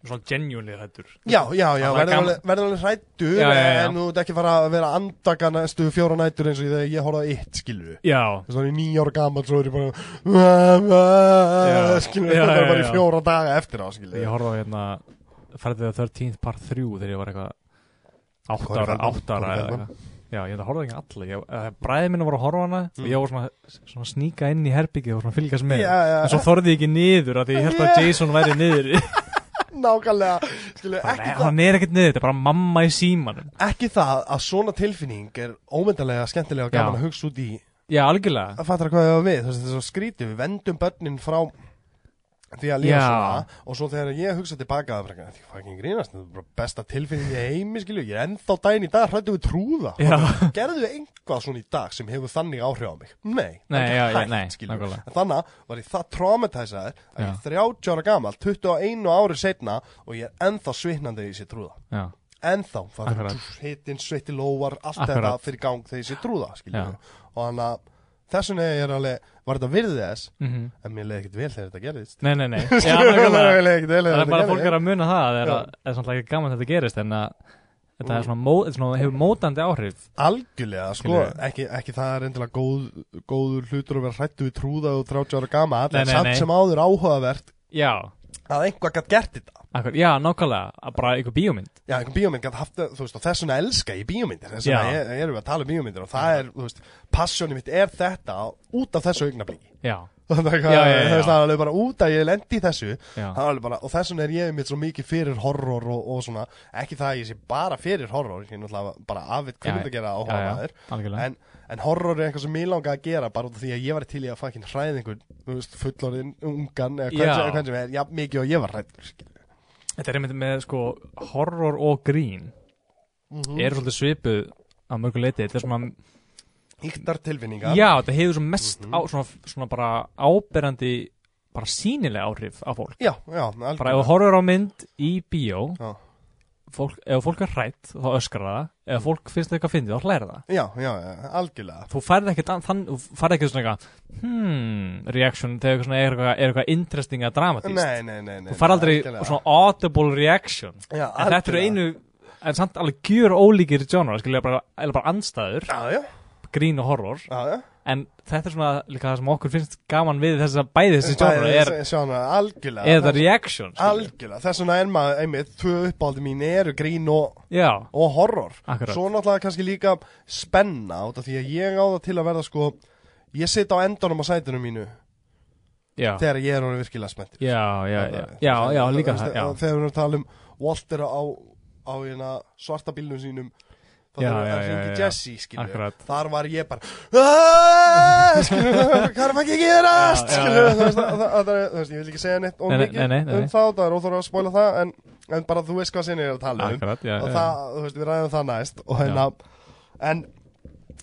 Svona genuinely hættur
Já, já, já,
Það var
verður
gaman.
alveg, verður alveg hrættur
Já, já, já.
en þú ert ekki fara að vera að andaka næstu fjóra nættur eins og þegar ég horfði á eitt, skilur við
Já,
Þess að ég nýja ára gaman svo er ég bara
Já.
skilur við,
Já,
það
já,
er bara í
já.
fjóra daga eftir á, skilur
ég horfði á hérna Ferðið að 13th part 3 þegar ég var eitthvað
Hvað er
áttara,
Feldman?
áttara
Hvað er
eða
Feldman?
eitthvað Já, ég enda horfði ekki á alla ég, eh, Bræði minna voru að horfa á hana og
Mm.
ég var svona, svona að sníka inn í herbyggið og svona að fylgjast með
Já, já.
En svo þorði ég ekki niður af því ég held að
Yeah.
Jason væri niður
Nákvæmlega, skilur við, ekki, það-
Hann er ekkert niður, þetta er bara mamma í símanum
ekki það að svona tilfinning er ómyndalega skemmtilega og gaman
Já.
að hugsa út í
Já, algjörlega
að fattar hvað ég var við, þess að þetta er svo skrítið við vendum börnin frá því að líða
Já.
svona og svo þegar ég hugsa tilbaka það frekar, því hvað ekki grínast þetta er bara besta tilfinning í heimi skilju ég er ennþá daginn í dag, hrættu við trúða
Já,
gerðu við einhvað svona í dag sem hefur þannig áhrif á mig nei, það
Nei,
er ekki
já, já,
hægt,
nei,
skilju.
nákvæmlega.
en þannig var ég það traumatisaður að ég er 30 ára gamal, 21 ári setna og ég er ennþá svitnandi í sér trúða
já,
ennþá fattar
Akkurat.
þú, hitinn, sveitti lóar allt þetta
Akkurat.
fyrir gang þegar ég sé trúða skilju.
Já.
og þannig að þess vegna ég er alveg var þetta virðið þess,
mhm
en mér leiði ekkert vel þegar þetta gerðist
Nei, nei, nei Já, nákvæmlega
Mér leið ekkert vel þegar
Það er
þetta
bara að fólk
gerðist.
er að muna það Það er,
Já. Mm.
að, er samt ekki gaman að þetta gerist En að þetta er svona, mó, þetta er svona hefur mótandi áhrif
algjörlega, sko,
Skilurðu?
ekki, ekki það er endilega góð, góður hlutur að vera hrættu við trúða og 30 ára gama
Nei,
en
nei,
samt
nei.
sem áður áhugavert
Já,
að einhvað gætt gert þetta
akkur, já, nákvæmlega að Bara einhver bíómynd
Já, einhver bíómynd gætt haft, þú veist, og þess vegna elska ég bíómyndir, þess vegna
Já.
ég- erum við að tala um bíómyndir og það er, þú veist, passjónið mitt er þetta út af þessu augnablíki
Já,
Þannig að
Já, já, já.
það er alveg bara út að ég lendi í þessu
já,
Það er alveg bara, og þess vegna er ég mitt svo mikið fyrir horror og, og svona, ekki það að ég sé bara fyrir horror, ég er náttúrulega bara afvitt hvernig að gera á
já, já,
horror
algjörlega
en, en horror er eitthvað sem ég langa að gera bara út af því að ég var til í að fucking hræði einhvern, þú veist, fullorðin, ungan eða hvern
Já.
sem- hvern sem er, já, mikið og ég var hrættur
Þetta er einmitt með sko horror og grín
Mhm.
Eru svolítið svipuð að mörgu leiti Þetta er svona,
Íktar tilfinningar
já, þetta hefur svona mest
Mhm.
á, svona, svona bara áberandi bara sínileg áhrif á fólk
já, já algjörlega.
Bara ef þú horfir á mynd í bíó
Já.
fólk, Ef fólk er hrætt, þá öskrar það Ef fólk finnst það eitthvað fyndið, þá hlæra það
Já, já, já, algjörlega
þú færði ekkert an- þann, þú færði ekkert svona eitthvað hmm, reaction þegar eitthvað svona er eitthvað, er eitthvað interesting að dramatíst
Nei, nei, nei, nei
þú færði aldrei
algjörlega.
svona audible reaction
Já,
en þetta eru
algjörlega.
einu en samt alveg gjör ólíkir genre skilja bara, eða bara anstæður,
Já, já,
grín og horror
já, já
en þetta er svona líka það sem okkur finnst gaman við þess að bæði þessi genre er,
Bæði- Sjána, algjörlega
er það reaction skilja.
Algjörlega, þess vegna er maður einmitt, tvö uppáldi mín eru grín og,
já,
og horror
Akkurat.
Svo náttúrulega kannski líka spenna út af því að ég á það til að verða sko Ég sit á endunum á sætunum mínu
já
þegar ég er orðin virkilega spenntur
já, já, já, já, já, líka það já,
Þegar við erum að tala um Walter á, á hérna, svarta bílnum sínum Það
Já,
er
já,
að
já,
hringi
já.
Jesse, skilur
Akkurat.
Þar var ég bara "Aaaah", Skilur, hvað er maður ekki að gerast
Já, já,
Skilur,
já.
þú veist, það- það- það er- þú veist, ég vil ekki segja neitt og
Nei, nei,
mikið
nei, nei,
um
nei.
það Það er óþóra að spóla það en, en bara þú veist hvað sinni ég er að tala um
akkurat, já,
Og
já.
það, þú veist, við ræðum það næst Og hérna, en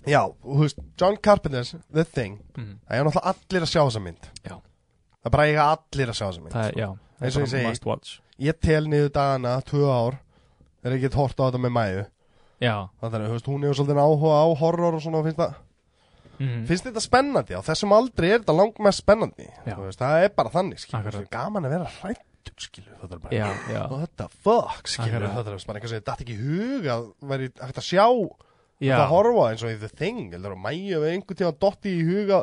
Já, þú veist, John Carpenter's The Thing
Mhm.
Það er náttúrulega allir að sjá þessa mynd
Já.
Það er bara eiga allir að sjá þessa mynd
það er, já það
Eins og
er
ég
bara
segi-
must watch
Ég tel niður dagana, tvö ár Er ekki hort á þetta með mæðu
já,
Þannig að, þú veist, hún hefur svolítið áhuga á horror og svona og finnst það
mhm.
finnst þér þetta spennandi á þessum aldri er þetta langmest spennandi
Já.
Þú veist, það er bara þannig skilur,
Akkurat.
það er gaman að vera hrættur skilur þetta er bara
já, já
what the fuck skilur
Akkurat.
þetta er bara eitthvað sem þetta ekki í hug að væri hægt að sjá
Já,
það horfa eins og í the thing heldur að mæja við einhvern tíma dotti í huga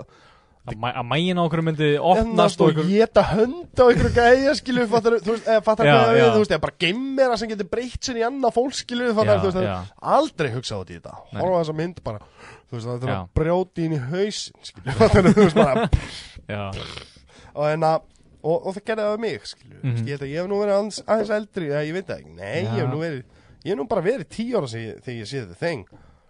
að, mæ, að mægin á okkur myndi opnast
ennast
og
og
okkur
geta Hérna, hönd á einhverju gæja skilur fattar, þú veist, eða fattar
Já,
hvað það
já.
við þú veist, eða bara geimmera sem getur breytt sinni í annað fólk skilur fattar,
Já,
þú veist, það
já.
er aldrei hugsa út í þetta
Nei.
horfa á þessa mynd bara þú veist, það er
Já.
að brjóti inn í haus skilur fattar, þú veist, bara
Já,
og, en að, og, og það gerði það við mig skilju,
Mhm.
mm ég, held að ég hef nú verið aðeins, aðeins eldri eða ég veit það ekki, nei, ég
Já.
hef nú verið ég hef nú bara verið tíu ára sig, þegar ég sé þetta þeng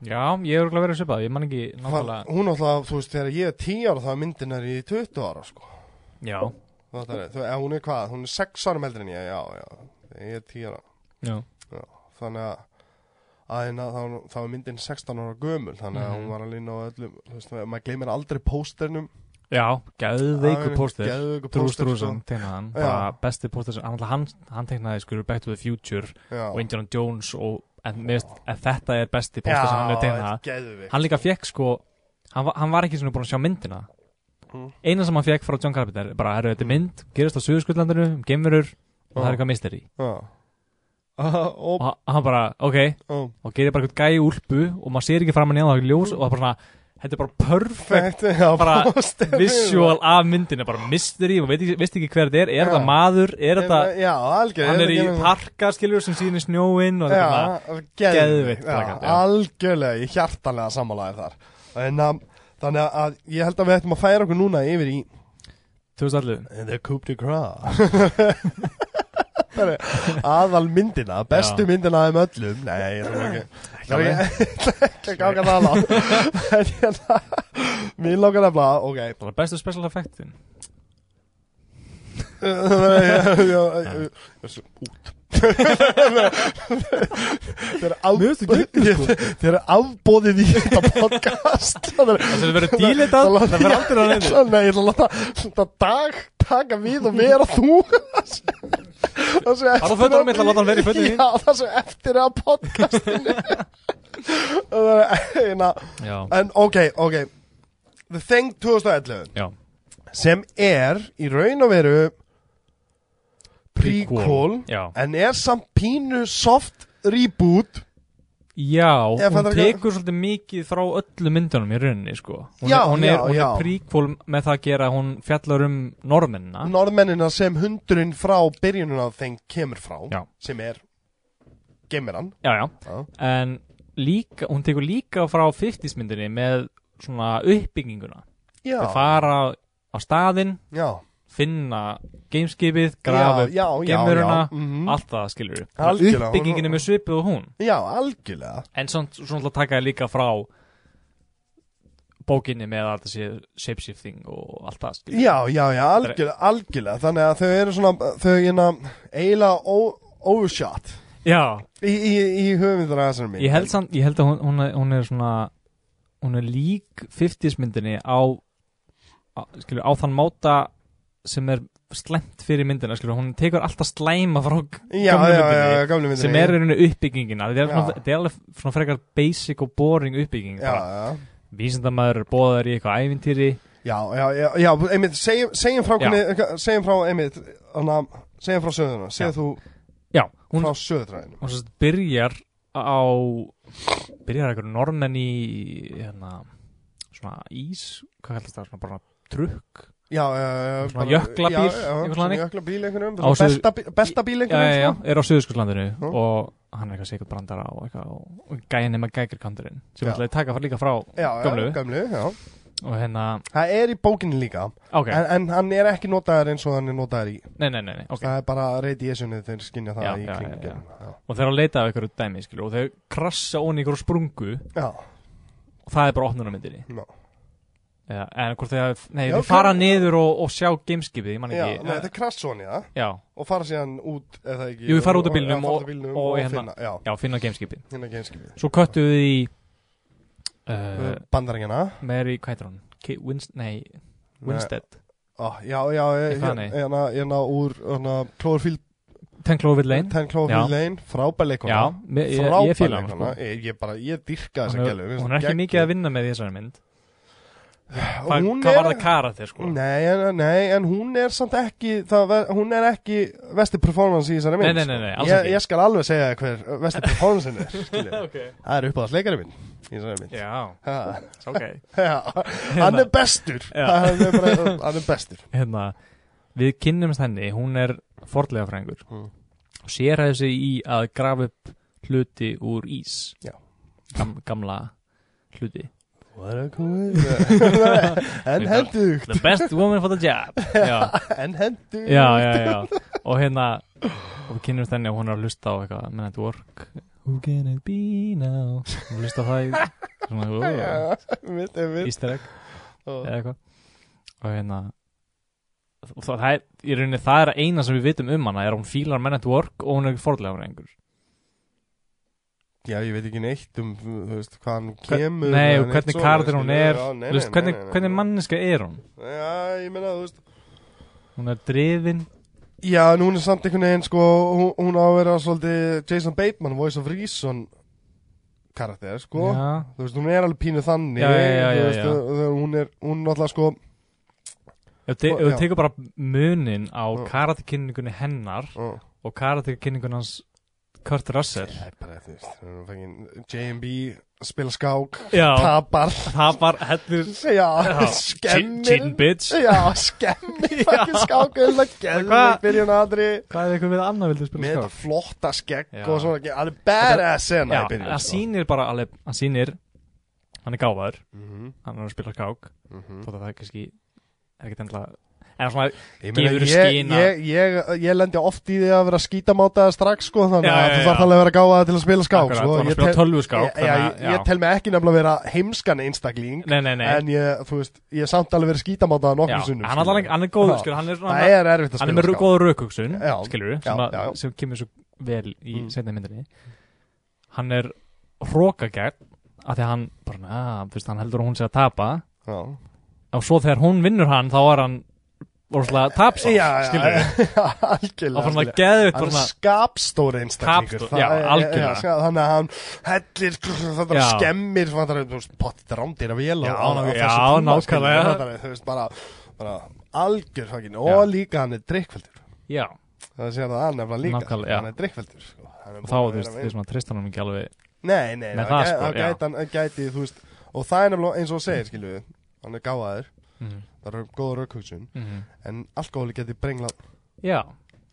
já ég er okkur verið svipað, ég man ekki náttúrulega
hún alltaf, þú veist, þegar ég er tíu ára þá er myndin er í 20 ára sko.
Já,
það er, þú, eða hún er hvað, hún er sex ára meldri en ég, já, já, þegar ég er tíu ára
já,
þannig að að hérna, þá, þá er myndin 16 ára gömul þannig að
Mhm.
hún var alveg inn á öllum þú veist, maður gleymir aldrei pósternum
já geðveikur póster
geðveikur
Drew
póster, sko.
Struzan tegnaði hann,
Já.
bara besti póster sem, hann, náttúrulega- hann, hann tegnaði skur Back to the Future
Já.
og Indiana Jones og en, mist, en þetta er besti póster sem
Já,
hann er tegnað
geðveikt.
Hann líka fekk sko, hann, var- hann var ekki svona búin að sjá myndina
Mm.
Eina sem hann fekk frá John Carpenter, bara, herru, þetta er mynd, gerist á Suðurskjöldlandinu, um geimurur og það er eitthvað misteri
Já Ah, ó,
og hann bara, ok,
ó,
og gerir bara eitthvað gæi í úlpu og maður sér ekki framan í hann og það er ljós og það er bara svona, þetta er bara perfect
Perfect já,
bara
poster-
visual af myndinu, bara mystery og veit ekki, veist ekki hver þetta er, er
Já.
þetta maður er þetta,
Já, algjörlega
hann er í
þetta ekki-
parka skilur sem síðan í snjóinn og þetta er
Já, geðvikt
geðveikt plakat,
já,
já.
Algjörlega, ég hjartanlega sammálaði þar en, um, Þannig að ég held að við ættum að færa okkur núna yfir í
svona 2011
The Coupe de Gras Aðal myndina, bestu
Já.
myndina um öllum Nei, ég þarf ekki Það er
alveg.
ekki ekki að ganga það alveg En hérna Mér langar nefnilega, ok
bara bestu special effectin
Út Þeir eru
Mér finnst það
afbóðið Þeir eru afbóðið í þetta podcast Það er
það sem verður dílitað,
Ég ætla að-
það verður aldrei að
Ég
neyðu
ætla- Nei, ég ætla að láta þetta dag taka við og vera þú Það sé
Bara á fötunum, ég ætla að láta hann vera í fötunum þín.
Já, það sé eftir að podcastinu Það er eina
já,
En ok, ok The Thing 2011
já,
sem er í raun og veru prequel
já
en er samt pínu soft reboot
já,
Ég
hún
fattar ekki-
tekur svolítið mikið frá öllu myndunum í rauninni sko hún
Já,
er, hún er,
já,
hún
já.
er príkvól með það að gera að hún fjallar um normennina
norðmennina sem hundurinn frá byrjunum af þeim kemur frá
Já.
sem er gemurann
já, já,
Já.
en líka, hún tekur líka frá 50s myndinni með svona uppbygginguna
já,
þau fara á staðinn
já,
finna gameskipið, grafa upp
já, já,
gemuruna,
já, mhm.
allt það skilur við
Algjörlega.
uppbyggingin er með svipið og hún
já, algjörlega
en samt svona taka þér líka frá bókinni með allt þessi shapeshifting og allt það skilur
já, já, já, algjörlega, algjörlega þannig að þau eru svona þau hérna eiginlega ó- overshot
já,
í, í, í höfumindar að þessari mynd
ég held samt ég held að hún, hún, er- hún er svona hún er lík 50s myndinni á, á skilur, á þann máta sem er slæmt fyrir myndina skilur, hún tekur alltaf slæma frá
já,
gömlu
já, já,
myndinni.
já, gamlu myndinni
sem er í rauninni uppbyggingina þetta er,
Já.
svona, þetta er alveg svona frekar basic og boring uppbygging
já,
bara
já
vísindamæður er bóðar í eitthvað ævintýri
Já, já, já, já einmitt, segjum, segjum frá
Já.
hvernig, segjum frá, einmitt, hana, segjum frá söðuna, segðu þú
já, hún,
frá söðutræðinu.
hún sérst byrjar á byrjar eitthvað normenn í hérna, svona ís hvað kallast það, svona bara trukk
Já, já, já, já.
Svona
bara-
jöklabíl,
já, já,
eitthvað
svona
þannig.
jöklabíl einhvernum,
Á suður-
besta, bí- besta bíl
já, já, já,
einhvernum.
er á Suðurskurslandinu
Hm.
og hann er eitthvað sikkert brandara og eitthvað og- og gæin er með gækirkanturinn sem
Já.
ætlaði að taka líka frá
já, já,
gömlu
gömlu, já.
og hérna,
Það er í bókinni líka,
ok,
en, en hann er ekki notaður eins og hann er notaður í.
nei, nei, nei, nei ok
Það er bara radiationið þeir skynja það
Já,
í
já, já,
kringum.
já.
Já,
og þeir eru að leita af einhverju dæmi skilur, og þeir krassa ón í einhverju sprungu
já,
og það er bara opnunarmyndinni
já,
Eða, en hvort þeir, nei,
Já,
þeir
ok.
fara niður og, og sjá gameskipið, ég man
já,
ekki Eh,
nei, þetta er krassón, já,
já,
og fara síðan út, eða ekki.
Jú, við fara út úr
og-
bílnum
já, fara út
og-
úr bílnum
og
og
hérna.
finna, já,
já, finna gameskipið
hérna genskipið.
svo köttu við í uh,
Bandaringina.
Mary, hvað heitir hún? Ki- Winst, nei, Winstead
Ah, já, já,
Eitthvað
hérna,
þannig.
hérna, hérna úr hérna, Cloverfield,
Ten Cloverfield Lane
Ten Cloverfield Lane, frábær leikona
já, me- ég,
frábær
ég fíla hann
leikona.
sko.
ég, ég bara, ég dyrka þessa
hún, er,
gælu
hún er ekki mikið að vinna með í þessari mynd Hva,
hún
hvað
er,
var það karakter sko?
nei, en, nei, en hún er samt ekki það, ver- hún er ekki vesti performance í þessari mynd
Nei, nei, nei,
sko.
nei, alls
ég,
ekki.
ég skal alveg segja þér hver vesti performance henni er skilurðu.
okay.
það er uppáðast leikari minn í þessari mynd
já,
Ha,
ok
já, hann er bestur
Já.
hann er, bara, hann er bestur
hérna, við kynnumst henni hún er fordlega frængur
Mm.
og sér hefði sig í að grafa upp hluti úr ís
Já.
Gam, gamla hluti
What a coincidence. en hendugt
the best woman for the job já,
En hendur
já, já, já. og hérna og við kynnumst henni og hún er að hlusta á eitthvað menn at work who can it be now hún hlusta á það í svona, oh,
Mitt er mitt
easter egg
Og-
eða eitthvað og hérna og það, það er, í rauninni það er eina sem við vitum um hana er að hún fílar menn at work og hún er fordlega fræðingur
Já, ég veit ekki neitt um, þú veist, hvað hann
Hver-
kemur
nei,
eða
og
neitt
hvernig
svoleiðis,
kardir hún
skilurðu,
er
já, nei,
þú veist,
nei,
hvernig,
nei, nei,
hvernig
nei.
manniska er hún
Já, ég meina, þú veist
hún er drifin
Já, en hún er samt einhvern veginn, sko Hún, hún á að vera svolítið Jason Bateman, Voice of Reason karakter, sko
já,
Þú veist, hún er alveg pínu þannig
Já, já, já,
þú
já,
veist,
já.
og- og Hún er, hún náttúrulega, sko
Ef te-
Og-
ef þú
já.
tekur bara munin á
Já.
karatekinningunni hennar
uh.
og karatekinningun hans Kurt Russell
Það er bara, þú veist, við erum fengið J&B, spila skák,
Já,
tapar,
það var hellir
já,
Já. Chin
skemmir,
chin bitch
já, skemmir, fucking skákuðum,
Hvað-
gæðum, byrjun aðri,
Hvað er eitthvað við annað vildu
með
spila
þetta
skák?
flotta skegg
Já.
og svona, ekki, hann er badass
Já,
sena í byrjun. sko.
hann sýnir bara alveg, hann sýnir hann er gáfaður,
Mhm,
hann er að spila skák
sín.
þótt að það er kannski er ekkert endla en svona,
Ég meina, ég,
Gefur skín að-
ég, ég, ég lendi oft í því að vera skítamátaða strax, sko, þannig
Já,
að
já,
þú
já.
þarf alveg að vera gáða til að spila skák,
akkurat,
sko.
hann er
Ég
að spila
tel-
tölvu skák
Ég, ég, ég tel mig ekki nefnilega að vera heimskan einstakling,
nei, nei, nei
en ég, þú veist, ég hef samt alveg verið skítamátaða
já,
nokkrum sunnum.
hann, allan, hann er góður,
Já.
skilur hann er,
Það
hann,
er erfitt að
hann er
spila
með
skák.
góða raukugsun
Já,
skilur
já,
sem,
já, já.
að- sem kemur svo vel í
Mm.
mm. setna myndinni hann er hrókagætt af því að hann bara, na, fyrst, hann heldur að hún sé að tapa
Já,
og svo þegar hún vinnur hann þá er hann orðslega tapsá,
já, já,
skilur við
já, algjörlega.
og fyrir hann
algjörlega.
að geða upp
Hann er
bara
skapstóri einstaklingur
Skapstó-
Það
já,
er-
algjörlega.
já, skap- Þannig að hann hellir Þetta
Já.
skemmir Þetta er potið rándir að vél á-
Já,
á- á
já,
þessu tíma,
nákvæmlega.
skilur við, Þetta er þú veist, bara, bara algjör fangin Og
Já.
líka hann er drikkveldur
já,
Það sé að það er nefnilega líka
Nákvæmlega, já.
Hann er drikkveldur sko. Hann er
og þá,
búinn að
þú veist,
vera
þið
með-
sem að treysta hann ekki alveg
Nei, nei,
Með
það gæ-
það, sko,
það
já.
gæti hann- hann gæti þú veist, Og það er nefnilega eins og þú segir skilju Hann er gáðaður
mm.
Það eru góða raukhugsun En alkohóli geti brengla
já,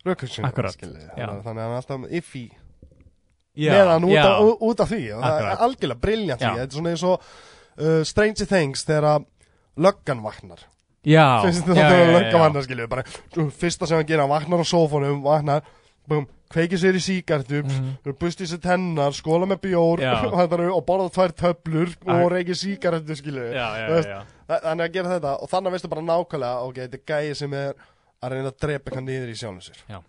raukhugsun
Akkurat, já.
Þannig að hann er alltaf iffy
já
meðan út,
já,
af- ú- út af því og það
Akkurat.
er algjörlega briljant því
Já.
þetta er svona eins og uh, Stranger Things þegar að löggan vaknar
já,
Fyrst
já,
þegar
já,
löggan
já.
vaknar skilju bara, þú, fyrsta sem hann gerir, hann vaknar á sófanum vaknar, búm, kveikir sér í síkartum
Mhm.
busti sér tennar, skóla með bjór
Já.
og þetta eru- og borða tvær töflur
Ak-
og reykir síkartum skilju
já, já,
Þú veist,
já, já.
Þa- þannig að gera þetta og þannig veistu bara nákvæmlega ok, þetta er gæi sem er að reyna að drepa eitthvað niður í sjálfum sér
Já.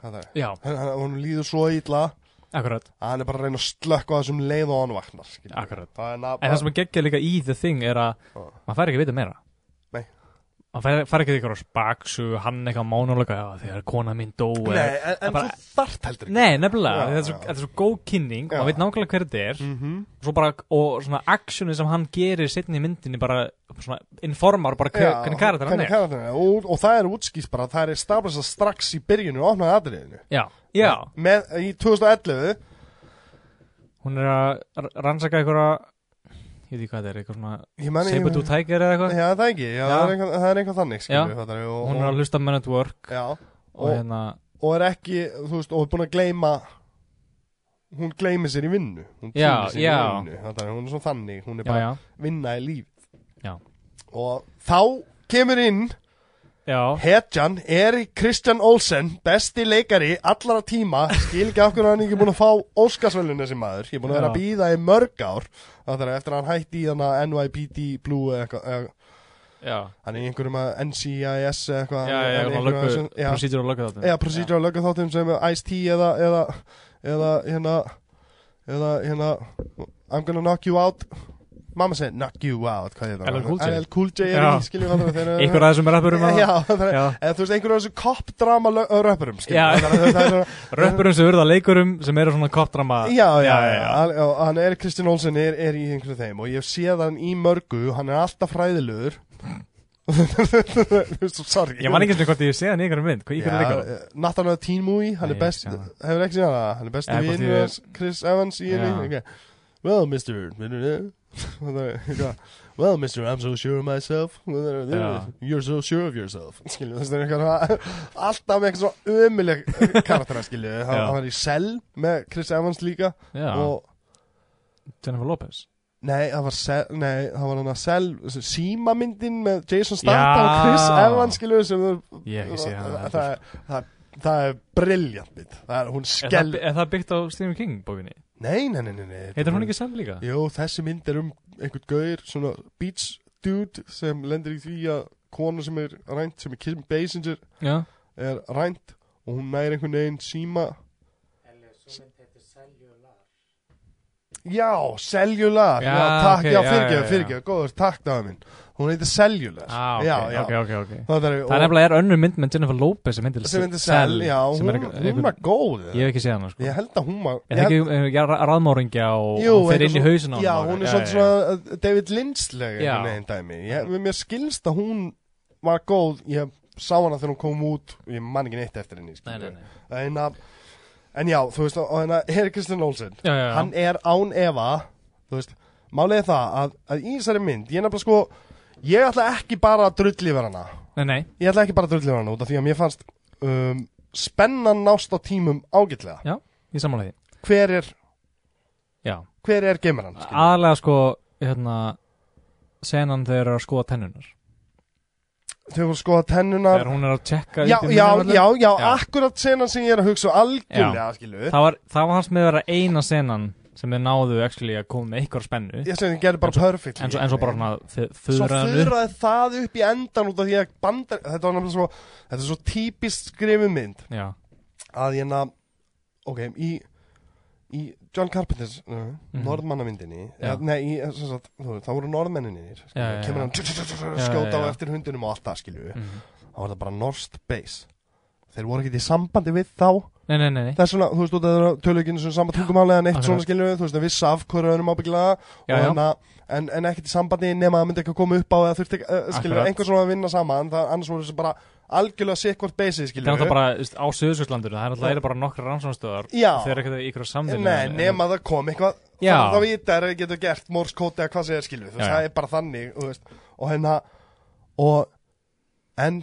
það er
já,
Hann- hann- honum líður svo illa
akkurat
að hann er bara að reyna að slökka á þessum leið og hann vaknar skilur.
Akkurat.
það er nafn
En það sem er geggjað líka í The Thing er að
Já.
maður fær ekki að vita meira
Nei.
Maður fær, fær ekki eitthvað spaksu, hann eitthvað mánulega já, þegar kona mín dó
nei,
eða-
en, en
bara-
þú þart heldur
Nei, nefnilega,
Já,
þetta er svo,
já.
þetta er svo góð kynning
Já.
maður veit nákvæmlega hver þetta er
mm
svo bara, og svona actionið sem hann gerir setni í myndinni bara svona informar bara hver, hvernig karakter hann er
og, og það er útskýst bara það er staflisað strax í byrjunu og opnaði atriðinu
Já, já,
Með, í 2011
hún er að r- rannsaka einhverja ég veit ekki hvað þetta er, eitthvað svona
ég meni,
Saber-Tooth Tiger eða eitthvað
já, það er ekki, já,
Já.
Það, er eitthvað, það er eitthvað þannig skilur,
Já.
við, fattar við, og,
hún er að hlusta Men at Work
og, já,
og,
og-
hérna,
og er ekki þú veist, og er búin að gleyma hún gleymir sér í vinnu hún
Já,
týnir sér í
já.
vinnu, fattar við, hún er svo þannig hún er
já,
bara
já,
vinna í líf
Já.
og þá kemur inn
já
Hedjan er Kristjan Olsen besti leikari allara tíma skil ekki af hvernig hann er ekki búin að fá Óskarsvölinu þessi maður, ég er búin að vera að
Já.
býða í mörg ár það er eftir að hann hætti í þannig NYPD Blue eða eitthvað eða-
já,
hann er í einhverjum að NCIS eða eitthvað hann
já, já,
er í
svona
einhverjum
löggu,
þessum- já,
procedure og löggu þáttum
eða procedure og löggu þáttum sem Ice-T eða, eða eða hérna eða hérna I'm gonna knock you out mamma segir knock you out hvað er það?
LL Cool J.
LL Cool J er
Já.
í skiljum hvað það er
Einhver af þessum rappurum að
Já, það er,
Já.
eða þú veist, einhverjum af þessu cop-drama lö- ö, röppurum,
Já.
skiljum það er, það er, svona-
Rappurum sem verða leikurum sem eru svona kopdrama
já, já, já,
já,
já, Hann- já, hann er, Kristján Olsen er, er í einhverju þeim og ég séð hann í mörgu, hann er alltaf fræðilugur sorry
Ég man ekki eins og hvort ég sé hann í einhverjum mynd Hvað í hverju
Já,
leikur
eh, Nathan of the Teen Movie, hann er
Nei, ég
best
sé það.
hefur ekki séð hana, hann er besti
Eða hvort
vinur
ég-
hans, Chris Evans í henni
Já.
okay. Well, Mr. Það er eitthvað, Well, Mr. I'm so sure of myself Það er- það
Já.
er- You're so sure of yourself Skilju, þess að eitthvað Alltaf með eitthvað svo ömuleg karaktera Skilju, hann
Já.
hann er í Cell með Chris Evans líka
Já,
og
Jennifer Lopez
Nei, það var, sel, nei, það var hann að sel símamyndin með Jason Statham
Já.
og Chris Evans skilur sem þú-
Ég hef ekki séð hana
það, það, það, það er briljant mynd það er hún
Er
skell
það, er það byggt á Stephen King bókinni?
Nei, nei, nei, nei, nei
Heitir hún ekki Sam líka?
Jú, þessi mynd er um einhvern gaur svona beach dude sem lendir í því að kona sem er rænt sem er Kim Basinger
Já
er rænt og hún næri einhvern veginn síma Já, Cellular Já,
Já,
takk, já,
ok, já, já,
fyrirgefðu,
já.
fyrirgefðu, góður, takk dagar minn Hún heitir Cellular
Ah,
já,
ok,
já.
ok, ok, ok
Það er,
Það er nefnilega er önnur mynd með Jennifer Lopez sem heitir
sem heitir Cell, já,
sem
hún,
er
hún
eitthvað-
var
eitthvað-
góð
Ég hef ekki séð hana sko
Ég held að hún var
Er það
ég
ekki um, eh, já, ra- raðmóringja og
Jú,
og fer
eitthvað
inn í
svona-
hausin á
Já,
honum og-
hún er svolítið svona uh, David Lynch-leg
Já.
einhvern veginn dæmi Ég- Mér skilst að hún var góð Ég sá hana þegar hún kom út Og ég man ekki neitt eftir henni
Nei,
skilur.
nei, nei
En, að, en já, þú veist Og hérna, Heri Kristján Olsen
Já, já, já
Hann er án efa Þú veist, málið er það að, að í þessari mynd Ég er nefnilega sko Ég ætla ekki bara að drulli vera hana
Nei, nei
Ég ætla ekki bara að drulli vera hana Út af því að mér fannst um, Spennan nást á tímum ágætlega
Ég sammála því
Hver er,
Já
hver er gameran? skilur?
Aðalega sko Hérna Senan þegar þeir eru að skoða tennunar
Þau voru sko að tennunar
Þegar hún er að tjekka
já,
upp í
já,
minnivöllin.
já, já,
Já.
akkurat senan sem ég er að hugsa algjörlega, skilu
Það var, það var hans með að vera eina senan sem þið náðu actually að koma með ykkur spennu
ég sem þið gerir bara perfect
en svo, en svo bara svona
svo
þurraðinu
þurraði það upp í endan út af því að bandar þetta var nefnilega svo þetta er svo típist skrifu mynd
Já,
að ég na ok, í í John Carpenters uh,
Mhm.
norðmannamyndinni
Já.
eða, nei, í, sem sagt, þú, veist, það voru norðmenninni
Já, já,
kemur
já.
hann
Já,
skjóta á
já, já.
eftir hundunum og allt það skilju
mhm.
það var það bara norskt base þeir voru ekkert í sambandi við þá
nei, nei, nei, nei.
þess vegna, þú veist, út af það tölu ekki einu svona sambandtungumál eða neitt
Akkurat.
svona skilju, þú veist, það vissi af hverju öðrum ábyggilega
Já,
og
já.
hérna, en, en ekkert í sambandi nema að myndi ekki að koma upp á eða þurfti ekki, uh, skilju,
Akkurat.
einhver svona að vinna saman, það annars voru þessi bara algjörlega sikkvort beysið,
Það er
skilju.
alltaf bara þú veist, á Suðsjóðslandur það er alltaf eru bara nokkra rannsóðstöðar
Já.
þeir eru ekkert í ykkur samvinnu
Nei, nema það kom eitthvað,
Já.
þá þá vita er að getur gert morskóti eða hvað segir, skilju, þú veist,
Já, já.
það er bara þannig, þú veist, og hérna, og, en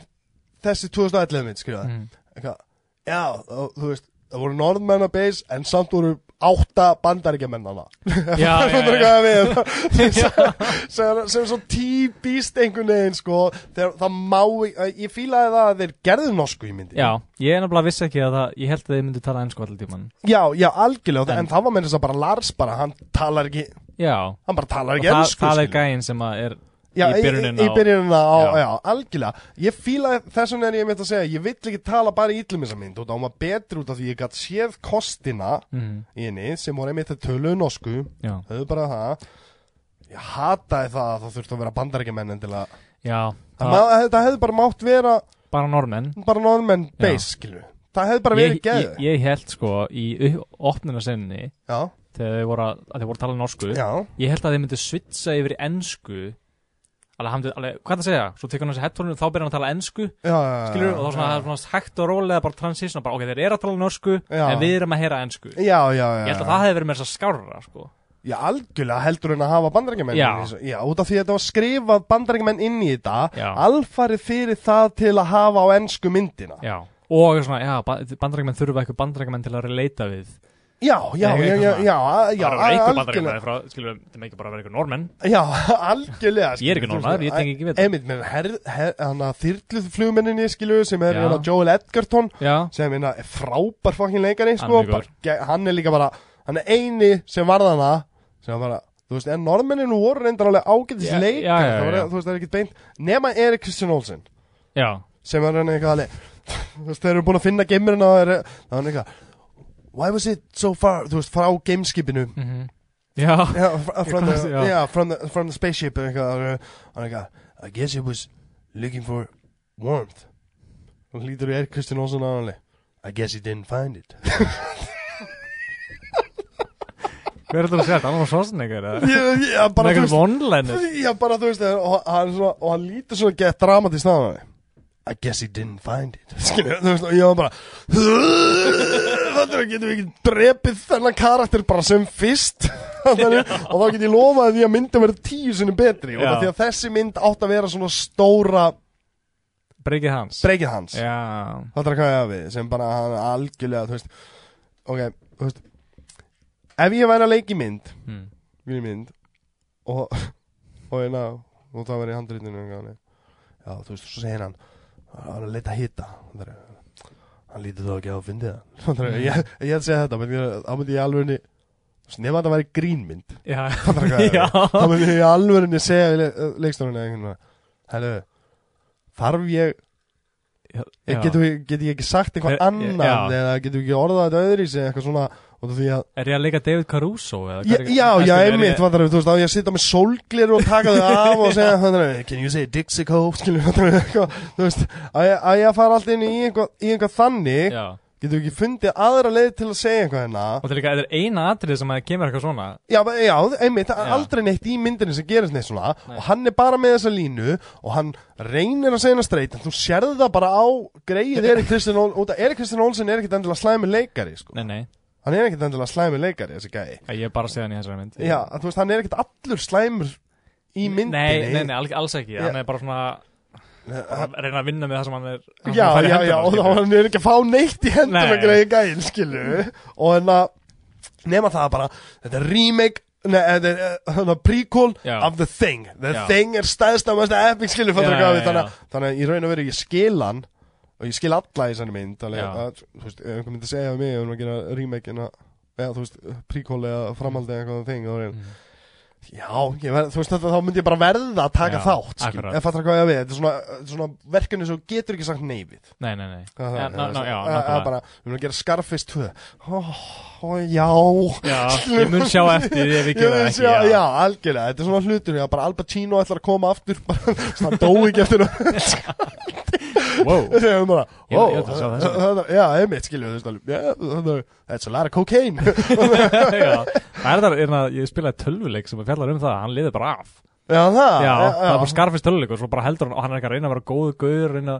þessi 2011 mynd, skilju,
mm.
eitthvað, já, og, þú veist, það voru norðmenn að beis, en samt voru átta bandaríkjamennana.
Já, já,
Það er
já,
hvað við Þú veist, sem, sem svo típist einhvern veginn sko þegar það má, ég ég fílaði það að þeir gerðu norsku í myndi
já, ég er nefnilega viss ekki að það ég held að þið myndu tala ennsku allir tíman
já, já, algjörlega, en,
En-
það var með þess að bara Lars bara, hann talar ekki
Já,
hann bara talar
og
ekki
það,
ensku
það er
skilur.
gæinn sem að er
já,
í byrjunin
í,
á-
í byrjunina á,
Já.
já. algjörlega, ég fílaði þess vegna er ég mitt að segja, ég vill ekki tala bara ítlum þessa mynd, og það var betur út af því ég gætt séð kostina
mm.
í henni sem voru einmitt að töluðu norsku
Já,
höfðu bara það ég hataði það að það þurfti að vera bandarækjumenn til að
já
Það
það,
má, þetta hefði bara mátt vera
bara normenn
bara norðmenn base, skilju. Það hefði bara verið
ég,
geðu.
ég, ég held sko í opnuna senni
Já,
þegar þið voru að, að þið voru að tala norsku
já,
Ég held að þið myndu svitsa yfir í ennsku Alveg, hann, alveg, hvað það segja? Svo tekur hann þessi headphone-inu, þá byrjar hann að tala ennsku
já.
skilur, og þá svona, það er svona hægt og rólega bara transisna, bara ok, þeir eru að tala norsku
Já.
en við erum að heyra ennsku
Já, já, já.
ég held að það hefði verið með þess að skárra sko.
Já, algjörlega heldur hún að hafa bandarækjumenn.
Já.
Já, út af því að þetta var skrifað bandarækjumenn inn í þetta,
Já.
alfarið fyrir það til að hafa á ennsku myndina.
já. og svona, já, bandarækjumenn þurfa eitthvað bandarækjumenn til að releita við
Já, já,
Nei,
já,
eitthvað
já,
svona.
já, já,
það er eitthvað
algjörlega.
bandarækjumenn frá, skilur, það með ekki bara vera eitthvað normenn
Já, algjörlega.
Ég er ekki
skilur, þú
normaður,
veist,
ég tengi ekki við þetta.
Einmitt, menn, herð- herð- hann að þyrluflugmenninni, skilju, sem er
Já.
hérna Joel Edgerton,
já,
sem hérna er frábær fokkin leikari
Hann er
sko,
mjög
bara, ge- hann er líka bara hann er eini sem varð hana sem var bara, þú veist, en norðmennin voru reyndar alveg ágætis
Já,
leikari
já, já,
það var,
já.
þú veist, það er ekkert beint, nema Erik Kristján Olsen
já,
sem var hann eitthvað alveg þú veist, þeir eru búin að finna geimurinn og það er það var eitthvað why was it so far, þú veist, frá gameskipinu
Mhm. já
yeah, fr- uh, from,
Eitthvað,
the,
já.
yeah, from, the, from the spaceship eitthvað, og hann eitthvað uh, I guess it was looking for warmth og hlýtur í Erik Kristján Olsen á hann alveg, I guess he didn't find it
hver er þetta að segja, það var svona eitthvað eða?
ég, ég, ég, bara,
Með
þú
eitthvað
veist,
vonlennu
ég, bara, þú veist og, hann svona, og hann lítur svona gett dramatist á hann I guess he didn't find it Skilja, þú veist, og ég var bara Þannig að getum við ekki drepið þennan karakter bara sem fyrst Þannig, og þá get ég lofað því að myndin verður tíu sinni betri og
Já.
það því að þessi mynd átt að vera svona stóra
breykið hans
breykið hans
já,
Þetta er hvað ég hafa við sem bara hann er algjörlega þú veist, ok, þú veist ef ég væri að leiki mynd
mm.
mínu mynd og, og hérna og það var í handritinu og hann er, já þú veist svo segir hann hann var að leita hita hann er, hann lítið þó ekki á að fyndi það mm. ég, ég hefði segja þetta menn ég- þá myndi ég alveg henni nema þetta væri grínmynd
já,
Fattar hvað ég er?
já
þá myndi ég alveg henni segja le, leikstofnuna einhvern veginn hello þarf ég
Já.
Ég getur get ég ekki sagt eitthvað
Hver-
annað
já.
eða getur ekki orðað þetta öðru í sig eitthvað svona og því að
er ég að leika David Caruso eða
Já,
hver er-
já, já,
er ég-
einmitt, vandrar við, þú veist, á ég að sitja með sólglir og taka þau af og segja, vandrar við, can you say Dixico, skilur, vandrar við, eitthvað, þú veist, á ég á ég að fara allt inn í einhvað, í einhvað þannig,
já,
Getum við ekki fundið aðra leið til að segja eitthvað hérna
Og það er líka, þetta er eina atrið sem að kemur eitthvað svona
Já, ba- já einmitt, það er
Já.
aldrei neitt í myndinni sem gerist neitt svona
Nei.
og hann er bara með þessa línu og hann reynir að segja hana streit en þú sérði það bara á greið Erik Kristján Olsen út að Erik Kristján Olsen er ekkit endilega slæmi leikari sko.
Nei, nei,
hann er ekkit endilega slæmi leikari þessi gæi
ég er bara að segja hann í þessari mynd
Já, að þú veist, hann er ekkit allur slæmur í myndinni
Nei, nei, nei, alls- alls ekki,
Já.
hann er bara svona að reyna að vinna með það sem hann er hann
Já,
fær í
já,
hendurnar,
já, og
skilur.
þá hann er ekki að fá neitt í hendum
Nei.
að greiði gæinn, skilu og hann að nema það bara, þetta er remake Nei, þetta er eh, hana, prequel
Já.
of The Thing The
Já.
Thing er stæðst af mesta epic skilu fattar
Já,
hvað
já,
við, þannig,
já.
að- þannig að í raun og veru ég skil hann og ég skil alla í þessari mynd alveg,
Já.
að, þú veist, ef einhver myndi segja við mig ef við erum að gera remake en að, eða, þú veist, prequel eða framhaldi eða eitthvað þing og
Mm.
Já, ég verð, þú veist þetta, þá myndi ég bara verða að taka
Já,
þátt, skil,
akkurat.
ef fattar hvað ég á við, þetta er svona, þetta er svona verkefni sem þú getur ekki sagt nei við.
Nei, nei, nei
Hvað það
Já,
er,
ná-
það
ná-
er-
já,
það er
nákvæmlega.
bara, við erum að gera Scarface 2 Ó, ó, já
Já, ég mun sjá eftir því ef ég
Ég
gera það
veit
ekki
sjá-
já.
Já, algjörlega, þetta er svona hlutur já, bara Al Pacino ætlar að koma aftur bara, það dó ekki eftir og-
Wow.
Þegar við bara,
Ég-
ó,
ég ætla að sjá þessa.
það- það- Já, einmitt, skiljum við þetta yeah, það- That's a lot of cocaine
Já. Það er það, er það, ég spilaði tölvuleik sem fjallar um það, hann liði bara af
Ah, Já, það
Já, það er bara
já,
skarfist tölvuleik og svo bara heldur hann og hann er ekki að reyna að vera góðu gauður reyna,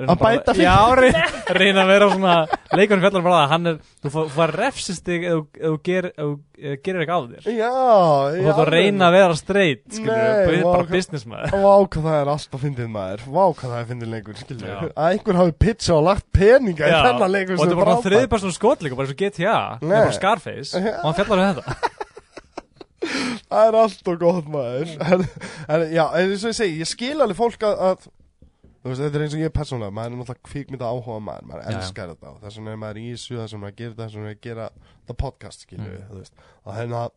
reyna
Að
bara-
bæta fyrir.
Já, reyna, reyna að vera svona leikunum fjallar um bara það, að hann er þú fá- þú fær refsistig ef þú- ef þú ger- ef þú, eh, gerir ekki af þér
já
og þú þú reyna að vera straight skilur,
Nei,
Nei,
vá,
bara
hvað-
business maður
Vá hvað það er alltaf fyndið maður Vá hvað það er fyndið leikur skilur
Já.
við. Að einhver hafi pitcha og lagt peninga í
Já,
þennan leikur
og
sem
þetta er bara
frábær.
þriðpersonu skotleika bara eins og GTA, það
Nei.
er bara Scarface og hann fjallar um þetta
Það er allt og gott maður
Mm.
en, en já, en eins og ég segi, ég skil alveg fólk að, að Þú veist, þetta er eins og ég persónulega Maður er náttúrulega kvikmynda áhuga maður Maður
Já, já.
elskar þetta og þess vegna er maður í þessu Þess vegna er maður að gera þetta, þess vegna er að gera þetta podcast Skilju,
Mm.
þú veist Og hérna,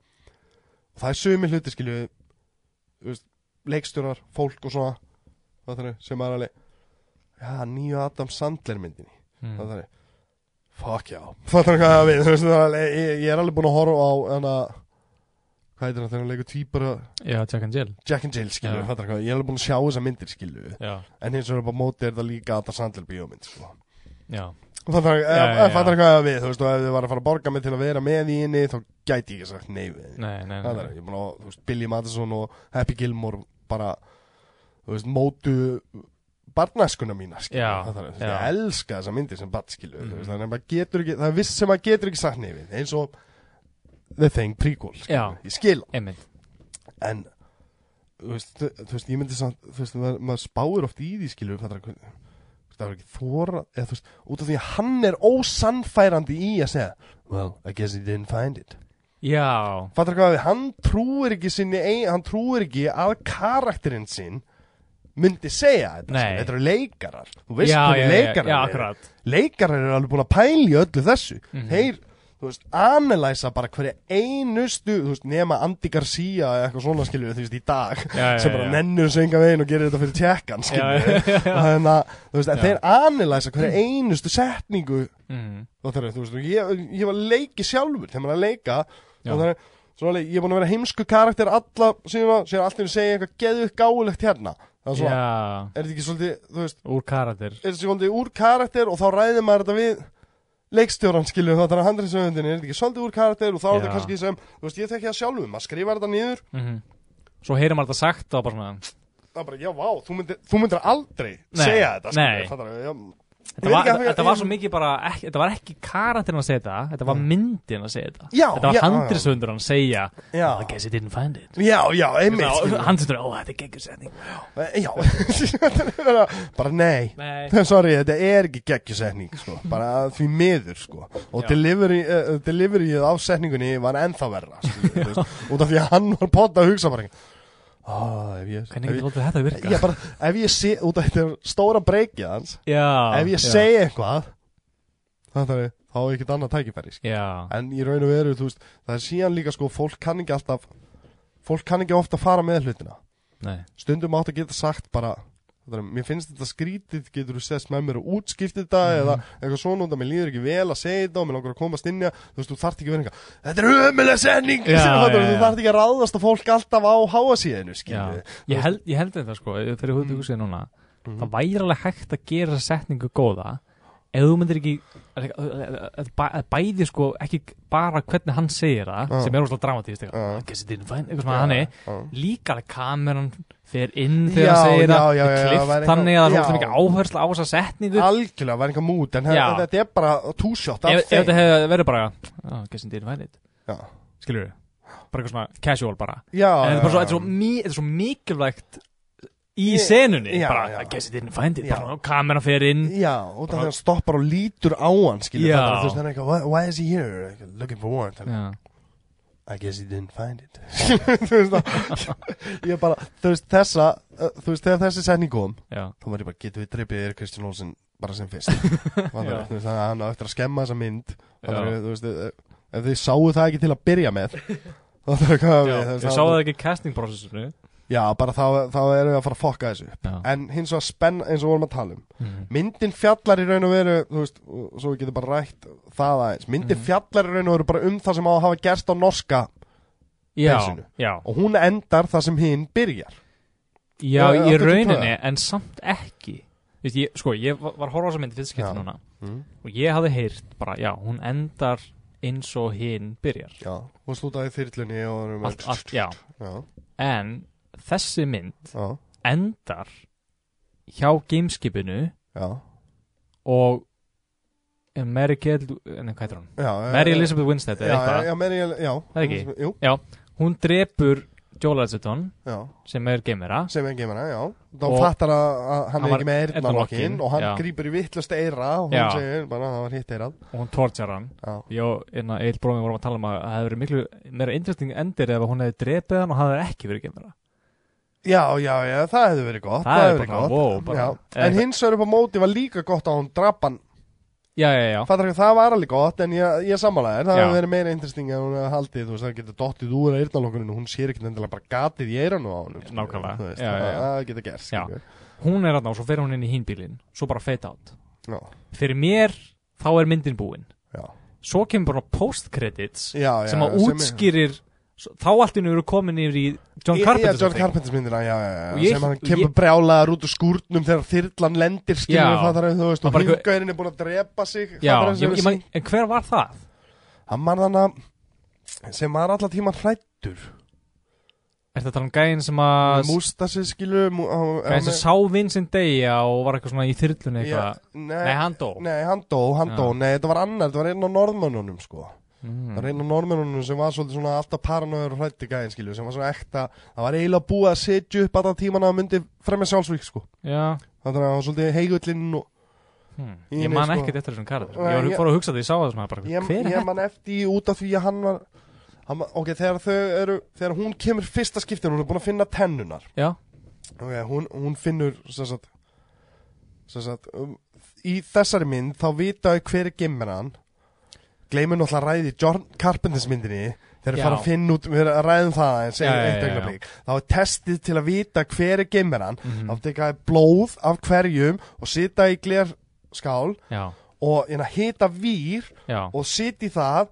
það er sumi hluti skilju Þú veist, leikstjórar, fólk og svona Það er sem maður er alveg Já, nýju Adam Sandler myndinni
Mm.
Það er Fuck já Það er hvað það við þú veist, það er alveg, ég, ég er alveg búinn að horfa á hana, Hvað heitir það þegar hann leikur týpur
Já, Jack and Jill
Jack and Jill skilju
Já.
Ég er alveg búinn að sjá þessa myndir skilju
Já,
En hins vegar bara móti er það líka að það sandlir bíómynd sko.
já,
Það er
Já, já, já.
eh, hvað það við Þú veist og ef þið var að fara að borga mig til að vera með í henni Þá gæti ég ekki sagt nei við henni.
nei, nei,
Það
nei.
er, ég er búinn að, þú veist, Billy Madison og Happy Gilmore bara, þú veist, mótu barnaskuna mína, skilur.
Já,
það er, þú veist,
já.
ég elska þessa myndir sem barn, skilur,
Mhm.
þú veist, þannig að maður getur ekki, það er viss sem maður getur ekki sagt nefið, eins og The Thing prequel, skilur,
Já.
ég skil,
Einmitt,
en, þú veist, þú þú veist, ég myndi samt, þú veist, maður, maður spáir oft í því, skilur, það er, þú veist, það er ekki þóra, eða, þú veist, út af því að hann er ósannfærandi í að segja, well, I guess he didn't find it.
já
Fattar hvað við, hann trúir ekki sinni ein, hann trúir ekki að karakterinn sinn myndi segja þetta
Nei.
skilur. þetta eru leikarar þú veist
já,
hvernig
já, já,
leikarar
Já,
eru
akkurat
leikarar eru alveg búin að pæla í öllu þessu
Mhm.
þeir, þú veist, analysa bara hverja einustu, þú veist, nema Andy Garcia eða eitthvað svona skilju, þú veist, í dag
Já, já,
sem bara
já.
nennur þessu enga veginn og gerir þetta fyrir tjekkan
Já,
skilju
já, já, já.
þannig að, þú veist, að
Já.
þeir analysa hverja einustu setningu
Mm.
og það er, þú veist, og ég, ég var að leiki sjálfur þegar maður er að leika
Já.
og það er, svona, leik- ég er búin að vera heimsku karakter alla síðan að, síðan allt í einu segja eitthvað geðuð gáulegt hérna það er svona,
Já,
er þetta ekki svolítið, þú veist
úr karatir
er þetta svolítið úr karakter og þá ræðir maður þetta við leikstjóran skilju, þá er hann handriðsöfundin er þetta ekki svolítið úr karakter og þá er
Já.
þetta kannski sem þú veist, ég tekja það sjálfur, maður skrifar þetta niður
Svo heyrir maður þetta sagt og bara svona
það er bara, já, vá, þú myndir, þú myndir aldrei
Nei,
segja þetta,
nei.
skilju, fattar já,
Þetta
Ég veit
var,
ekki af
þetta,
hverju-
þetta var svo mikið bara ekki, Þetta var ekki karakterinn að segja þetta Þetta var myndin að segja þetta
Mm. Já,
Þetta var
já, já.
handrisundur að segja "Oh,
Já.
I guess he didn't find it
já, já, einmitt, skilju
Handrisundur, ó, þetta er geggjur setning
já, bara nei
Nei,
Sorry, þetta er ekki geggjusetning sko. bara því miður sko. og
Já.
delivery, uh, deliveryið af setningunni var ennþá verra skilur, þú veist, út af því að hann var potta að hugsa bara oh, ef ég,
hvernig
ef
getur
ég,
látið þetta virka?
ég bara, ef ég sé út af þetta er stóra breykið hans
Já,
ef ég
já.
segi eitthvað þannig að þá er ekkert annað tækifæri skilur.
Já,
en í raun og veru þú veist, það er síðan líka sko, fólk kann ekki alltaf fólk kann ekki ofta fara með hlutina
nei
stundum átt að geta sagt bara það er, mér finnst þetta skrítið, getur þú sest með mér og útskipt þetta
Mhm.
eða eitthvað svona út að mér líður ekki vel að segja þetta og mér langar að komast inn í það, þú veist, þú þarft ekki að vera eitthvað þetta er ömulega senning
Já,
þú
já, já.
þarft ekki að ráðast að fólk alltaf á háasíðinu,
Já,
skilju
ég held, ég
Mm.
held þetta sko, þegar ég hugðu hugsið núna
Mhm.
það væri alveg hægt að gera setningu góða ef þú myndir ekki að bæ- að bæði sko ekki bara hvernig hann segir það
Já.
sem er óslega dramatíst eitthvað,
Já.
I guess it didn't find eitthvað svona þannig,
já.
líka alveg kameran fer inn
Já,
þegar hann segir
já, já,
það
já, já, væri
klift
eitthvað-
þannig að það er
já.
óslega mikið áhersla á þessa setningu
algjörlega var einhver mút en
Já.
þetta þetta er bara túsjótt
ef, ef þetta hefði verið bara oh, I guess it didn't find it,
já,
skilur við bara eitthvað svona casual bara
já,
en þetta er bara svo,
já.
þetta er svo, mi, þetta er svo mikilvægt í
Ég-
senunni
já,
bara,
já.
I guess it didn't find it
Já.
bara, kameran fer inn
já, og þannig að hann stoppar og lítur á hann skilur
Já.
þetta þú veist hann er eitthvað why, why is he here Eitthvað, looking for warrant
já,
I guess he didn't find it þú veist það ég bara þú veist þessa uh, þú veist þegar þessi setning kom
já,
þá var ég bara getur við drippið yfir Kristján Olsen bara sem fyrst þannig
Já.
að hann á eftir að skemma þessa mynd
já.
þannig að þú veist eh, ef þið sáu það ekki til að byrja með þá þarf að koma
Já,
við þú
ég
veist,
sá
þá-
það ekki í castingprosessinu
já bara þá, þá erum við að fara að fokka þessu upp. en hins vegar spenn eins og við vorum að tala um
Mhm.
myndin fjallar í raun og veru þú veist, og svo við getum bara rætt það aðeins myndin
Mhm.
fjallar í raun og veru bara um það sem á að hafa gerst á norska
Já,
Persínu.
já,
og hún endar það sem hinn byrjar
já,
Já,
í
áttu
rauninni en samt ekki Vist, ég, Sko, ég var var að horfa á þess að myndi fyrst skipti
Já.
núna
mm.
og ég hafði heyrt bara, já, hún endar eins og hinn byrjar
já, hún slútaði þyrlunni og erum
allt, allt, Já,
já,
en þessi mynd
já,
endar hjá gameskipinu
já,
og eh, Mary Kjell, nei, hvað heitir hún?
já
Mary
eh,
Elizabeth Winstead
já,
eða
já,
eitthvað
já, Mary El- já,
Það er ekki?
jú,
Hún drepur Joel Edgerton
já,
sem er gamera
sem er geimana, já þá
Og-
fattar að að hann
Hann
er
var
ekki með eyrnalokkin
eyrnalokkin,
og hann
já.
grípur í vittlust eira og hún
Já.
segir bara að það var hitt eirað
og hún tortjar hann
já,
Jó, einna Egil Brómi vorum að tala um að það hefði verið miklu meira interesting endir ef hún hefði drepið hann og hann hefði ekki verið gemara.
Já, já, já, það hefði verið gott
Það er
hefði
bara,
verið
wow, bara.
Já, En hins vegar upp á móti var líka gott að hún drap hann
Já, já, já.
Fattar ekki, það var alveg gott En ég, ég sammála þér, það
Já.
hefði verið meira interesting En hún hefði haldið, þú veist, það getur dottið úr eyrnalokkuninu Hún sér ekki endilega bara gatið í eyranu á hann
Nákvæmlega.
þú veist,
Já,
það,
já, já.
það getur gerst
Já.
skilur.
Hún er aðna og svo fer hún inn í hínbílinn, svo bara fade out.
Já.
Fyrir mér, þá er myndin búin.
Já.
Svo kemur bara post-credits
Já, já,
sem að
já,
útskýrir, svo- þá allt innu eru komin yfir í John
Í-
Carpenter.
Já, John Carpenter myndina, já, já, já,
Og ég-
sem hann
og
kemur
ég-
brjálaðar út úr skúrnum þegar þyrlan lendir skilur
Já.
það þar þú veist,
Og
og
bara einhver-
hringaurin er búin að drepa sig
Já,
fattar
ég,
þú,
ég man, en hver var það?
hann var þannig sem var alltaf tíma hrættur
Er þetta um gæðin sem að,
Mústasi skilu mú,
gæðin sem sá Vincent Deja og var eitthvað svona í þyrlunni eitthvað?
nei,
Nei, hann dó.
nei, hann dó, hann
Já.
dó Nei, þetta var annar, þetta var einn á norðmönnunum sko. Það
Mm.
var einn á norðmönnunum sem var svolítið svona alltaf paranoður og hrætti gæðin skilu sem var svona ekta Það var eiginlega búið að setja upp allan tíman að myndi fremja sjálfsvík sko.
Já.
Þannig að það var svolítið heigullinn og
Hmm.
Í
Ég
henni,
man
sko.
ekkert eftir þessum karakter
Nei,
Ég var
ég-
fór að hugsa því, ég sá það sem að bara
ég,
Hver er
ég man eftir því út af því að hann var hann, var- Ok, þegar þau eru Þegar hún kemur fyrsta skiptin, hún er búin að finna tennunar
Já,
Ok, hún, hún finnur sem sagt, sem sagt, um, í þessari mynd þá vita þau hver er gimmeran gleymur náttúrulega að ræði John Carpenters myndinni þegar
Já.
við fara að finna út, við erum að ræðum það eins,
Já,
já,
já,
eitt
já,
augnablik þá er testið til að vita hver er gimmeran mm -hmm.
Mhm.
þá tekaði blóð af hverjum og sita í glerskál
já,
og hérna, hita vír
já
og sita í það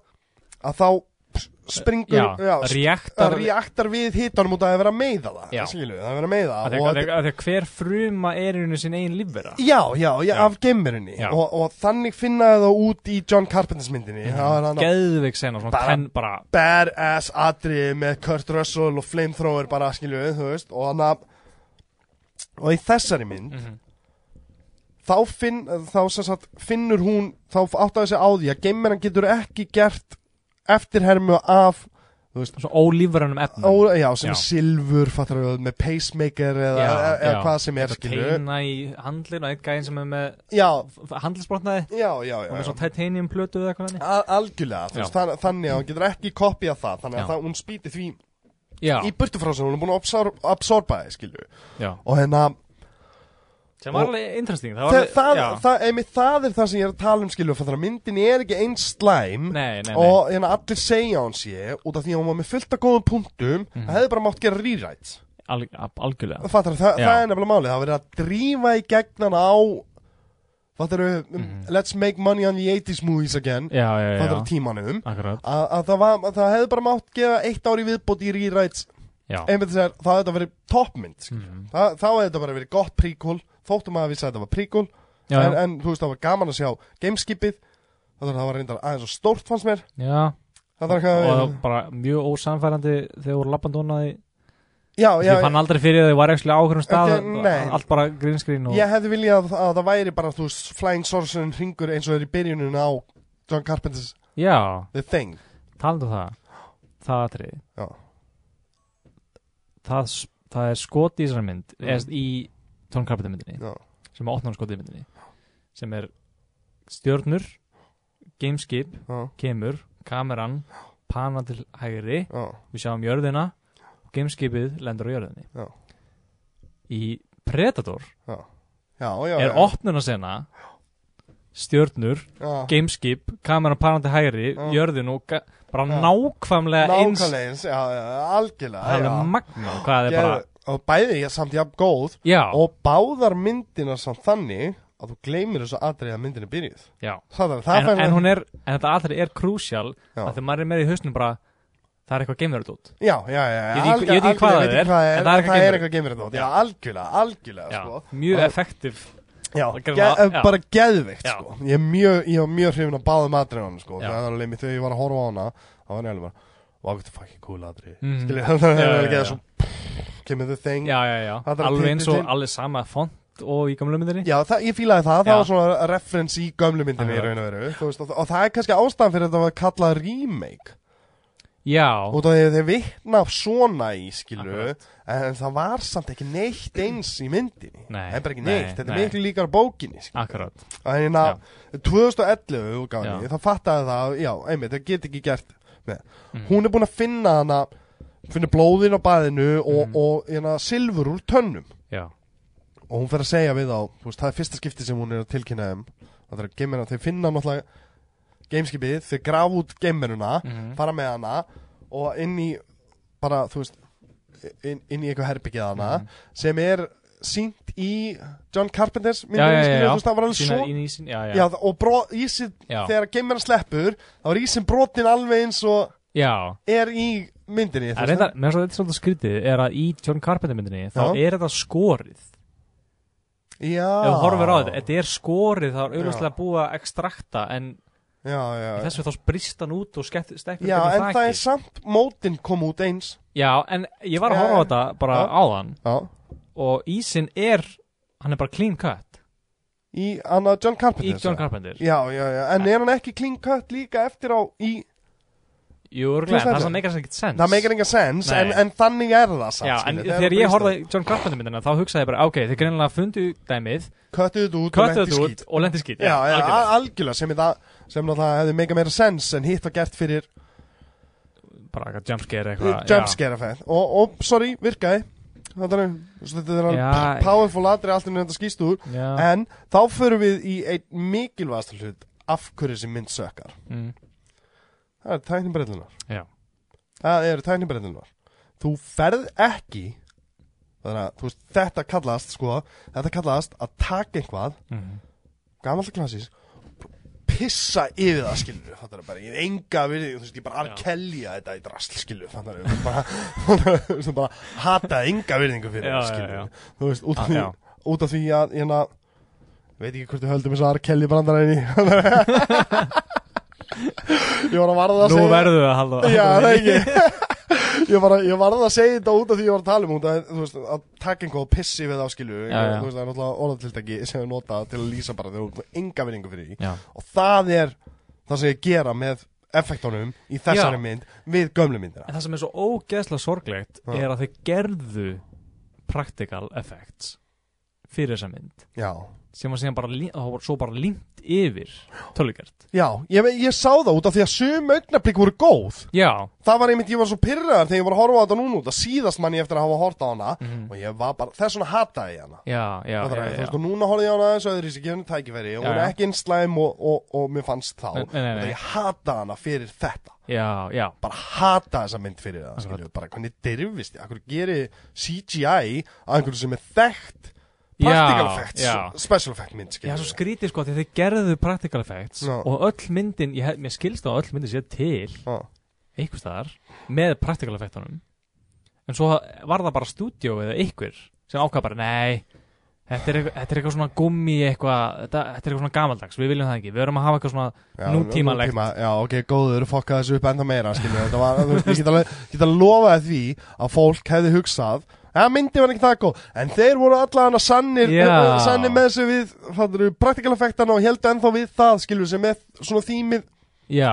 að þá springur
Já,
sp-
reaktar
reaktar við hitanum út að það er verið að meiða
Já.
það skilju, það er verið að meiða það og þetta-
Þegar hver fruma er í hennu sin einn lífvera
Já, já, já,
Já.
af gemmurinni
Já.
og, og þannig finnaði það út í John Carpenters myndinni
Mhm.
Það var hann að
Geðveik sena, svona
Bara-
tenn bara
badass atriði með Kurt Russell og Flamethrower bara, skilju, þú veist og hann að og í þessari mynd
Mhm.
þá, finn, þá sem sagt, finnur hún þá áttaði sig á því að gemmurin getur ekki gert eftirhermu af
Svo ólífveranum efnum
Ó, já, sem
Já.
er silfur, fattar við, með pacemaker eða,
Já,
eða
já.
hvað sem er,
Þetta
skilju
Teina í handlinu, einn gæðin sem er með
Já,
handlisbrotnaði
já, já, já,
Hún er
já.
svona titanium plötu eða eitthvað þannig.
Al- algjörlega, þú veist, þann, þannig að hún getur ekki kopja það, þannig
Já.
að það, hún spýti því
Já,
í burtu frá sér, hún er búin að absorb, absorba það, skilju,
já
og hérna
Sem var alveg interesting Það,
það,
var
það,
alveg-
það,
já.
einmitt, það er það sem ég er að tala um, skilju, fyrir að myndin er ekki eins slæm
Nei, nei, nei
og hérna allir segja hún sé út af því að hún var með fullt af góðum punktum,
Mhm.
það hefði bara mátt gera rewrite,
Al, al, Algjörlega
fattar, það,
Já.
það er nefnilega málið, það var verið að drífa í gegnan á, fattar, let's make money on the 80s movies again,
Mhm. Já, já, já,
fattar,
já
tímanum,
Akkurat
að, að, það var, að það hefði bara mátt gefa eitt ári viðbót í rewrites
Já
einmitt þess að það hefði þetta verið toppmynd mm.
Mhm.
um það, þá hefði þetta bara verið gott príkól þóttum að við sagði þetta var príkól
já,
en,
já,
en þú veist það var gaman að sjá gameskipið það var- það var reyndar aðeins og stórt fannst mér
já
það var
og
eitthvað
það var bara mjög ósamfærandi þegar voru lappandónaði
já, já,
ég fann aldrei fyrir að þau var ekki á okkur um stað
Ekki- nei.
allt bara grinskrín og
ég hefði viljað að, að það væri bara þú veist flying sorcerer ringur eins og er í byrjunum á John Carpenter's
já,
The Thing
talandu um það það atrið
Já.
það, s- það er skot í þessari mynd
Mm.
eða í Tom Carpenter myndinni
Já.
sem er opnan skot í myndinni sem er stjörnur gameskip
já,
kemur, kameran pana til hægri,
já,
við sjáum jörðina og gameskipið lendur á jörðinni
Já.
í Predator
já, já,
er
já,
opnunarsena stjörnur
já.
gameskip, kameran parandi hægri
Já.
jörðin og ga- bara
Já.
nákvæmlega eins
nákvæmlega eins já, já, algjörlega
það
já.
er magna hvað er bara,
Gerðu- og bæði ég samt jafn góð
já,
og báðar myndina samt þannig að þú gleymir þessu atrið að myndin er byrjuð
já
það er það
en,
fær-
en hún er, en þetta aðri er krúsjál
Já.
að þegar maður er með í hausnum bara það er eitthvað geimverut út
já, já, já,
Ég veit ekki-
algjör-
ég veit ekki hvað
algjörlega,
það
veit ekki
er, en það er eitthvað geimur.
eitthvað geimur þetta já, algjörlega, algjörlega sko.
mjög
Og-
effektiv
Já,
Það
ge
gerir það- já.
bara geðveikt
Já.
sko. Ég er mjög, ég var mjög hrifin að báða matrið á hann sko.
Já.
Það er alveg mér þegar ég var að horfa á hana Það var nefnilega bara, wow, þetta er fucking cool atrið
Mhm.
Skilja, það
Já,
er
já,
ekki
já.
það svo pff, Kemur þið þeng
já, já, já,
Það þarf að
alveg eins og
titillinn-
alveg sama font og í gamla myndinni
Já, það, ég fílaði það,
Já.
það var svona reference í gömlu myndinni í
Akkurat.
raun og veru þú veist, og, og það er kannski ástæðan fyrir að þetta var kallað remake
já,
Út af því að þeir vitna svona í skilu
Akkurat.
En það var samt ekki neitt eins í myndinni
Nei,
Það er bara ekki
nei,
neitt, þetta
nei.
er miklu líkar bókinni skilu.
akkurat
að hérna 2011 útgáðinni,
Já.
þá fattaði það já, einmitt, það get ekki gert með.
Mhm.
hún er búin að finna hana finna blóðin á baðinu og,
Mhm.
og hérna, silfur úr tönnum
já,
og hún fer að segja við þá, þú veist, það er fyrsta skipti sem hún er að tilkynna þeim það er að geimina, þeir finna náttúrulega gameskipið, þeir grafa út geiminuna
Mhm.
fara með hana og inn í bara, þú veist inn, inn í eitthvað herbyggið hana
Mhm.
sem er sínt í John Carpenters
já, já,
myndinni,
já,
skilur,
já.
þú veist, það var alveg
Sýna
svo
inn í sín- já, já,
Já, þa- og bró, ísinn,
Já.
þegar geimverðan sleppur þá er ísinn brotin alveg eins og
já.
er í myndinni
En reyndar, með þess að þetta er svolítið skrítið er að í John Carpenter myndinni þá
Já.
er þetta skorið ef
Já
þú horfir á þetta, þetta er skorið þá er auðvitað búið að ekstrakta en
Já, já,
í
já
þessu þá brist hann út og skekk- stekkur
Já,
gegnum
en það
þakið.
er samt mótin kom út eins
Já, en ég var að horfa á
Já,
þetta bara
já.
áðan
Já
og ísinn er, hann er bara clean cut
Í annað John
í
Carpenter
John
sagði.
Carpenter
Já, já, já, en er hann ekki clean cut líka eftir á í
Jú,
Þú
örugglega, en
sagði
það sem meikar sem ekkert sens
Það meikir enga sens,
Nei.
en, en þannig er það samt
Já, en þegar ég horfði á John Carpenter myndina þá hugsaði ég bara, ok, þeir greinlega fundu dæmið
Köttuðu þetta út og
köttuðu þetta
lenti í
út og lendi skýt
Já, já, algjörlega sem, það, sem náttúrulega hefði meika meira sens en hitt var gert fyrir
bara eitthvað jumpscare eitthvað Ah, já.
jumpscare effect og, og sorry, virkaði þetta er, þetta er
Já,
alveg powerful atrið allt um þetta skýst úr
Já,
en þá förum við í einn mikilvægasta hlut af hverju þessi mynd sökkar
mm,
það eru tæknibreillunar
já,
það eru tæknibreillunar þú ferð ekki þannig að þú veist, þetta kallast sko, þetta kallast að taka einhvað
mhm,
gamalt klassís pissa yfir það skilur fattar það bara, ég er enga við þú veist, ég bara
Já.
arkellja þetta í drasl skilur fattar það, bara, þú veist, bara hata enga virðingu fyrir
Já,
það
já,
skilur
já.
þú veist, út af
Ah,
því
já.
út af því að, hérna ég veit ekki hvort við höldum þess að arkellja brandaræni ég var að varða að
Nú
segja
verður það að halda
já, það ekki ég var, að, ég var að segja þetta út af því ég var að tala um hún að, þú veist, að taka einhvað og pissi við þá skilu
Já, já.
þú veist, það er náttúrulega orðatiltæki sem við nota til að lýsa bara þegar þú er enga vinningu fyrir því
Já,
og það er það sem ég gera með effektunum í þessari
Já.
mynd við gömlu myndina
en það sem er svo ógeðslega sorglegt
Já.
er að þeir gerðu practical effects fyrir þessa mynd
já,
sem var síðan bara, lí- það var svo bara límt yfir tölugert
já ég, ve- ég sá það út af því að sum augnablik voru góð
Já,
það var einmitt, ég var svo pyrraðar þegar ég var að horfa á þetta núna út að síðast mann ég eftir að hafa horta á hana
Mhm.
og ég var bara, þess vegna hataði ég hana
já, já,
Það
já,
er, þú
já.
veist, og núna horfði ég á hana aðeins öðru í sig gefinu tækifæri og
Já,
hún er
já.
ekki eins slæm og, og, og mér fannst þá
Nei, nei, nei,
og
nei.
ég hata hana fyrir þetta
já, já,
bara hata þessa mynd fyrir það skilju, bara hvernig dyrfist ég, hvernig gerir CGI að einhverju sem er þekkt practical
Já,
effects,
já.
special effect mynd
Já,
skilju
svo skrítið sko því þeir gerðu practical effects
Já.
og öll myndin, ég, hef- mér skilst á öll myndin sé til
Já,
einhvers staðar með practical effectunum en svo var það bara stúdíó eða einhver sem ákvað bara nei, Þetta er, eitthvað, þetta er eitthvað svona gummi eitthvað, þetta, þetta er eitthvað svona gamaldags, við viljum það ekki, við erum að hafa eitthvað svona,
Já,
Nútímalegt.
nútíma- Já, ok, góður, fokka þessu upp enda meira skilur, þetta var, þú veist, ég get alveg get að lofa því að fólk hefði hugsað Já, myndi var ekki það góð En þeir voru allan að sannir
Já.
Sannir með þessu við, fattur við, praktikal effektana Og heldur ennþá við það, skilur sem er svona þýmið
já,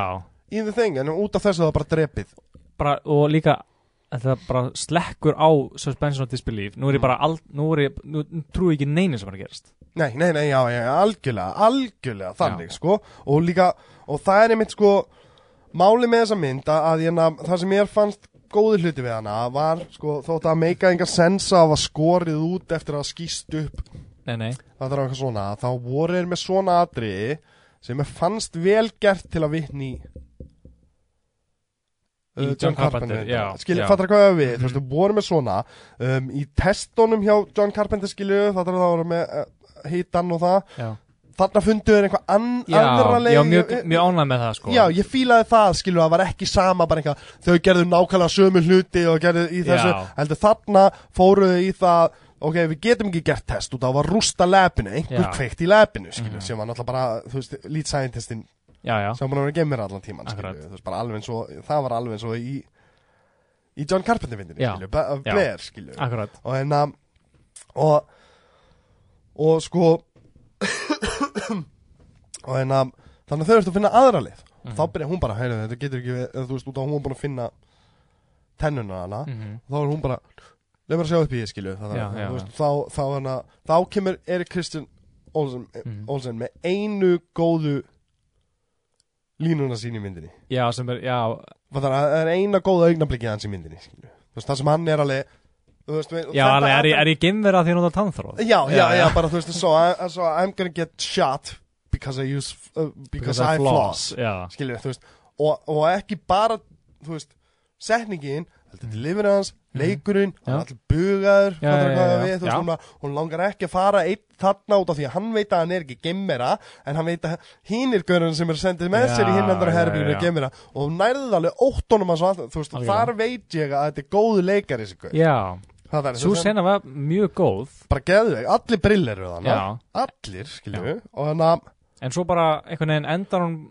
í the thing En út af þessu það var bara drepið
bara, og líka, þetta bara slekkur á suspension of disbelief, nú er ég bara, all, nú er ég, nú nú trúi ég ekki neinu sem er að gerast.
Nei, nei, nei, já, já, já, algjörlega, algjörlega þannig, sko, og líka og það er einmitt, sko máli með þessa mynd að, að hérna, það sem mér fannst góði hluti við hana var, sko, þótt að meika enga sensa að var skorið út eftir að það skýst upp
Nei, nei,
það er eitthvað svona, þá voru þeir með svona atriði sem er fannst vel gert til að uh, vitni
Í John Carpenter, já,
skilja,
já. Mhm.
fattar hvað ég á við, þú veist, þú voru með svona um, í testunum hjá John Carpenter skilju, fattar það voru með uh, hitan og það,
já,
þarna fundu þeir einhvað an,
já,
aðra leið eh,
já, mjög, mjög ánæg með það, sko.
Já, ég fílaði það, skilur, það var ekki sama bara eitthvað, þau gerðu nákvæmlega sömu hluti og gerðu í þessu,
Já.
heldur þarna fóruðu í það, ok, við getum ekki gert test út af að rústa labinu, einhver
Já. Mhm.
kveikt í labinu, skilur, sem var náttúrulega bara, þú veist, lead scientistinn
já, já,
sem var búin að vera geimur allan tíman, skilur,
Akkurat.
þú veist, bara alveg eins og, það var alveg eins og í, í John Carpenter-vindinni,
Já.
skilur, Ba-
Já.
Blair, skilur,
akkurat,
og hérna og og sko og hérna þannig að þau ertu að finna aðra leið
Mhm.
og þá byrja hún bara, heyrðu, þetta getur ekki verið- eða þú veist, út af hún er búin að finna tennuna hana
Mhm.
og þá er hún bara leið mér að sjá upp í ég skilu það,
Já, já,
þú veist, þá, þá, hana, þá kemur Erik Kristján Olsen,
Mhm.
Olsen með einu góðu línuna sín í myndinni
já, sem er, já,
Það er, það er eina góða augnablikið hans í myndinni skilu. Þú veist, það sem hann er alveg þú veist, við-
já,
þetta
alveg, er ég,
atrið-
er ég gemverið að því að nota tannþróð?
já, já,
Já,
já,
já.
bara þú veist so, I, so I'm gonna get shot because I use uh, because, I floss,
Já,
skilur þú veist og, og ekki bara, þú veist setningin, heldur delivery hans leikurinn, hann er
Mhm. Já.
allir bugaður
Já,
fattar hvað
já, já,
það
já.
við, þú veist,
Já.
hún, la- hún langar ekki að fara einn þarna út af því að hann veit að hann er ekki gemmera, en hann veit að hínir görun sem eru sendið með
Já,
sér í hinn endur
já,
herrbílinu
já.
gemmera og hún nærði það alveg óttónum hans og allt, þú veist, og
Algjörlega.
þar veit ég að þetta er góðu leikari þessi gaur.
já,
Það er-
svo
þetta-
sena var mjög góð,
bara geðveik, allir brillir við hana
já,
allir, skilju, og hann að
en svo bara einhvern veginn endar hún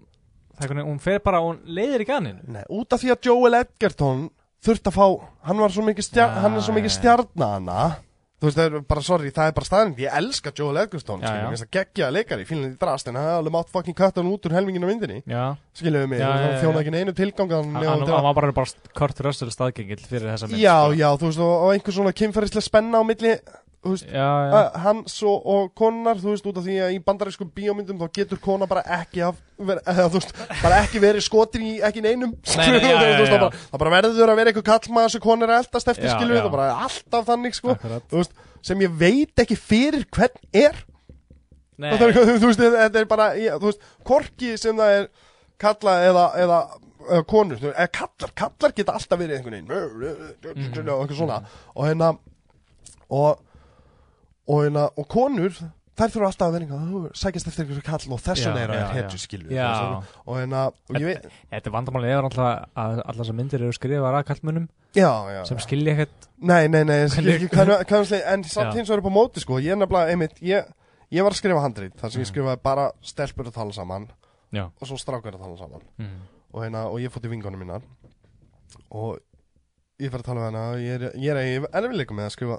það einhvern veginn, hún fer bara, hún leiðir í ganinu
nei, út af því að Joel Edgerton þurft að fá, hann var svo mikið stjar,
Já,
hann er svo mikið
já, já.
stjarna hana þú veist, það er bara, sorry, það er bara staðnind ég elska Joel Edgerton,
Já, já.
skilju, það geggja leikari, fílinn í drast, en hann hefði alveg mátt fucking kött hann út úr helminginu á myndinni,
já,
skilju mig
Já, já,
hann
já,
þjóna
já.
ekki einu tilgang hann,
hann,
hann,
hann var bara, bara Kurt Russell staðgengill fyrir þessa mynd
já,
sko.
já, þú veist, og, og einhver svona kynferðislega spenna á milli, þú veist
já, já,
Uh, hans og, og konar, þú veist, út af því að í bandarískum bíómyndum þá getur kona bara ekki haf, ver, eða, þú veist, bara ekki verið skotin í ekki neinum,
Nei, nei, já,
Þú veist, það
já, já.
bara, það bara verður að vera einhver kallmaður sem konar er eldast eftir
Já,
skilur
já.
það bara er alltaf þannig, sko
Akkurat.
þú veist, sem ég veit ekki fyrir hvern er
Nei,
það er, eitthvað, þú veist, þetta er bara ég, þú veist, korki sem það er kalla eða, eða eða konur, þú veist, eða kallar, kallar geta alltaf verið einhvern veginn mm. og eitthvað svona og hérna og og, hérna, og konur þær þurfa alltaf að vera einhvern veginn sækjast eftir einhverju kall og þess
Já,
vegna er að
já, já.
hetju skilju
Já.
og hérna, og ég veit
þetta vandamálið er alltaf að allar þessar myndir eru skrifaðar að kallmönnum
já, já,
sem skilja ekkert
nei, nei, nei, skilju
Hvernig-
ekki kann- kannski, en
Já.
samt hins vegar upp á móti sko, ég er nefnilega, einmitt, ég ég var að skrifa handrið, þar
Mm.
sem ég skrifaði bara stelpur að tala saman
já,
og svo strákar að tala saman
mm.
og, hérna, og ég fótt í vingunum mínar og ég fer að tala við hana og ég er, ég er í erfileikum með að skrifa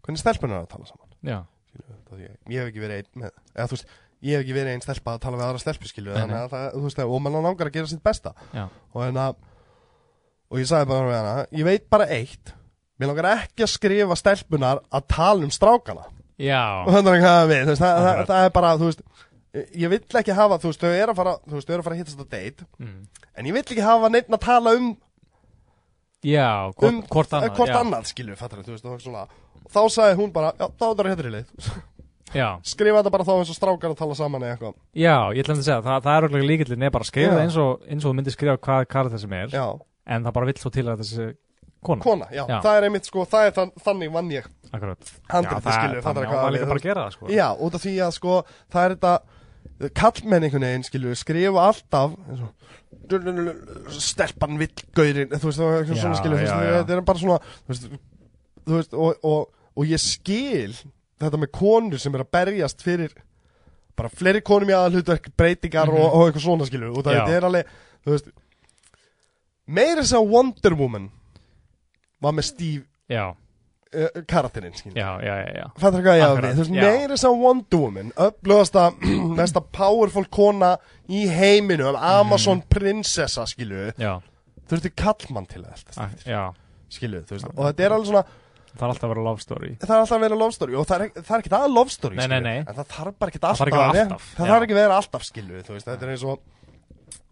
hvernig stelpunar er að tala saman
já,
skilju, það ég, ég hef ekki verið einn með, eða þú veist ég hef ekki verið einn stelpa að tala við aðra stelpu skilju
Nei, nei.
þannig að það, þú veist, og mann á langar að gera sitt besta
já,
og hérna og ég sagði bara við hana, ég veit bara eitt mér langar ekki að skrifa stelpunar að tala um strákana
já
og þannig að hafa við, þú veist, það, það,
Akkurat.
það er bara þú veist, ég vill ekki hafa, þú veist, þau eru að fara þú veist, þau eru að fara að hittast á date
mm.
En ég vill ekki hafa neitt að tala um
já, hvort,
Um,
hvort
eh,
annað
hvort
já,
annað, skilju, fattar þú veist, og svona og þá sagði hún bara, já, þá er þetta hættri leið
já,
skrifa þetta bara þá eins og strákar að tala saman eða eitthvað,
já, ég ætlum að segja það, það er auðvitað líkillin er bara að skrifa
Já.
það eins og, eins og þú myndir skrifa hvað karakter sem er
já,
en það bara vill svo til að þessi kona
kona, já,
Já.
það er einmitt sko, það er þann, þannig vann ég
akkurat,
handrið,
það-
skilju,
þannig
fattar
á maður
hvað
líka
við,
bara að gera það sko
já, út af því að sko, það er þetta kallmenn einhvern veginn, skilju, skrifa alltaf eins og stelpan vill gaurinn, þú veist, og eitthvað
Já,
svona skilju, þú veist,
já, já.
þetta er bara svona þú veist, þú veist og, og, og ég skil þetta með konur sem er að berjast fyrir bara fleiri konum í aðalhutverk breytingar og, og eitthvað svona skilur og það
Mhm. Já.
þetta er alveg, þú veist meira þess að Wonder Woman var með Steve
já,
uh, karakterinn skilur
já, já, já, já.
Fattar hvað ég að
Akkurat,
við, þú veist,
já.
meira þess að Wonder Woman upplöðasta, mesta powerful kona í heiminu,
Mhm.
en Amazon prinsessa, skilju
Já,
þú veist, kallmann til þetta,
ak- já,
skilju, þú veist og þetta er alveg svona,
það er alltaf að vera love story
það er alltaf að vera love story og það er, ekki- það er ekki að love story,
Nei,
skilju
nei, nei.
en það þarf bara ekki alltaf
þarf ekki að vera
vera-
alltaf,
það
já.
þarf ekki að vera alltaf, skilju þú veist, þetta er eins og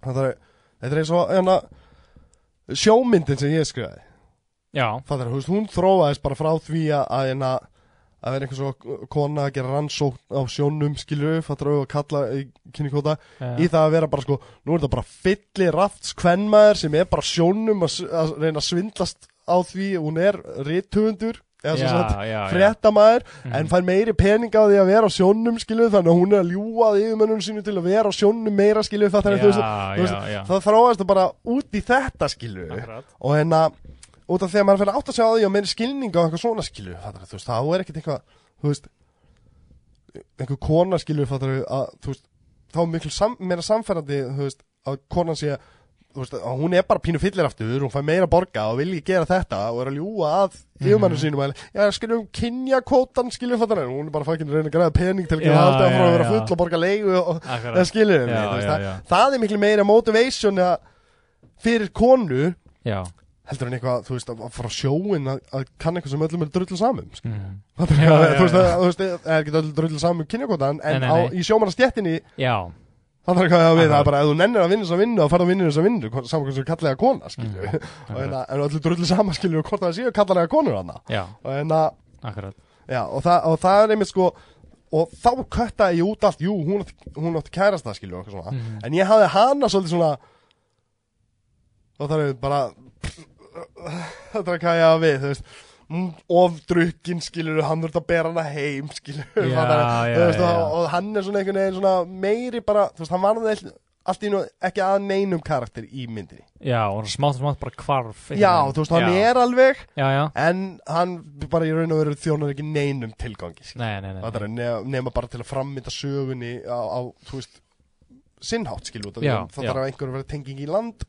þetta er, þetta er eins og, hérna sjómyndin sem ég skrifaði
Já,
Það er, þú veist, hún þróaðist bara frá því að að, hérna, að vera einhvers og kona að gera rannsókn á sjónum skilur, fattur og kalla kynnikóta í
já,
það að vera bara sko, nú er það bara fyllir rafts kvenmaður sem er bara á sjónum að, s- að reyna að svindlast á því hún er rithöfundur eða svo sagt
já, já,
fréttamaður
Mhm.
en fær meiri peninga á því að vera á sjónum skilur þannig að hún er að ljúga að yfirmönnum sínu til að vera á sjónum meira skilur það,
já,
er, þú veist,
já,
þú
já, já.
það þróaðist það bara út í þetta skilur
Akkurat.
og hérna út af því að maður fyrir átt að sjá á því og meiri skilning á eitthvað svona skilju fattar, þú veist, þá er ekkert eitthvað þú veist, einhver kona skilju fattar, að, þú veist, þá er miklu sam, meira samferðandi þú veist, að konan sé þú veist, að hún er bara pínu fyllir aftur hún fær meira að borga og vilji gera þetta og er að ljúa að
Mhm.
yfirmannum sínum að, já, um skiljum, kynja kótan skilju fattar, en hún er bara fækinn að reyna að græða pening til að gera
Já,
alltaf frá að
já,
vera
já.
full og borga leigu og,
Akkurat.
það skilur við
Já,
mig, þú veist,
já,
það-
já.
það er miklu meira motivation að, fyrir konu
Já,
heldur en eitthvað, þú veist, að að fara á sjóin að, að kann eitthvað sem öllum er drullu samum skilur.
mhm.
Fattar
Já,
hvað,
já,
þú veist,
já.
að- þú veist, það er ekki öll drullu samum kynjakvotan, en
Nei, nei,
á,
nei.
í sjómanastjettinni
já,
þannig að hvað ég á við, það
Akkurat.
er bara, ef þú nennir að vinna þess að vinna og farð að vinna þess að vinna, saman hvernig sem kallega kona skilju,
Mm.
og en, en öllu drullu saman skilju og hvort það séu kallega konur hana
já,
og hérna, en að
akkurat
Já, og, þa og það er einmitt sko og þá köttaði ég út allt jú, hún átti, hún átti kærasta skilju okkur svona
Mhm.
en ég hafði hana svolítið svona þá þarf ég bara þetta er hvað ég hafa við þú veist mm, ofdrukkin skilur, hann þurft að bera hana heim skilur
Já, já,
veist,
já.
Og, og hann er svona einhvern veginn svona meiri bara, þú veist, hann varði all- allt í nú ekki að neinum karakter í myndinni
Já, og smátt og smátt bara hvarf einhvern
já,
veginn.
þú veist, hann
já.
er alveg
Já, já,
en hann bara í raun og veru þjónar ekki neinum tilgangi skilur
nei, nei, nei, nei.
Það er nema, nema bara til að frammynda sögunni á, á þú veist, sinnhátt skilur út af því
Já,
að það
já.
þarf einhver að vera tenging í land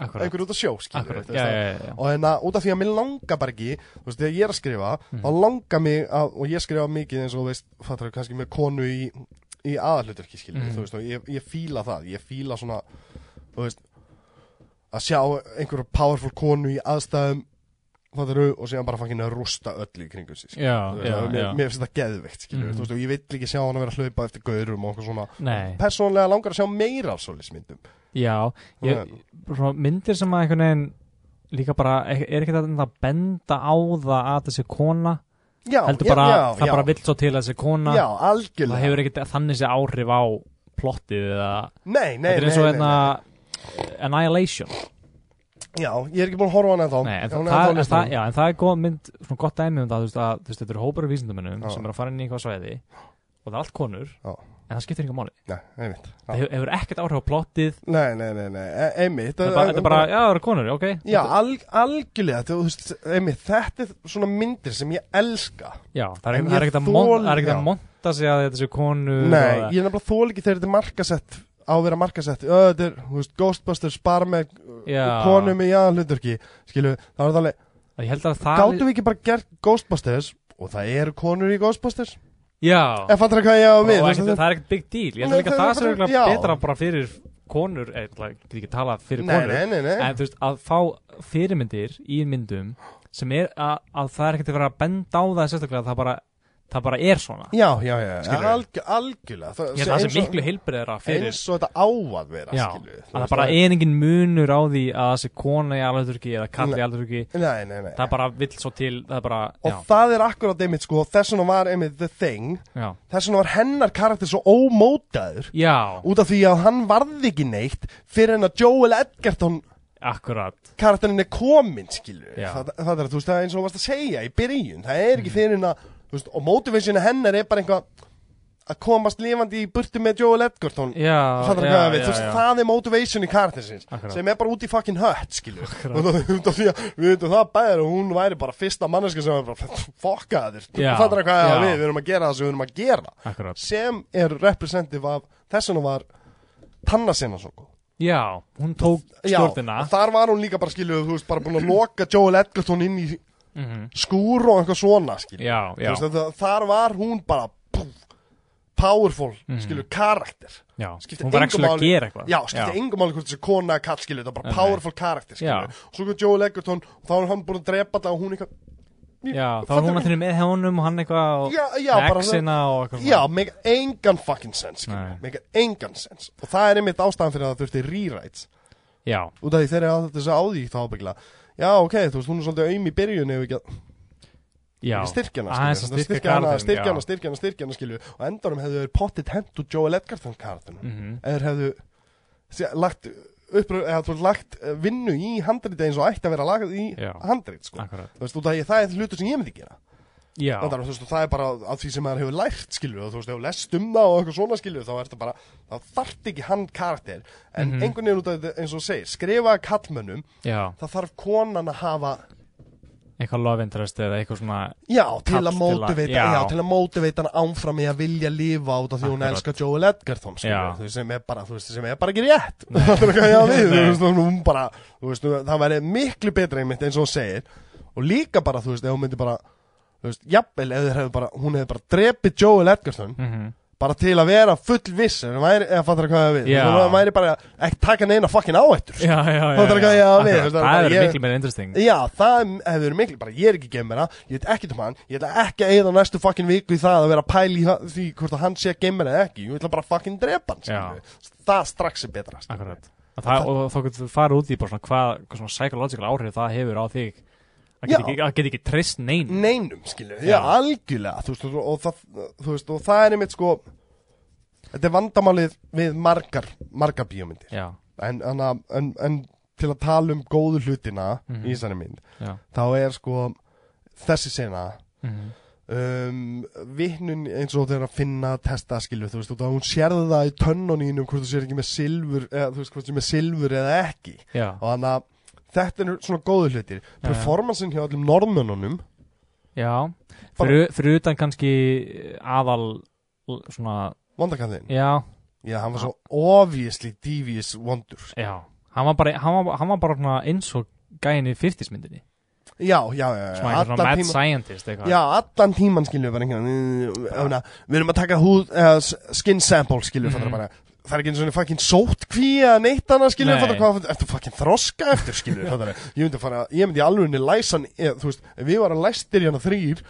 akkurat
einhver út af sjó skilur
Akkurat, já, já, já, já.
og hérna út af því að mér langar bara ekki þú veist, þegar ég er að skrifa
Mhm.
þá langar mig að, og ég skrifa mikið eins og þú veist, fattar þú kannski með konu í, í aðalhuturki skilur
Mhm.
þú veist, og ég, ég fíla það, ég fíla svona þú veist að sjá einhverja powerful konu í aðstæðum fattar þú, og síðan bara fangin að rústa öllu í kringum sig skilurðu.
Já,
Þú veist,
já,
það-
já
mér, mér finnst þetta geðveikt skilur,
Mhm.
þú veist, og ég vill ekki sjá hann að vera að hlaupa eftir gaurum og okkur svona
Nei,
persónlega langar að sjá meira af svoleiðismyndum
já ég, svona Myndir sem að einhvern veginn líka bara, e- er ekki þetta að benda á það að þessi kona
já,
heldur
já,
bara,
já,
það
já,
bara vill svo til að þessi kona
já,
það
algjörlega
hefur ekkert þannig sér áhrif á plottið eða
nei, nei,
þetta er eins og
nei, nei,
hérna Annihilation
nei. já, ég er ekki búin að horfa á hann ennþá
Nei, en,
Já, hún
það,
er ennþá
það,
á
en það,
listanum.
já, en það er góð mynd, svona gott dæmi um það þú veist, að, þú veist, þetta eru hópur af vísindamönnum
Já.
sem eru að fara inn í eitthvað svæði og það er allt konur
Já.
en það skiptir eitthvað máli
nei, einmitt Já.
það hefur, hefur ekkert áhrif á plottið það
nei, nei, nei, nei, e- einmitt
er bara, þetta er bara, já það eru konur, ok
já,
Þetta-
alg, algjörlega þú veist, einmitt, þetta er svona myndir sem ég elska
já það er
En
ekkert- það er
ég
ekkert að mon-
þoli-
það er ekkert
já.
að monta sig að þetta séu konur
nei,
og-
ég er nefnilega þól ekki þegar þetta er markasett á að vera markasett, Ö, þetta er, þú veist, Ghostbusters bara með uh,
Já.
konum í aðalhuturki, skilu, það var það alveg
að ég held að það
Gáttum við ekki bara gert Ghostbusters og það eru konur í Ghostbusters
já
Ef fattar hvað ég á
og
við
ekkert,
þú veist,
það er ekkert big deal ég held
Nei,
líka
það er
að það sé
bara-
örugglega
já.
betra bara fyrir konur eh, ég ætla- ég get ekki talað fyrir
Nei,
konur
nei, nei, nei
en þú veist að fá fyrirmyndir í myndum sem er að, að það er ekkert að vera að benda á það sérstaklega það bara, það bara er svona
Já, já, já,
Skilurðu?
alg, algjörlega það,
ég held að það
eins
sé
og-
miklu heilbriðara fyrir
Eins og þetta á að vera,
já,
skilu
að það bara er engin munur á því að það sé kona í alvegturki eða kall í alvegturki
Nei, nei, nei
það bara vill svo til það er bara,
Og það er akkurat einmitt, sko, þess vegna var einmitt The Thing
já, já,
Þess vegna var hennar karakter svo ómótaður
já
Út af því að hann varði ekki neitt Fyrir en að Joel Edgerton
akkurat
karakterinn er komin skilur
Já.
það, það er þú veist það er eins og þú varst að segja í byrjun það er ekki fyrir en að þú veist, og motivation hennar er bara einhvað að komast lifandi í burtu með Joel Edgerton
já,
Fattar
já,
hvað ég við,
já,
þú veist,
já.
það er motivation í karaktersins
Akkurat.
sem er bara út í fucking hött, skilju
Akkurat.
og þú veist, af því að við veitum það bæðir og hún væri bara fyrsta manneska sem er bara fokkaður,
Já,
fattar hvað ég
já.
að við við erum að gera það sem við erum að gera
Akkurat.
sem er representative af þess vegna var Tanna sinna svo góð.
já, hún tók
Já,
stjórnina
og þar var hún líka bara, skilju, þú veist, bara búin að loka Joel Edgerton inn í
Mhm.
skúr og eitthvað svona, skilju
já,
Þú
já,
veist, það, þar var hún bara pff, powerful,
Mhm.
skilju, karakter
já.
skipti
hún var
engu
ekki að
máli-
gera eitthvað
Já, skipti engum máli hvort þessi kona að kall, skilju, þetta er bara
Nei.
powerful karakter,
Já.
skilju. Og svo kom Joel Egerton og þá er hann búin að drepa þetta og hún eitthvað,
já,
Fattar
þá var hún
hvað-
að finna með hjónum og hann eitthvað og
já, já, bara það.
exina og eitthvað
Já, mega engan fucking sens,
Nei.
skilju, mega engan sens. Og það er einmitt ástæðan fyrir að það þurfti rewrites.
já,
Út af því þeirri að þetta sé á því þá byggla. Já, ok, þú veist, hún er svolítið aum í byrjun ef ekki að
já,
styrkja hana,
Aðeins að
skilju.
styrkja
Styrkja hana,
karakterinn,
styrkja
já.
hana, styrkja hana, styrkja hana, skilju. Og endanum hefðu þeir pottit hent úr Joel Edgerton karakterinu.
Mhm.
eða þeir hefðu sé- lagt, upp, eða, þú, veist, lagt eh, vinnu í handrið eins og ætti að vera lagað í
Já.
handrið sko.
akkurat
þú veist, út af því að það er hlutur sem ég myndi gera
já,
það er, þú veist, og það er bara að því sem maður hefur lært skilur, þú veist, hefur lest um það og eitthvað svona skilur þá er þetta bara, þá þarf ekki hann karakter en
Mhm.
einhvern veginn út af því, eins og þú segir skrifa kallmönnum,
já,
það þarf konan að hafa
eitthvað love interest eða eitthvað svona
Já, til
Kall
að
til að-
mótiveita,
já.
já. til að mótiveita hann ámfram í að vilja lifa út af því hún
Akkurat.
elskar Joel Edgerton,
Já.
skilur, þú veist, sem er bara, þú veist, sem er bara ekki rétt, það er ekki að við, þú
Nei.
veist, hún bara, þú veist, það væri miklu betra einmitt eins og hún segir, og líka bara, þú veist, ef hún myndi bara, þú veist, jafnvel, ef þeir hefðu bara, hún hefði bara drepið Joel Edgerton,
mhm,
bara til að vera full viss, en hún væri, eða fattar hvað ég á við,
Já.
hún væri bara ekki taka neina fucking áhættur,
já, já, já,
Fattar hvað
já,
ég á við,
akkurat.
þú veist, það er
það
bara
er
ég-
miklu meira interesting
Já, það hefur verið miklu, bara ég er ekki geimera, ég veit ekki um hann, ég ætla ekki að eigða næstu fucking viku í það að vera að pæla í það- því hvort að hann sé geimera eða ekki, ég ætla bara að fucking drepa hann, skilju. Það strax er betra, sko. skilju.
akkurat og, það, og þá getur þú farið út í bara svona hvað, hvað svona psychological áhrif það hefur á þig að
Já. Mm.
geta ekki, að geta ekki trist neyn
Neinum, skilju, já,
Já.
algjörlega, þú veist, og, og, það, þú veist, og það er einmitt sko, þetta er vandamálið við margar, margar bíómyndir,
já,
en, en, að- en, en til að tala um góðu hlutina
Mhm.
í þessari mynd,
já,
þá er sko þessi sena,
mhm,
um, vittnun eins og þeirra að finna testa skilju, þú veist, og hún sérði það í tönnunínum hvort þú sér ekki með silfur eða þú veist, hvort þú sér með silfur eða ekki
já
og þannig að þetta er svona góðu hlutir
já.
performancein hjá allum normönunum
Já, fyrir, fyrir utan kannski eh, aðal l- svona,
vondakanðin,
já,
já, hann var svo obviously devious wonder
já hann var bara, hann var, hann var bara svona eins og gæin í 50s myndinni
já, já, já, já,
svona, einhver svona mad
tíma
scientist eitthvað
Já, allan tíman skilju bara einhvern veginn uh, öfna, Við erum að taka húð, uh, skin sample skilju mm
Mhm.
bara Það er ekki eins og fucking sótkví eða neitt annað skilju
Nei.
fattar hvað, ertu fucking þroska eftir skilju fattar, ég myndi fara, ég myndi alveg læsan, eð, e, þú veist, ef við varum læstir hérna þrýr,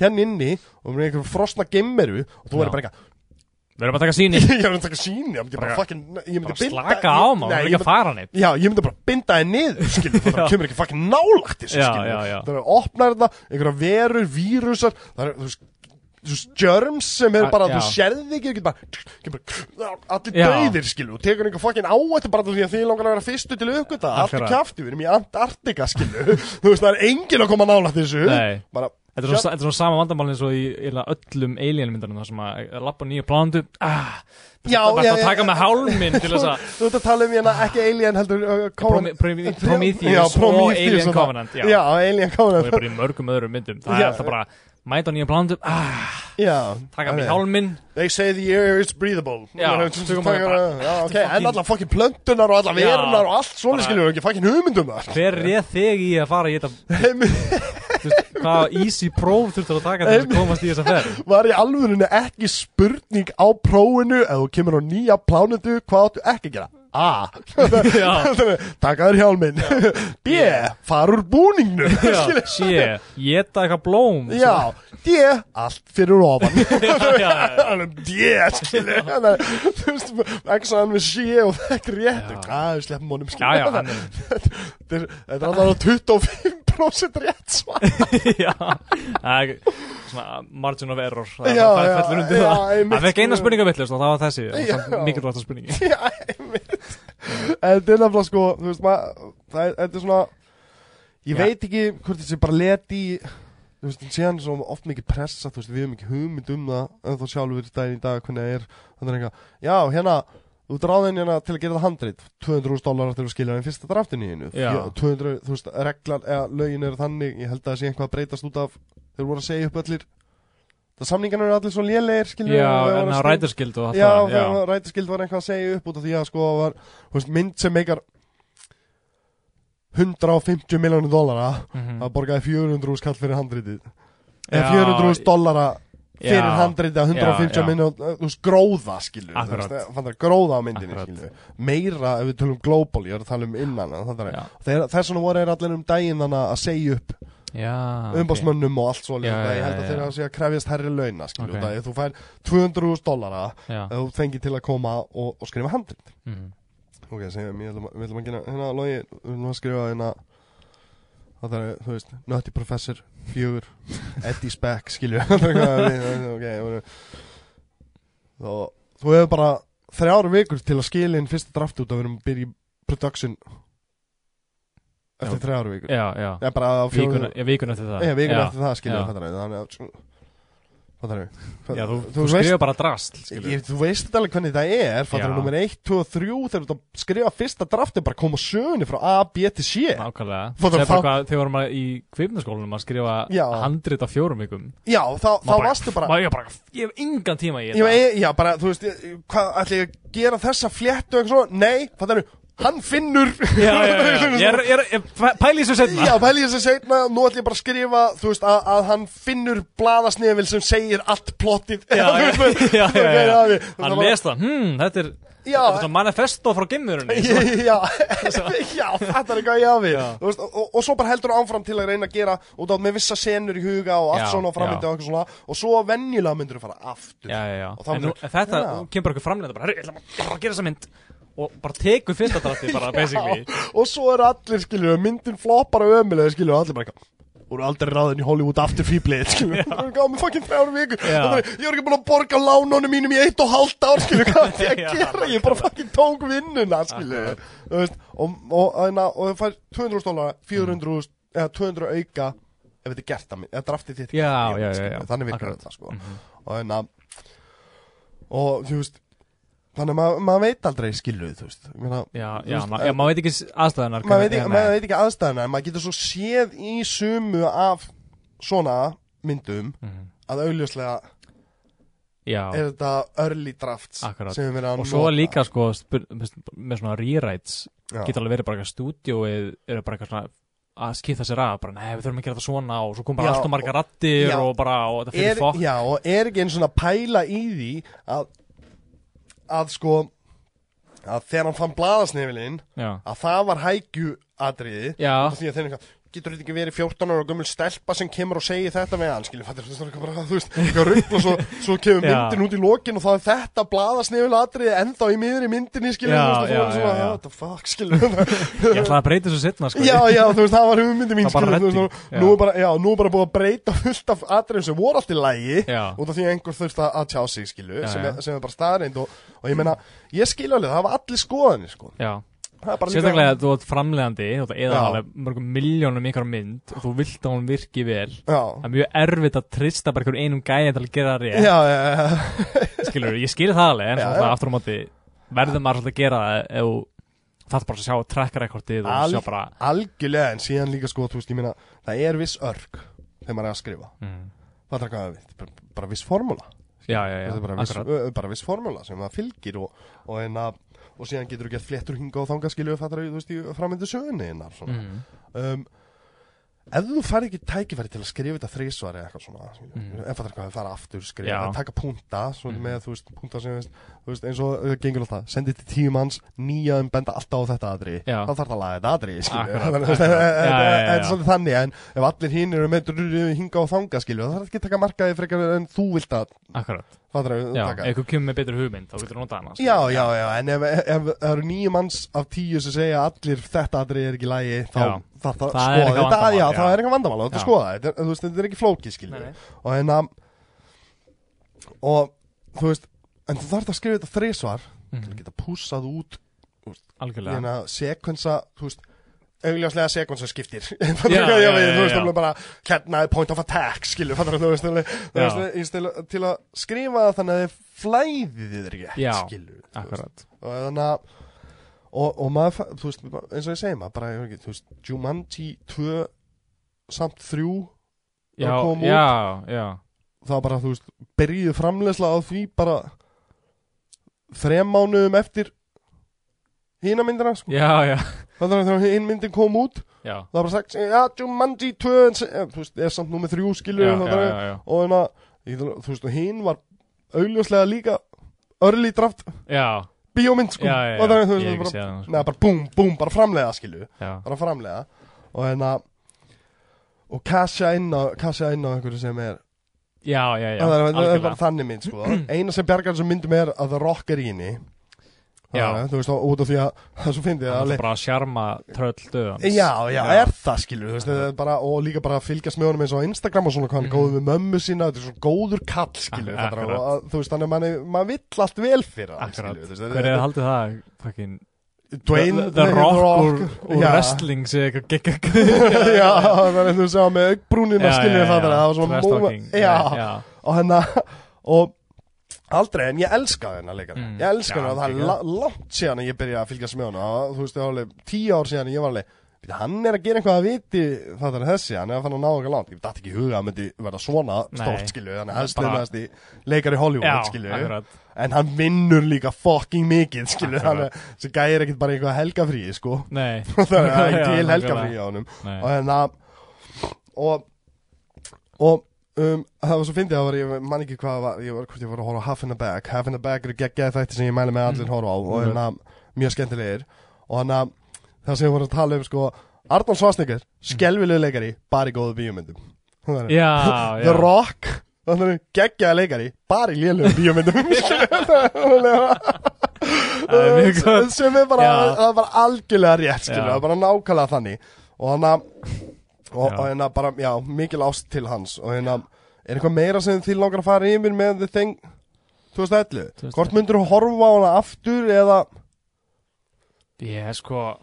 hérna inni og með einhver frosna gemmeru og þú
Mm. Já.
verður bara eitthvað,
við erum að taka síni,
ég er að taka síni ég myndi bara
Bara-
fucking, ég myndi
bara
binda
slaka á maður, við
Nei,
erum
ég
ekki að fara neitt
Já, ég myndi bara binda þið niður, skilju, þannig að kemur ekki fucking nálægt þessu,
Já,
skilju.
já, já.
Það eru opnar þetta, einhverja verur, vírusar, það eru, þú veist, þú veist, germs sem er
Ah,
bara,
já.
þú sérði ekki, ekki bara, kemur, bara, allir
Já.
döðir, skilju, og tekur einhver fucking áættu bara því að þið langar að vera fyrstu til aukvita, allt er
Akkurat.
kjafti, við erum í Antartika, skilju, þú veist, það er enginn að koma nálægt þessu,
Nei.
bara,
þetta er svona, þetta er svona sama vandamálin eins og í eiginlega öllum alien myndunum þar sem að eh, lappa nýja plándu ah,
Já,
bara
já,
að
já.
taka með hálminn til þess að
þú ert að tala um hérna, ekki Alien heldur, uh,
Promi-
Covenant.
Promi- Prometheus
Já,
og
Prometheus
Alien
og það.
Covenant, já.
Já, Alien
og er
Covenant,
bara í mörgum öðrum myndum það
Já.
er alltaf bara, mæta á nýja plándu ah,
já.
taka
Ok.
með hálminn
They say the air is breathable
Já, tökum bara bara-
já ok,
fucking-
en alla fucking plöntunar og alla
Já,
verunar og allt svona
bara-
skilur við ekki fucking hugmyndum það
hver réð þig í að fara í þetta Þú veist, hvaða easy próf þurftur að taka til þess að komast í þessa ferð
Var í alvörinu ekki spurning á prófinu ef þú kemur á nýja plánutu hvað áttu ekki að gera?
Já.
A. Takaður hjálminn B. Farur búningnu
Já, sé, geta eitthvað blóm
Já, D. Allt fyrir ofan
já, já, já.
Hann er D. skilur Þannig að, Þú veist, ekki svo hann við sé og það er ekki rétt
Já.
Hvað, við sleppum honum skilur
já, já, hann er,
Þetta er- þetta er alltaf 25% rétt svar
já Það er svona margin of error það,
Já,
það
já,
fellur undir
já,
það
einmitt.
það fekk eina spurninga villust og það var þessi
Já.
mikilvægt að spurningi
Já, einmitt En þetta er nefnilega sko, þú veist maður það er- Þetta er svona Ég
Já.
veit ekki hvort þessi bara leti í þú veist, síðan er svo oft mikið pressa þú veist, við hefum ekki hugmynd um það en þá sjálfur í daginn í dag hvernig það er þannig er eitthvað, já, hérna, þú dráðin hérna til að gera það handrit, 200.000 dólarar til að skilja en fyrsta draftin í hennu
Já.
200, þú veist, reglan, eða lögin eru þannig ég held að það sé einhvað að breytast út af þeir voru að segja upp allir það samningan eru allir svo lélegir, skilja
Já, en á rætarskild og allt
Já,
það,
þegar rætaskild var eitthvað að segja upp út af því að sko var, þú veist, mynd sem meikar 150 miljónu dólara
Mhm.
það borgaði 400 skall fyrir handritið
Já,
eða 400 dollara fyrir
já,
handritið að 150
já.
miljón þú veist, gróða skilur
Akkurat.
fannig að gróða á myndinni
Akkurat.
skilur meira ef við tölum global, ég er að tala um innan en það er-
Já.
þeir, þess vegna voru þeir allir um daginn þannig að segja upp
Já, Ah, ok.
umbásmönnum og allt svo
Já, já,
ég held
já,
að þeir
já.
að segja að krefjast herri launa skilur,
Ok.
okay. ef þú fær 200.000 dollara
Já,
ef þú fengir til að koma og, og skrifa handrit
mhm.
Ok, segjum, ég ætlum að, við ætlum að gera, hérna, logi, við ætlum að skrifa hérna, það er, þú veist, Nutty Professor, fjögur, Eddie Speck, skilju, ok, ok, þú, þú hefur bara þrjár vikur til að skilja inn fyrsta draft út að við erum að byrja í production eftir
Já.
þrjár vikur,
já, já.
ég bara á
Víkuna,
fjögur,
já, víkuna til það
ég vikuna
já.
eftir það, skilju,
Já.
það er, þannig að, það er,
Já, þú, þú, skrifar bara drast skilur.
Ég, þú veist þetta alveg hvernig það er fattur
Já.
nummer 1, 2 og 3 þegar þú ert að skrifa fyrsta draftin bara koma sögunni frá A, B til C
Nákvæmlega
Fór það
Segðu bara
þá-
hvað, Þegar vorum maður í kvipnaskólanum að skrifa
Já.
handrit á fjórum vikum
já, þá, þá
Maður
varstu bara
maður- ég, bara, ég hef engan tíma í
ég,
þetta
ég, já, bara, þú veist, ég- hvað ætla ég að gera þessa fléttu og eitthvað svona, nei, fattur hann finnur
Já, já, já, já. Ég, er- ég, er- ég pæ- pæli í þessu setna
Já, pæli ég þessi seinna, nú ætlum ég bara að skrifa þú veist, að, að hann finnur blaðasnefil sem segir allt plottið
Já, já,
Þú veist,
já, já, já,
ok,
já.
já,
Hann
var-
les það, hmm, þetta er
Já.
þetta er svona manifesto frá gemmurinni
já, já, þetta er hvað ég hafi
Já.
Þú veist, og, og, og svo bara heldur áfram til að reyna að gera út af með vissa senur í huga og allt
Já,
svona og framvindu
já.
og eitthvað svona og svo venjulega myndur þú fara aftur
Já, já, já
Og þá
En nú,
myndir-
þetta,
Já.
nú kemur bara eitthvað framlega bara, herru, ég ætla bara- ég ætla bara að gera þessa mynd og bara tekur fyrsta dratti bara, basically
Já, og svo er allir skilur myndin floppar og ömulega skilur og allir bara eitthvað voru aldrei ráðin í Hollywood aftur fýblið skilur, það er gáð með fucking þrjár vikur
Já.
það er, ég var ekki búin að borga lánunum mínum í eitt og hálft ár skilur, hvað ætti ég
Já,
að gera ég bara fucking tók vinnuna skilur Þú veist, og, og, og, og það fær 200 stólara 400 eða 200 auka ef þetta er gert að mynd, eða draftið þitt er
Já,
gert að mynd,
já, já,
skilur.
já.
þannig virkar
Akkurat. Mhm.
þetta sko og þannig að og þú veist þannig að maður ma veit aldrei skilur þú veist, ég meina
Já,
Þú
já,
veist,
ma já maður veit ekki s- aðstæðunar
maður veit, ekki,
hvernig-
maður veit ekki aðstæðana en maður getur svo séð í sumu af svona myndum
Mhm.
að augljóslega
Já,
er þetta early drafts
Akkurat.
sem við verðum að
og svo
nota.
líka sko spyr- með svona rewrites
Já.
geta alveg verið bara eitthvað stúdíóið eru bara eitthvað svona að skipta sér af bara nei við þurfum að gera þetta svona og svo kom bara
Já,
alltaf margar rattir
já.
og bara og þetta
er,
fyrir fokk
já, og er ekki einn svona pæla í því að að sko að þegar hann fann blaðasnefilinn
já.
að það var hægju atriði
Já.
því að þeir eru eitthvað getur þetta ekki verið 14 ára gömul stelpa sem kemur og segir þetta með hann skilur, fattir, þetta er eitthvað bara, þú veist, eitthvað rugg og svo, svo kemur
Já.
myndin út í lokin og þá er þetta blaðasnefil atriði ennþá í miður í myndinni skilur,
Já,
þú veist, og þú
já,
veist, svona,
já, já.
what the fuck, skilur
ég ætlaði að breyta þessu setna sko
Já, já, þú veist, það var hugmyndi mín
Það var bara
skilur, þú veist, nú-
redding, já.
Nú er bara, já, nú er bara búið að breyta fullt af atriðum sem voru allt í lægi
Já.
Út af því að einhver þurft að tjá sig, skilu
Já,
sem,
já.
Er, sem er bara staðreind og, og ég meina, ég skil alveg, það var allir skoðanir, sko
já.
Það er bara líka-
sérstaklega að þú ert framlegandi þú ert eða
Já.
alveg mörgum miljónum ykkar mynd og þú vilt að hún virki vel
Já,
það er mjög erfitt að trista bara einhverjum einum gæja til að gera það rétt
já, já, já,
skilur, ég skilur það alveg en
Já,
svona
já.
aftur á móti verður maður svolítið að gera það ef þú þarf bara að sjá track recordið og
Al-
sjá bara
algjörlega en síðan líka sko, þú veist, ég meina það er viss örg þegar maður er að skrifa
mm,
það er hvað við, bara, bara viss formúla
já, já, já,
Þetta er bara viss,
akkurat
ö, ö, bara viss formúla sem maður fylgir og, og, en að, og síðan getur þú gett fléttur hinga og þanga skilju það er, þú veist, í framöndu sögunni innar, mm.
mm,
um, ef þú fær ekki tækifæri til að skrifa þetta þrísvar eða eitthvað svona mm. ef það er hvað við fara aftur skrifa,
Já. Mm.
taka púnta svona með, þú veist, púnta sem veist, þú veist, eins og uh, gengur alltaf, sendi til tíu manns nýja um benda alltaf á þetta aðri
Já.
þá þarf það að laga þetta aðri skilur, þannig, þú
Akkurat,
veist,
akkurat.
þetta-
Já,
þetta
já, já,
er
já.
svolítið þannig en ef allir hinn eru með drurru, hinga og þanga skilur, það þarf ekki að taka markaði frekar en þú vilt að
akkurat
það þarf
já,
að taka
ef þú kemur með betri hugmynd þá getur þú notað hana sko. skilur.
Já, já, já, en ef, ef, ef það eru nýju manns af tíu sem segja allir þetta atrið er ekki í lægi þá
Já.
þarf það
Það
skoða
er eitthvað
þetta, já,
vandamál, já.
það er eitthvað vandamál og þetta
Já.
skoða, þetta, er- þú veist, þetta er ekki flókið
Nei,
skilur
nei.
og hérna og þú veist, en þú þarf að skrifa þetta Mm. þrisvar til að geta pússað út
algjörlega
hérna sekvensa, þú veist augljóslega sekund sem skiptir
Já,
já,
já,
já,
já,
þú veist,
já.
þú bara hérna er point of attack, skilur fattar þú veist, þú veist, þú
Já.
veist, í stil- til að skrifa það þannig að þið flæðið þið ekki,
Já,
skilur þú veist.
akkurat
og þannig að og, og maður, fa- þú veist, bara- eins og ég segi maður bara, ég veit ekki, þú veist, Jumanji 2 samt 3
Já,
kom út.
já, já
það var bara, þú veist, byrjuðu framleysla á því bara þrem mánuðum eftir hína myndina, sko
Já, já,
þannig að þegar hinn myndin kom út
já
það var bara sagt, já, Jumanji 2 en se- eh, þú veist, er samt númið 3 skilur
Já,
og
já,
það
já, já,
og þannig að, ég- þú veist, og hinn var augljóslega líka early draft
já,
bíómynd, sko
já, já,
og þannig að,
já.
þú
Ég hef
veist,
ekki
bara,
séð hana, sko.
neða, bara búm, búm, bara framlega skilur
Já,
bara framlega og hérna og kasja inn á, kasja inn á einhverju sem er
já, já, já,
það er, það er
algjörlega
bara þannig mynd sko. eina sem bjargar þessum myndum er að það rock er í henni
Já.
Það er, þú veist, og út af því að það er svo fyndið
Það
að
er bara að sjarma tröll döðans
Já, já, er það skilur þú veist, þetta er bara, og líka bara að fylgjast með honum eins og á Instagram og svona hvað hann er góður við mömmu sína þetta er svo góður kall skilur
Ak-
þetta er,
Mhm. akkurat.
og, að- þú veist, þannig að manni, maður vill allt vel fyrir hann
Akkurat,
skilur, þú veist,
hver er að haldið það fucking,
Dwayne,
The, the
nei,
Rock úr, úr
Já.
wrestling sé eitthvað gegg
Já, það er þú sá með augnbrúnina skilur það þannig að það var svona
trash
móma-
talking
Já,
já,
og hérna og aldrei, en ég elska þennan leikara
Mm.
ég elska
Já,
hennar, það
geggjað.
er la langt síðan að ég byrja að fylgjast með hana og þú veist, það er alveg tíu ár síðan að ég var alveg "Bíddu, hann er að gera eitthvað að viti það er þessi, hann er að fann að ná eitthvað langt ég dætti ekki í huga að hann myndi verða svona
Nei.
stórt skilju, hann er helst
Bara-
nefnast í leikari Hollywood
já,
skilju
akkurat
en hann vinnur líka fucking mikið skilju, hann
Akkurat.
er, sem gæir ekkit bara eitthvað helgafríi sko,
Nei,
það er það er
Já,
til
nákvæmlega.
helgafríi á honum
nei,
og hérna og, og um, það var svo fyndið að var ég man ekki hvað var, ég var, hvort ég var að horfa á Half in a Bag Half in a Bag eru geggjaði þætti sem ég mæli með að
Mm.
allir horfa á og hérna mjög skemmtilegir og hérna það sem ég voru að tala um sko Arnold Schwarzenegger, skelvilegu leikari bara í góðu bíómyndum Þannig að-
Mm. já,
The
já
Rock Þannig að geggjaði leikari bara í lélugum bíómyndum skilurðu?
Það er mjög gott.
sem er bara,
Já.
það er bara algjörlega rétt skilur,
Já.
það er bara nákvæmlega þannig og hann að og,
Já.
og hérna bara, já, mikil ást til hans og hérna, er eitthvað meira sem þið langar að fara yfir með The Thing 2011,
2011.
hvort myndur þú horfa á hana aftur eða
Ég sko,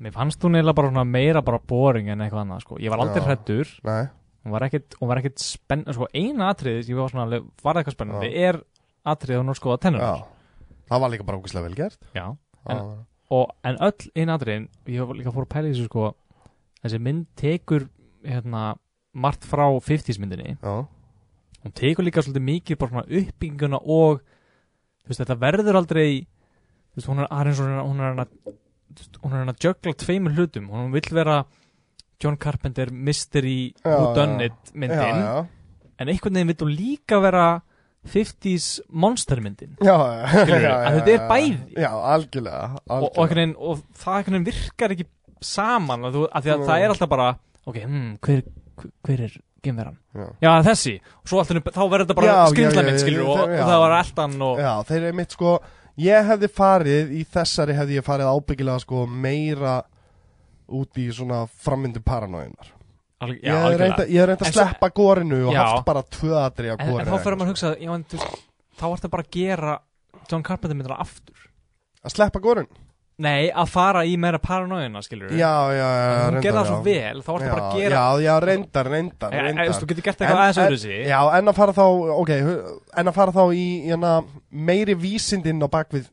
mér fannst hún eiginlega bara svona meira bara boring en eitthvað annað sko. Ég var aldrei
Já.
hrettur,
nei,
hún var ekkit, hún var ekkit spenn sko, eina atriðið, ég var svona alveg, var það eitthvað spennandi er atriðið hún er skoða
já
tennunar
það var líka bara ógæslega vel gert
já. En-
en,
og, en öll einn atriðin ég var líka fór að pæla í þessu sko þessi mynd tekur hérna, margt frá 50s myndinni
já,
hún tekur líka svolítið mikið bara svona uppbygginguna og þú veist, þetta verður aldrei þú veist, hún er aðeins hún er hún er að hún er að juggla tveimur hlutum hún vill vera John Carpenter mystery
Já,
who
já.
done it
já,
myndin
já,
en einhvern veginn vill hún líka vera 50s monster myndin
já, já,
Skilurðu,
já,
að
já,
þetta er
já.
bæði.
já, algjörlega, algjörlega.
og, og, einhvern veginn, og það einhvern veginn virkar ekki saman að þú, að því að
Mm.
það er alltaf bara ok, hmm, hver, hver- hver er geimveran?
Já.
Já, þessi og svo alltaf, þá verður þetta bara
Já, já, já,
skrýmslamið skilur
já,
og,
já.
og það var eldan og
Já, þeir eru mitt sko Ég hefði farið, í þessari hefði ég farið ábyggilega sko meira út í svona frammyndu paranóinar
alveg-
Ég
já,
hefði reynd
algjörlega.
að, ég hefði reynd að
En svo-
sleppa górinu og
Já.
haft bara tvöðatri af
en,
górinu
en þá fyrir maður að hugsa já, en, þú, veist, þá ertu bara að gera John Carpenter myndina aftur
Að sleppa górin?
nei, að fara í meira paranoina skilur
Já, já, já,
hún
reyndar,
gerði það svo
já.
vel þá ertu bara að
Já,
gera
Já, já, reyndar, reyndar,
e, e,
reyndar.
þú veist, þú getur gert eitthvað aðeins öðru sig
Já, en að fara þá, ok, hu- en að fara þá í hana, meiri vísindin á bakvið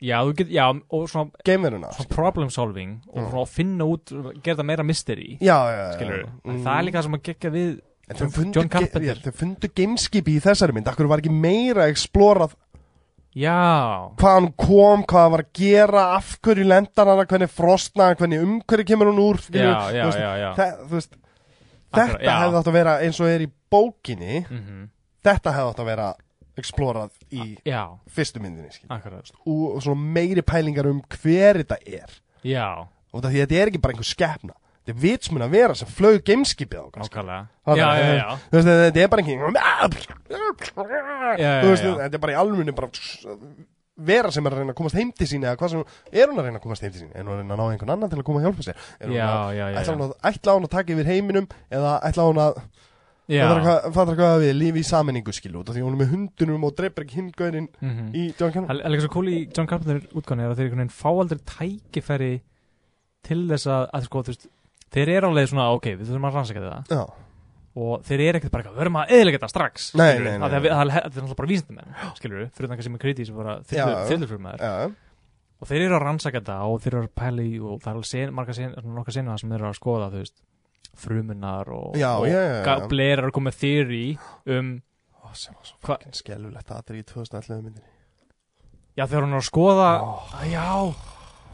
já, þú getur, já, og svona
geimveruna
svona problem solving og svona að finna út, gera það meira mystery
Já, já, Mm. já
skilur
Mm.
það er líka það sem að gegja við
En þau fundu, ge-
John Carpenter.
já, þau fundu gameskipi í þessari mynd Akkur var ekki meira explorað
já,
hvað hann kom, hvað hann var að gera af hverju lendar hann, hvernig frostna hann, hvernig umhverju kemur hann úr
já,
skilur,
já,
þú veist,
já, já.
þe- þú veist,
Akkurat,
Þetta
já.
hefði átt að vera eins og er í bókinni
Mm
Þetta hefði átt að vera explorað í
já,
fyrstu myndinni skilur,
akkurat sko.
og og svona meiri pælingar um hver þetta er
já,
og því að þetta er ekki bara einhver skeppna þetta er vitsmun að vera sem flög gameskipið á kannski.
nákvæmlega já,
Það
já,
er-
já,
Þú veist, þetta er bara ekki
já,
Þú veist,
já.
þetta er bara í alvunni bara vera sem er að reyna að komast heim til sín eða hvað sem, er hún að reyna að komast heim til sín er hún að reyna að ná einhvern annan til að koma að hjálpa sér er hún
Já,
að,
já, já,
ætla, hún
já.
að, ætla hún að taka yfir heiminum eða ætla hún að,
já.
fattar hvað, fattar hvað við lífi í sammenningu skilu, út af því hún er með hundunum og dreipar ekki hingauðin
Mhm.
í John Cannon
Það er líka svo cool í John Carpenter útgáðan er að þeir einhvern veginn fá aldrei tækifæri til þess að, að sko, þú veist, þeir eru alveg svona ok, við þurfum að rannsaka þetta
já,
og þeir eru ekkert bara eitthvað, við höfum að eðilega þetta strax
Nei,
skilurðu.
nei, nei,
Af því að
nei.
við- það er það er náttúrulega bara vísindamenn skilur við, fyrir þannig sem er kriti sem bara
Já, já.
þyllurfrumæður
já,
og þeir eru að rannsaka þetta og þeir eru að pæla í og það er alveg sen, marga sen, nokkar senum sem þeir eru að skoða þú veist, frumunar og,
já,
og
já, já, já.
Blair er að koma með theory um
Ó, sem var svo
Hva-
fucking skelfulegt aðri í 2011 myndinni
já þegar hún er að skoða
Ó,
Ah, já,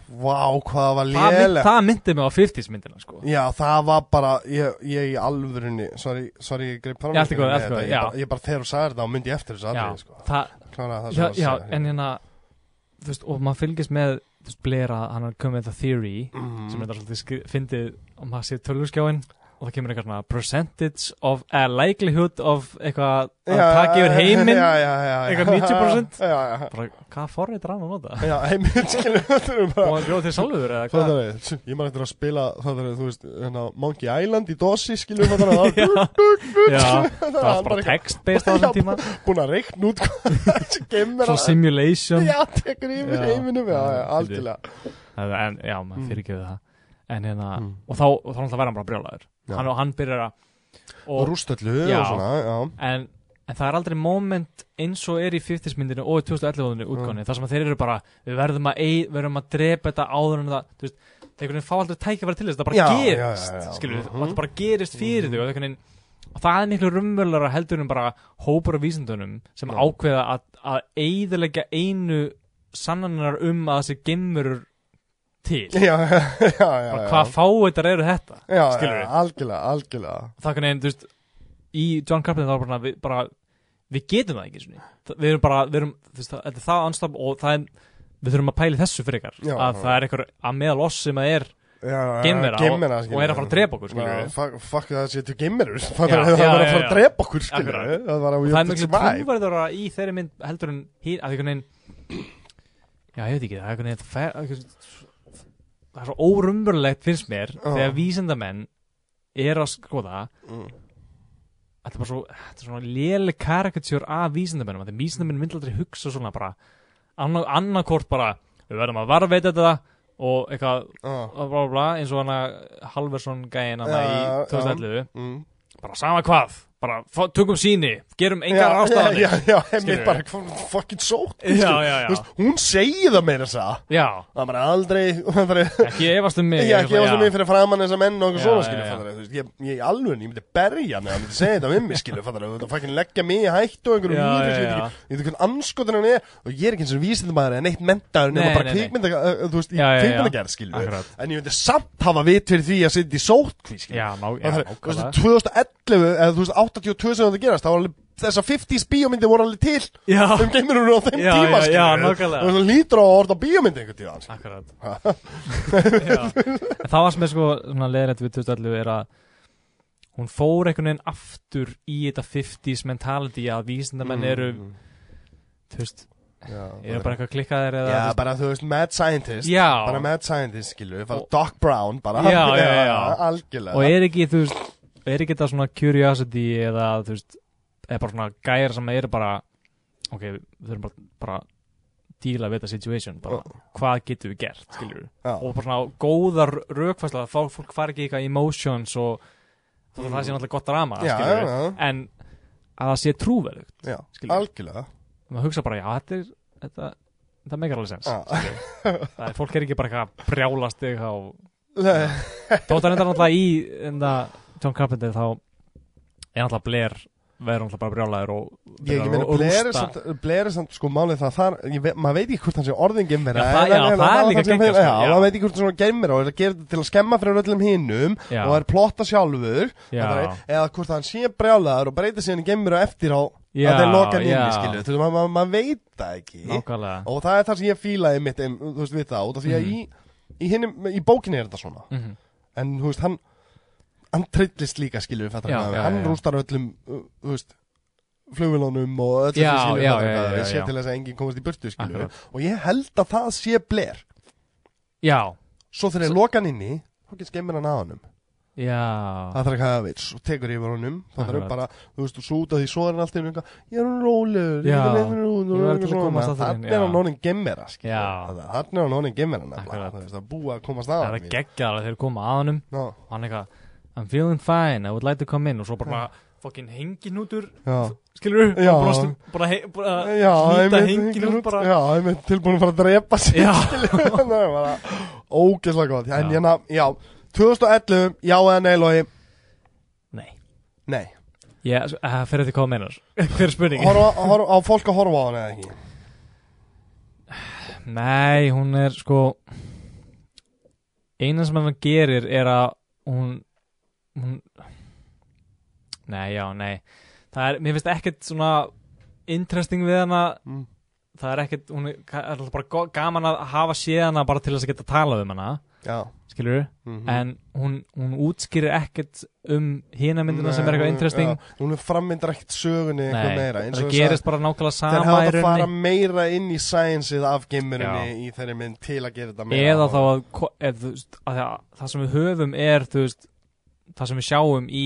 Vá, hvað það var
það, mynd,
lélega
það myndi mig á 50s myndina sko.
Já, það var bara, ég, ég í alvörunni Sorry, sorry, ég greip
Já, allt í góðu, allt í góðu,
Ég
já.
bara- Ég bara þegar þú sagði þetta og myndi ég eftir þessu
já,
aðri sko.
það,
Kláraði það sem var
já,
að
já,
segja.
en hérna þú veist, og maður fylgist með þú veist, Blair að hann er komið með þetta theory
Mhm.
sem þetta svolítið skri- fyndið og maður sér tölvurskjáin og það kemur eitthvað svona percentage of, eða likelihood of eitthvað að
Já,
taka yfir heiminn
já, já, já, já.
eitthvað 90%.
Já, já, já.
bara, hvað forrið er hann að nota?
já heiminn, skilur þetta er
og
bara
hann bjóð til sjálfur eða
Það
hvað?
er það, ég maður eftir að spila það er, þú veist, hérna, Monkey Island í dosi skilur það er
Já, já,
það
það var bara text-based á
Já,
þessum tíma
búin að reikna út hvað þessi gemmer
svo simulation
Já, tekur yfir
Já.
heiminum, já, já,
Já,
algjörlega
en, já, maður
Mm.
fyrirgefið það en hérna,
Mm.
og þá, og þá náttúrulega verður hann bara brjálæður
Já.
hann, og hann byrjar að
Og rústöllu
Já.
og svona, já
en, en það er aldrei moment eins og er í 50s myndinu og í 2011 útgáni
Mm.
þar sem að þeir eru bara, við verðum að, ei, verðum að drepa þetta áður en það þú veist, þeir einhvern veginn fá aldrei tækifæri til þess það bara
Já,
gerist,
já, já, já.
skilur við,
Mhm.
það bara gerist fyrir
Mhm.
þau og, einhvern veginn- og það er miklu rumvöldara heldur en bara hópur af vísindunum sem
Já.
ákveða að, að eiðilegja einu sannanar um að þessi gemurur til
Já, já, já, já
bara hvað fáiðar eru þetta
Já, já,
skilurðu?
algjörlega, algjörlega
það er einhvern veginn, þú veist í John Carpenter þá er bara, við, bara við getum það ekki svona Það- við erum bara, við erum, þú veist, það- þetta er það anstaf og það er, við þurfum að pæli þessu fyrir ykkar
Já,
að
já.
það er einhver að meðal oss sem að er
Já, já,
Geimvera og-
geimvera,
og
skilurðu.
er að fara að drepa okkur, skilurðu.
Já, fuck- Fuck það séu til gemmerur Það var
Já,
að
já,
fara
já,
að
já.
drepa okkur, skilur
Akkurat.
Það var að
og
we
það er
have to
miklu
survive
trúverður í þeirri mynd heldur en hýr, að einhvern veginn já, ég veit ekki, það er einhvern veginn það fer- einhvern- það er svo órumverulegt finnst mér
Já.
þegar vísindamenn er að skoða
Mm.
þetta er bara svo, þetta er svona léleg karikatjör af vísindamennum, þetta er vísindamenn myndi aldrei hugsa svona bara anna- annarkort bara, við verðum að varveita þetta og eitthvað
Já.
bla, bla, bla, eins og hana Halversson gæin hana
Já,
í
já.
2011
Mm.
bara sama hvað, bara fá- tökum síni gerum
já, já,
engar ástæðanir
já, heimil
Skilurðu?
bara hvað- fucking sótt
Já,
skilurðu.
já, já.
Þú veist, Hún segi það meira þess að "Ah,
já,
Það var aldrei það var-
ekki efast um mig
Ég ekki efast um mig
já.
fyrir framann þessa menn og okkur
Já,
svona
já,
skilur
já.
fattar þú veist, Ég, ég alveg, ég myndi berja hann Ég myndi segja þetta um mig skilur fattar þú Þetta fucking leggja mig í hættu og einhverju
Já,
lífi
já,
Ég veit
já.
ekki- ég veit ekki hvern anskotin hann er Og ég er ekki eins og vísindamæður en eitt mentaður Nefna
Nei,
bara
nei, nei.
kvikmynda, uh, uh, þú veist, í
Já, já, já.
kvikmyndagerð skilur
Akkurat.
En ég myndi samt hafa vit fyrir því að sitja í sótkví skilur
já, ná,
Það
já,
er, þú
nákvæmlega.
veist, 2011 eða þú veist, 82 sem þetta gerast þá var alveg, þessar 50s bíómyndi voru alveg til
já,
um geimurinn á þeim
Já,
tíma
já,
skilur
já,
við.
nákvæmlega.
Þú veist, þú lítur á að orða bíómyndi einhvern tíðan
Akkurat Já. En það var sem er sko svona leðrætt við 2011 er að hún fór einhvern veginn aftur í þetta 50s mentality að vísindamenn
Mm.
eru þú veist,
Já,
eru bara eitthvað klikkaðir eða
Já,
þú veist-
bara þú veist, mad scientist
já,
Bara mad scientist, skilur við, bara
Og-
Doc Brown bara,
Já, já, já, já.
Algjörlega
og er ekki þú veist, er ekki þetta svona curiosity eða þú veist, eða bara svona gæjar sem eru bara ok, við þurfum bara, bara díla við þetta situation, bara hvað getum við gert, skilur við
Já,
og bara svona góðar rökfæsla að fá fólk fari ekki í eitthvað emotions og þó að það sé náttúrulega gott drama
Mm. já,
skilurðu.
já,
en að það sé trúverðugt
já, já.
skilur.
algjörlega
maður hugsa bara, já, þetta er þetta, þetta megar alveg sens
Já.
það er, fólk er ekki bara eitthvað að brjálast eitthvað og
Nei,
þótt að reyndar náttúrulega í enda, John Carpenter þá er náttúrulega Blair verður náttúrulega bara brjálæður og
Ég, ég meina,
og
Blair er
rústa-
samt, Blair er samt, sko, málið það, þar, ég ve maður veit ekki hvort hann sé orðin gemvera.
Já, það- já, það er líka geggjað,
Já,
sko, já.
maður veit ekki hvort hann sé gemvera og er að gera þetta til að skemma fyrir öllum hinnum
Já.
og er plotta sjálfur,
Já.
það er, eða hvort hann sé brjálaður og breyta síðan í gemvera eftir á,
Já,
að þeir loka hann
já.
inni, skilju, þú veist, maður ma ma veit það ekki.
nákvæmlega
Og það er það sem ég fílaði mitt, ein, þú veist, við það, út af því að í, í, hinum, í bókinni er þetta svona.
Mhm.
En, þú veist, hann, hann trillist líka, skilju, fattar
Já,
hvað
já,
við, hann
já.
rústar öllum, uh, þú veist, flugvélunum og öllu
Já,
því skilju,
já,
fattar
já,
hvað
já,
við, sé
já.
til þess að enginn komast í burtu, skilju.
Akkurat.
Og ég held að það sé bler.
já,
Svo þegar ég loka hann inni, þá getur skemmir hann að honum.
já,
það þarf ekki að hafa vits og tekur yfir honum það þarf
Akkurat.
bara, þú veist, þú út af því svo er hann alltaf einhver, ég er hann rólegur ég
Já.
er leiðin út
Ég
og
var
eitthvað
til að
svona.
komast að þarna inn,
Þarna er
já.
hann honin gemmera
Já.
þannig er hann honin gemmera
Akkurat.
það er búið að komast að
það er
honum,
að gegja það þegar koma að honum
Já.
og hann eitthvað, I'm feeling fine I would like to come in og svo bara fokkin hengin út úr
já,
skilur
Já.
bara, brosti, bara, hei- bara
já,
hlýta
einmitt,
hengin út bara
já, einmitt tilbúin að fara að drepa sig
já,
það er bara ógeðslega gott en
Já.
hérna, já, 2011 já eða nei, Lói,
nei
nei
Já, svo- eh, fyrir því hvað þú meinar Hver er spurningin?
horfa, horfa, á fólk að horfa á hann eða ekki
Nei, hún er sko Einan sem hann gerir er að hún, hún Nei, já, nei Það er, mér finnst ekkert svona interesting við hana
Mm.
Það er ekkert, hún er, er alltaf bara go- gaman að hafa séð hana bara til þess að geta talað um hana
já,
skilur
mm
en hún, hún útskýrir ekkert um hina myndina sem
Nei,
er eitthvað
hún
interesting
Mm, já, hún er frammyndar ekkert sögunni eitthvað meira eins og
það
þess að
gerist bara nákvæmlega sama
þeir
í
hafa átt að
rauninni.
fara meira inn í sænsið af geimurinni í þeirri mynd til að gera þetta meira
eða þá að, ko- ef, þú veist, að það, það sem við höfum er þú veist, það sem við sjáum í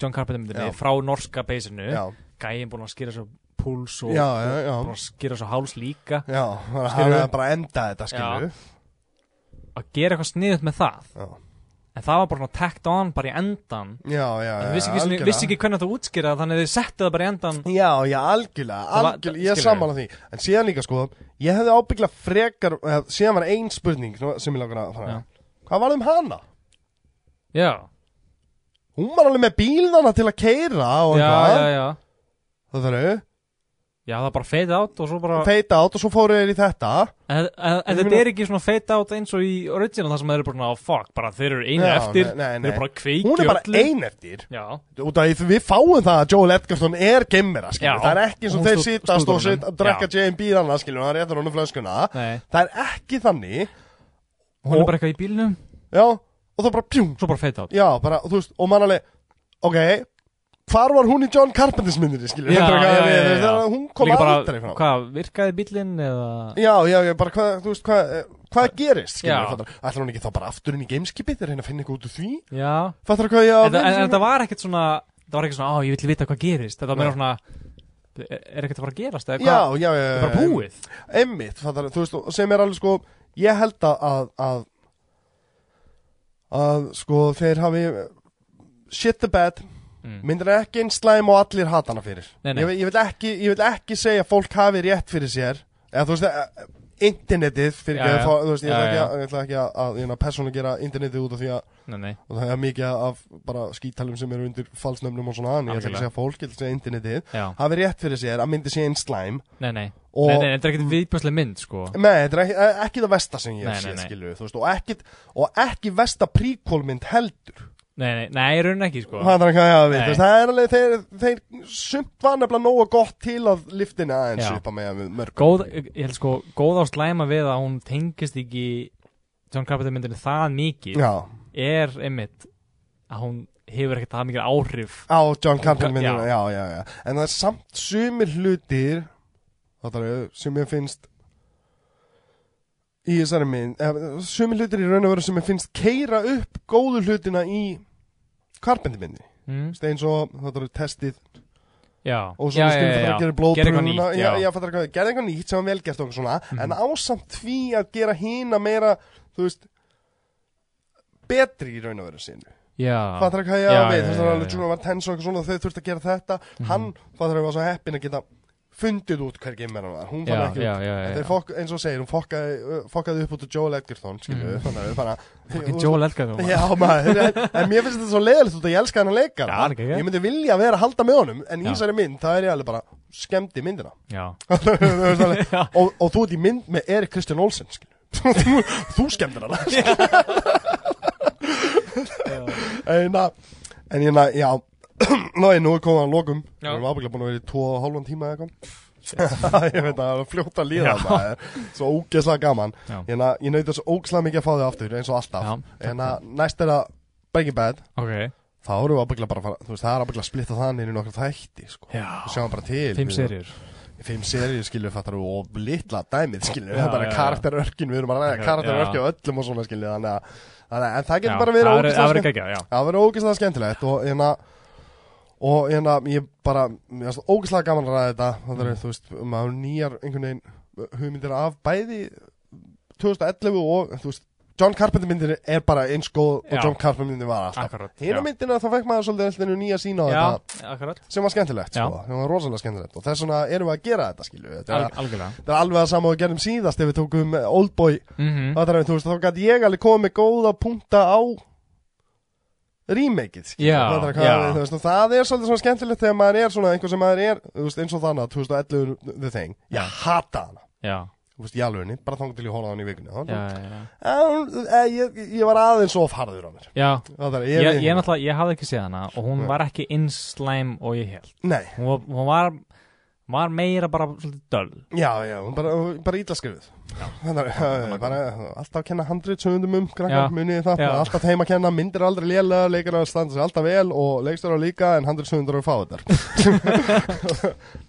John Carpenter myndinni
Já.
frá norska beisinu
já,
gæin búin að skýra svo púls og
já, já, já.
búin að skýra svo háls líka
Já, bara
Skilurðu?
hann er bara að enda þetta skilju
að gera eitthvað sniðut með það
Já,
en það var bara svona tacked on bara í endan
já, já
en
já,
þau vissi ekki, sinni,
algjörlega.
vissi ekki hvernig það útskýra það, þannig að þið settu það bara í endan
Já, já, algjörlega,
Það var-
algjörlega, ég er
skilurðu?
sammála því En síðan líka sko, ég hefði ábyggla frekar eh, Síðan var ein spurning nú- sem ég langar að fara
Já.
Hvað var um hana?
já,
Hún var alveg með bílnana til að keira og
já,
eitthvað
já, já
Það þarf,
já, það bara fade out og svo bara
feita átt og svo fóru þeir í þetta
en en- en
Ég
þetta
meina-
er ekki svona fade out eins og í original þar sem þeir eru bara svona, "Oh, fuck, bara þeir eru einu
Já,
eftir
nei, nei,
þeir eru
nei.
bara kveiki
Hún er bara
öllu.
ein eftir
Já,
út af því við fáum það að Joel Edgerton er gemmera, skiljum,
Já.
það er ekki eins og
Hún
þeir
stú-
sitast og
stútar
sit,
honum.
drekka J&B þannig, skiljum, það réttar honum flöskuna
nei,
það er ekki þannig
hún
Og-
er bara eitthvað í bílnum
já, og það bara pjúm,
Svo bara fade out
já, bara, og þú veist og mann alveg, ok hvar var hún í John Carpenters myndinni, skiljum
Já, já, já, já, já.
hún kom
Líka bara,
aldrei frá
Hvað, virkaði bílinn eða
já, já, já, bara hvað, þú veist, hvað eh, hvað gerist,
Já.
skiljum, ætlar hún ekki þá bara aftur inn í gameskipið, reyna að finna eitthvað út úr því
Já,
fattar hvað ég á
en,
við,
en, en
skiljum?
það var ekkert svona Það var ekkert svona, á, ég vil vita hvað gerist Þetta var meira
Nei.
svona Er er ekkert að fara að gerast
já,
eða
eh, já,
hvað
já, já,
Það er bara
já.
búið
einmitt, fattar, þú veist, og sem er alveg sko, ég held að að, að, að sko, þeir hafi shit the bed,
Mm.
myndir ekki einn slæm og allir hata hana fyrir
Nei, nei.
Ég, vil- ég, vil ekki, ég vil ekki segja að fólk hafi rétt fyrir sér eða þú veist, eh, internetið fyrir
Já, já.
ekki, þú veist, ég ætla
Já,
ekki
já.
að, ég ætla ekki að, að, að persónu gera internetið út af því að
Nei, nei,
og það er mikið af bara skítalum sem eru undir falsnöfnum og svona, en ég ætla ekki að
Algjörlega.
segja fólk, ég ætla að segja internetið
já,
hafi rétt fyrir sér að myndi sé einn slæm
nei, nei
og
Nei, nei, þetta er ekkert viðbjörslega mynd, sko
Nei, þetta er ekki, eh, ekki það vesta sem ég
Nei,
hef
nei,
séð,
nei.
skilju, þú veist, og ekki, og ekki vesta príkólmynd heldur.
Nei, nei, nei, í raunin ekki, sko
Það er ekki að hafa við,
Nei.
þú veist, það er alveg, þeir, þeir sumt var nefnilega nógu gott til að liftina aðeins
Já.
upp að með mörg.
Góð, ég held sko, góð á slæma við að hún tengist ekki John Carpenter myndinni það mikið
Já,
Er einmitt að hún hefur ekkert það mikið áhrif
á John Carpenter
Já.
myndina, já. já, já, En það er samt sumir hlutir, þetta er, sem ég finnst í þessari mynd, eh, sumir hlutir í raun og veru sem ég finnst keira upp góðu hlutina í Carpenter myndinni.
mm?
Þú veist, eins og, þetta eru testið
Já,
og
já,
svona
já,
skilur
já,
fyrir að
já.
gera
Gera eitthvað
blóðpröfuna
nýtt,
já,
já. Mhm.
já, fattar hvað, gera eitthvað nýtt sem var vel gert og eitthvað svona, en ásamt því að gera hína meira, þú veist betri í raun og veru sinu
já.
fattar hvað ég
Já,
að við,
já,
þú veist,
já,
það var
já, Mhm.
alveg
já.
Júna var tens og eitthvað svona, þau þurfti að gera þetta hann, fattar hvað, var svo heppin að geta fundið út hver geimur hann var, hún fann
já,
ekki
já,
út
já, já,
En þeir
já.
fokk, eins og þú segir, hún fokkaði, fokkaði upp út úr Joel Edgerton, skilju, mm. þannig að við bara
Fucking Mhm. Joel Elgar þú
Já maður, en, en mér finnst þetta svo leiðilegt út að ég elska hennar leikar
Já, hann er geggjað.
Ég myndi vilja vera að halda með honum En í
Já.
þessari mynd, það er ég alveg bara skemmdi myndina
Já,
Þú veist alveg,
Já.
og, og þú ert í mynd með Erik Kristján Olsen skilur. Þú þú skemmdir hana skilur. En að En ég na, já Nó, ég nú er komið að lokum Við
Já.
erum ábygglega búin að vera í tvo og hálfan tíma eða eitthvað Ég veit að það er fljótt að líða
Já.
það er Svo ógeðslega gaman Ég,
Já.
na, Hérna, ég naut þess ógeðslega mikið að fá þig aftur eins og alltaf
Já, takk
En að næst er að Breaking Bad
ok
þá erum við ábygglega bara að fara, þú veist, það er ábygglega að splitta það niður í nokkra þætti, sko.
Já,
Við sjáum bara til.
fimm
við-
serjur
fimm seríu skilju fattar þú og litla dæmið skilju það
Já,
er bara
já, já.
karakterörkin við erum að ræða
Já,
karakterörkin
já.
og öllum og svona skilju þannig að, þannig að en það
Já,
getur bara verið
það verður-
ógeðslega
það verður
skemmt-
geggjað, já.
það verður ógeðslega skemmtilegt og hérna og hérna ég bara mér finnst ógeðslega gaman að ræða þetta það
Mm.
er þú veist maður hefur nýjar einhvern veginn hugmyndir af bæði 2011 og þú veist John Carpenter myndin er bara eins góð og
Já.
John Carpenter myndin var alltaf
Akkurat, já.
hina myndina þá fekk maður svolítið alltaf nýja sín á þetta
Já, akkurat
sem var skemmtilegt
Já.
sko, sem var rosalega skemmtilegt og þess vegna erum við að gera þetta skilju þetta,
Al
er-
Algjörlega
þetta er alveg að sama og við gerðum síðast ef við tókum eh, Oldboy
mm
mm. er, þú veist, þá gæti ég alveg komið með góða punta á remake-ið skilju.
Já,
það, er
já.
hvað- þú veist, og það er svolítið svona skemmtilegt þegar maður er svona einhver sem maður er þú veist, eins og þannig 2011 The Thing
Já.
ég hata hana
Já,
Þú veist, í alvegni, bara þangað til ég horfa á hann í vikunni þá-
já, já, já.
En, eh, ég, ég var aðeins of harður á mér
já.
Það er,
Ég,
ég,
ég, náttúrulega, ég hafði ekki séð hana og hún var ekki eins slæm og ég held
Nei,
Hún, var- hún var, var meira bara svolítið döl
já, já, hún bara, hún bara ítla skrifuð Þannig að, eh, bara, alltaf að kenna handrið sögundum um,
Já.
krakkar, munið þið það
Já.
alltaf þeim að kenna, myndir er aldrei lélega leikar að standa sér alltaf vel og leikstur á líka en handrið sögundur eru fáðar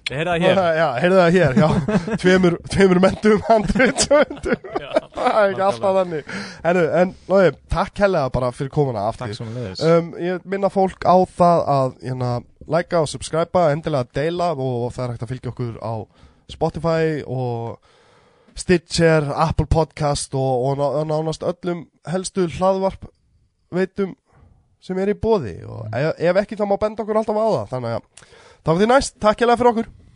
Ég heyrði það hér
Já, heyrðu það hér, já tveimur, tveimur mentum handrið sögundum
Já.
það er ekki alltaf þannig Herru, en, lóði, takk helga bara fyrir komuna aftur
Takk svo með leiðis
um, Ég minna fólk á það að hérna, likea og subscriba, endilega deila og það er hægt að fylgja okkur á Spotify og Stitcher, Apple Podcast og, og ná- nánast öllum helstu hlaðvarp veitum sem er í bóði og ef, ef ekki þá má benda okkur alltaf á það þannig að þá er því næst, takk hérlega fyrir okkur